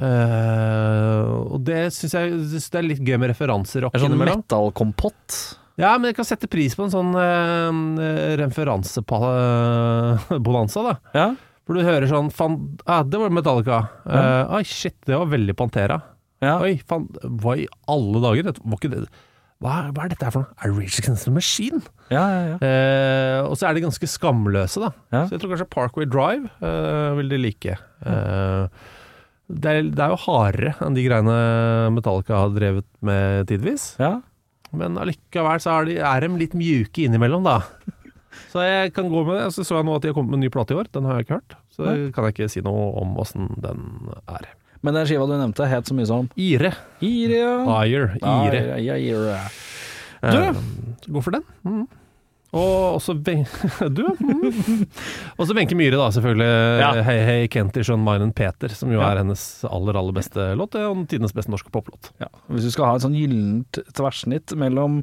Speaker 3: Eh, og det syns jeg synes det er litt gøy med referanser rock
Speaker 2: En sånn
Speaker 3: innimellom.
Speaker 2: metal-kompott.
Speaker 3: Ja, men jeg kan sette pris på en sånn uh, referansebonanza, da.
Speaker 2: Ja.
Speaker 3: For du hører sånn fan, ah, Det var Metallica. Eh, Oi, shit, det var veldig Pantera.
Speaker 2: Ja.
Speaker 3: Oi, faen, hva i alle dager? Det var ikke det. Hva, er- hva er dette her for noe? Er det Rage Against the Machine?
Speaker 2: Ja, ja, ja.
Speaker 3: Eh, og så er de ganske skamløse, da.
Speaker 2: Ja.
Speaker 3: Så jeg tror kanskje Parkway Drive eh, vil de like. Eh, det, er, det er jo hardere enn de greiene Metallica har drevet med tidvis.
Speaker 2: ja.
Speaker 3: Men allikevel så er de, er de litt mjuke innimellom, da. Så jeg kan gå med det. Så så jeg nå at de har kommet med en ny plate i år. Den har jeg ikke hørt. Så kan jeg ikke si noe om åssen den er.
Speaker 2: Men den skiva du nevnte, het så mye som
Speaker 3: Ire.
Speaker 2: Iria.
Speaker 3: Ire. Ire.
Speaker 2: Ire. Ire. Ire.
Speaker 3: Eh, Gå for den. Mm. Og også ben du. Mm. Også Wenche Myhre, da, selvfølgelig.
Speaker 2: Ja.
Speaker 3: Hei, hei, Kentish og Mine and Peter, som jo er hennes aller, aller beste låt. Det er jo tidenes beste norske poplåt.
Speaker 2: Ja. Hvis du skal ha et sånn gyllent tverrsnitt mellom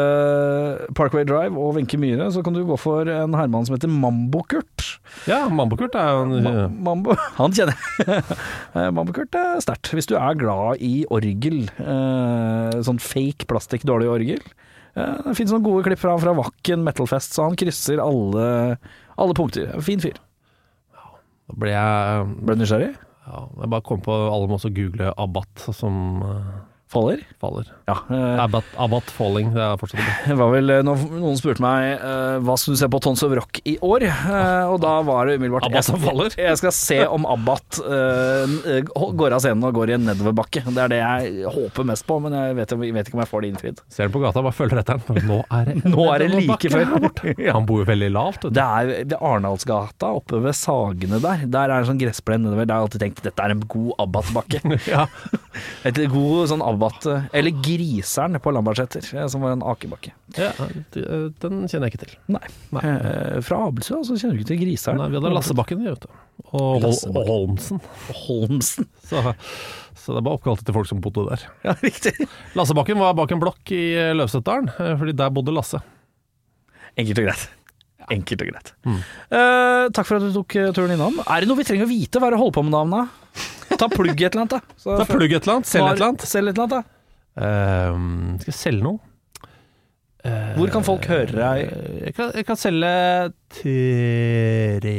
Speaker 2: eh, Parkway Drive og Wenche Myhre, så kan du gå for en herremann som heter Mambo-Kurt.
Speaker 3: Ja, Mambokurt er jo en
Speaker 2: Ma Mambo Han kjenner jeg. Eh, Mambo-Kurt er sterkt. Hvis du er glad i orgel, eh, sånn fake plastikk, dårlig orgel eh, Det finnes noen gode klipp fra, fra Wacken metalfest, så han krysser alle, alle punkter. Fin fyr.
Speaker 3: Da ble jeg
Speaker 2: Ble du nysgjerrig?
Speaker 3: ja, Jeg bare kom på alle må også google Abbat som eh,
Speaker 2: Faller?
Speaker 3: faller.
Speaker 2: Ja. eh,
Speaker 3: Abbat, Abbat Falling, det er fortsatt det.
Speaker 2: Det var vel eh, når noen spurte meg eh, hva skulle du se på Tons of Rock i år, Eh, og da var det umiddelbart
Speaker 3: Abbat som
Speaker 2: jeg-
Speaker 3: faller.
Speaker 2: Jeg skal se om Abbat eh, eh, går av scenen og går i en nedoverbakke. Det er det jeg håper mest på, men jeg vet, jeg vet ikke om jeg får det innfridd.
Speaker 3: Ser den på gata, bare følger etter den. Nå er det,
Speaker 2: Nå er det
Speaker 3: var
Speaker 2: like
Speaker 3: bakken
Speaker 2: før.
Speaker 3: her borte. Han bor jo veldig lavt. vet du.
Speaker 2: Det er ved Arendalsgata, oppe ved Sagene der. Der er en sånn gressplen nedover. Der har jeg alltid tenkt dette er en god Abbat-bakke.
Speaker 3: Ja.
Speaker 2: Et god sånn Abbat eh, Eller Griseren på Lambertseter, eh, som var en akebakke.
Speaker 3: ja, den kjenner jeg ikke til.
Speaker 2: Nei. Eh, Fra Abelsø, så kjenner du ikke til Griseren.
Speaker 3: Nei, vi hadde Lassebakken, vi, vet du. Og, Hol
Speaker 2: Lassebakken.
Speaker 3: og Holmsen.
Speaker 2: Holmsen.
Speaker 3: Så, så det er bare oppkalt etter folk som bodde der.
Speaker 2: Ja, riktig.
Speaker 3: Lassebakken var bak en blokk i eh, Løvsetdalen, eh, fordi der bodde Lasse.
Speaker 2: Enkelt og greit. Enkelt og greit. Eh, takk for at du tok eh, turen innom. Er det noe vi trenger å vite? Hva er det du holder på med navnet? Ta plugg i et eller annet, da. Så-
Speaker 3: Da plugg et eller annet, selg et eller annet.
Speaker 2: Selg et eller annet,
Speaker 3: Eh, skal jeg selge noe?
Speaker 2: da. Hvor kan folk høre deg?
Speaker 3: Eh, Jeg kan, jeg kan selge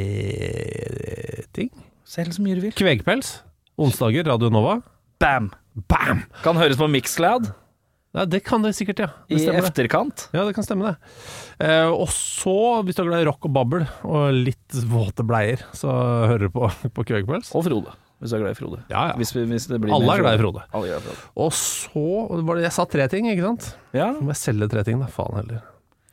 Speaker 3: tre ting.
Speaker 2: Selg så mye du vil.
Speaker 3: Kvegpels. Onsdager, Radio Nova.
Speaker 2: Bam!
Speaker 3: Bam!
Speaker 2: Kan høres på Mixcloud
Speaker 3: Nei, det kan det sikkert, ja.
Speaker 2: i
Speaker 3: Det stemmer, det.
Speaker 2: efterkant.
Speaker 3: Ja, det kan stemme, det. Eh, og så, hvis du er glad i rock og babbel og litt våte bleier, så hører du på, på Kvegpels.
Speaker 2: Og Frode, hvis du er glad i Frode.
Speaker 3: Ja, ja.
Speaker 2: Hvis, vi- hvis det blir
Speaker 3: Alle
Speaker 2: mer
Speaker 3: er glad i Frode.
Speaker 2: Alle er glad i Frode.
Speaker 3: Og så var det, Jeg sa tre ting, ikke sant?
Speaker 2: Ja.
Speaker 3: Så må jeg selge tre ting, da. Faen heller.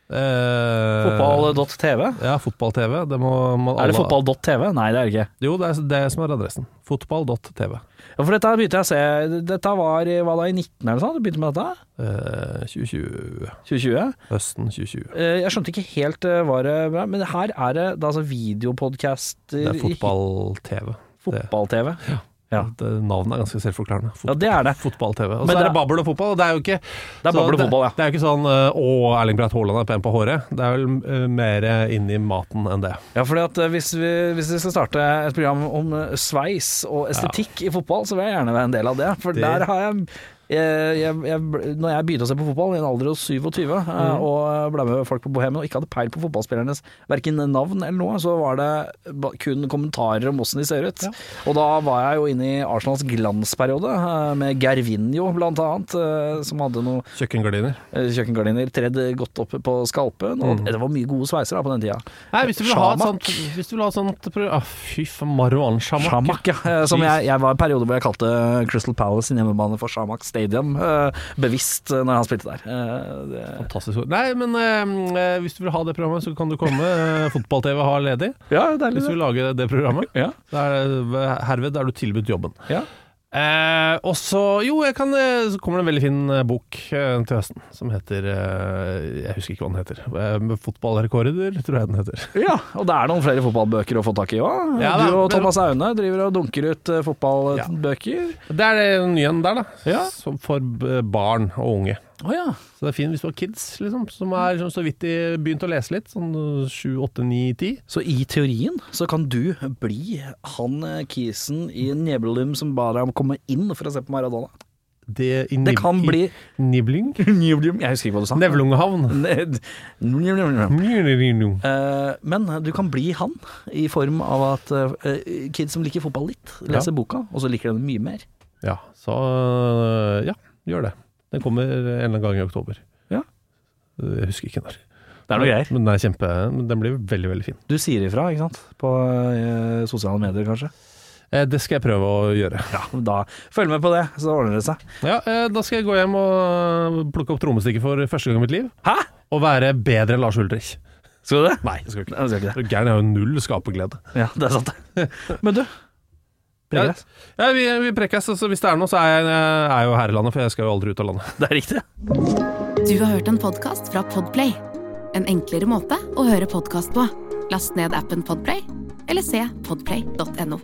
Speaker 3: Eh,
Speaker 2: Fotball.tv.
Speaker 3: Ja, fotball-TV. Det må, må
Speaker 2: Er
Speaker 3: alle-
Speaker 2: det fotball.tv? Nei, det er det ikke.
Speaker 3: Jo, det er det som er adressen. Fotball.tv.
Speaker 2: Ja, for dette begynte jeg å se Dette var i, hva da, i 19 eller noe sånt? Du begynte med dette?
Speaker 3: Eh, 2020.
Speaker 2: 2020?
Speaker 3: Høsten 2020.
Speaker 2: Eh, Jeg skjønte ikke helt eh, hva det var, men her er det, det er altså videopodcaster
Speaker 3: Det er fotball-TV.
Speaker 2: Fotball-TV. Ja.
Speaker 3: Det- Navnet er ganske selvforklarende. Fot
Speaker 2: Ja, det er det.
Speaker 3: Fotball-TV. Og
Speaker 2: Men det
Speaker 3: så er
Speaker 2: er-
Speaker 3: det babbel og fotball. og Det er jo ikke
Speaker 2: Det er
Speaker 3: så
Speaker 2: babbel og fotball, ja.
Speaker 3: Det er jo ikke sånn eh, 'Å, Erling Breit Haaland er pen på håret'. Det er vel eh, mer inn i maten enn det.
Speaker 2: Ja, fordi at eh, hvis vi, hvis vi skal starte et program om eh, sveis og estetikk i fotball, så vil jeg gjerne være en del av det. For
Speaker 3: Det-
Speaker 2: der har jeg, jeg, jeg, jeg Når jeg begynte å se på fotball i en alder av 27, eh, og ble med folk på Bohemen og ikke hadde peil på fotballspillernes verken navn eller noe, så var det ba- kun kommentarer om åssen de ser ut. Og da var jeg jo inne i Arsenals glansperiode, eh, med Gervinho blant annet, eh, som hadde noen
Speaker 3: Kjøkkengardiner.
Speaker 2: kjøkkengardiner tredd godt opp på skalpen. Og det var mye gode sveiser da på den tida.
Speaker 3: Nei, hvis du vil ha et
Speaker 2: Sjamak.
Speaker 3: sånt, hvis du vil ha et sånt pro- ah, Fy faen, marihuana-sjamak.
Speaker 2: Shamak, ja. Eh, Som jeg, jeg var i en periode hvor jeg kalte eh, Crystal Palace sin hjemmebane for Shamak Stadium, eh, bevisst eh, når han spilte der. Eh, det-
Speaker 3: Fantastisk ord. Nei, men eh, hvis du vil ha det programmet, så kan du komme. Eh, Fotball-TV har ledig.
Speaker 2: Ja,
Speaker 3: Hvis du
Speaker 2: deilig.
Speaker 3: vil lage det programmet,
Speaker 2: Ja.
Speaker 3: så er det herved er du tilbudt jobben.
Speaker 2: Ja.
Speaker 3: Eh, Eh, og så Jo, jeg kan, eh, så kommer det en veldig fin eh, bok eh, til høsten som heter eh, Jeg husker ikke hva den heter. Eh, med Fotballrekorder, tror jeg den heter.
Speaker 2: Ja, og det er noen flere fotballbøker å få tak i òg.
Speaker 3: Ja, da,
Speaker 2: du og
Speaker 3: men-
Speaker 2: Thomas Aune driver og dunker ut eh, fotballbøker.
Speaker 3: Det er det nye en der, da.
Speaker 2: Ja.
Speaker 3: Som for b- barn og unge.
Speaker 2: Å ja.
Speaker 3: Så det er fint hvis du har kids liksom, som er som så vidt de begynt å lese litt. Sånn øh, sju, åtte, ni, ti.
Speaker 2: Så i teorien så kan du bli han eh, kisen i Nebelum som bare kommer inn for å se på Maradona.
Speaker 3: Det, i
Speaker 2: Det
Speaker 3: Nib-
Speaker 2: kan
Speaker 3: i
Speaker 2: bli
Speaker 3: Nibling?
Speaker 2: Nebelum Jeg husker ikke hva du sa.
Speaker 3: Nevlungehavn.
Speaker 2: Ned- Nebelum.
Speaker 3: Mjølnirinu.
Speaker 2: Eh, Men du kan bli han, i form av at eh, kids som liker fotball litt, leser boka, og så liker de den mye mer.
Speaker 3: Ja, så øh, ja, gjør det. Den kommer en eller annen gang i oktober.
Speaker 2: Ja.
Speaker 3: Jeg husker ikke når.
Speaker 2: Det
Speaker 3: Men den er kjempe men Den blir veldig, veldig fin.
Speaker 2: Du sier ifra, ikke sant? På eh, sosiale medier, kanskje.
Speaker 3: Eh, Det skal jeg prøve å gjøre.
Speaker 2: Ja, da Følg med på det, så ordner det seg.
Speaker 3: Ja, eh, Da skal jeg gå hjem og øh, plukke opp trommestikker for første gang i mitt liv.
Speaker 2: Hæ?
Speaker 3: Og være bedre enn Lars Ulrich.
Speaker 2: Skal du det?
Speaker 3: Nei, jeg skal ikke.
Speaker 2: Nei, jeg skal ikke det.
Speaker 3: Er du Gæren jeg har jo null skaperglede.
Speaker 2: Ja, det er sant, det. Men du Pregres.
Speaker 3: Ja, vi, vi prekkes, altså hvis det er noe, så er jeg, er jeg jo her i landet, for jeg skal jo aldri ut av landet.
Speaker 2: Det er riktig.
Speaker 1: Du har hørt en podcast fra Podplay. En enklere måte å høre podcast på. Last ned appen Podplay, eller se podplay.no.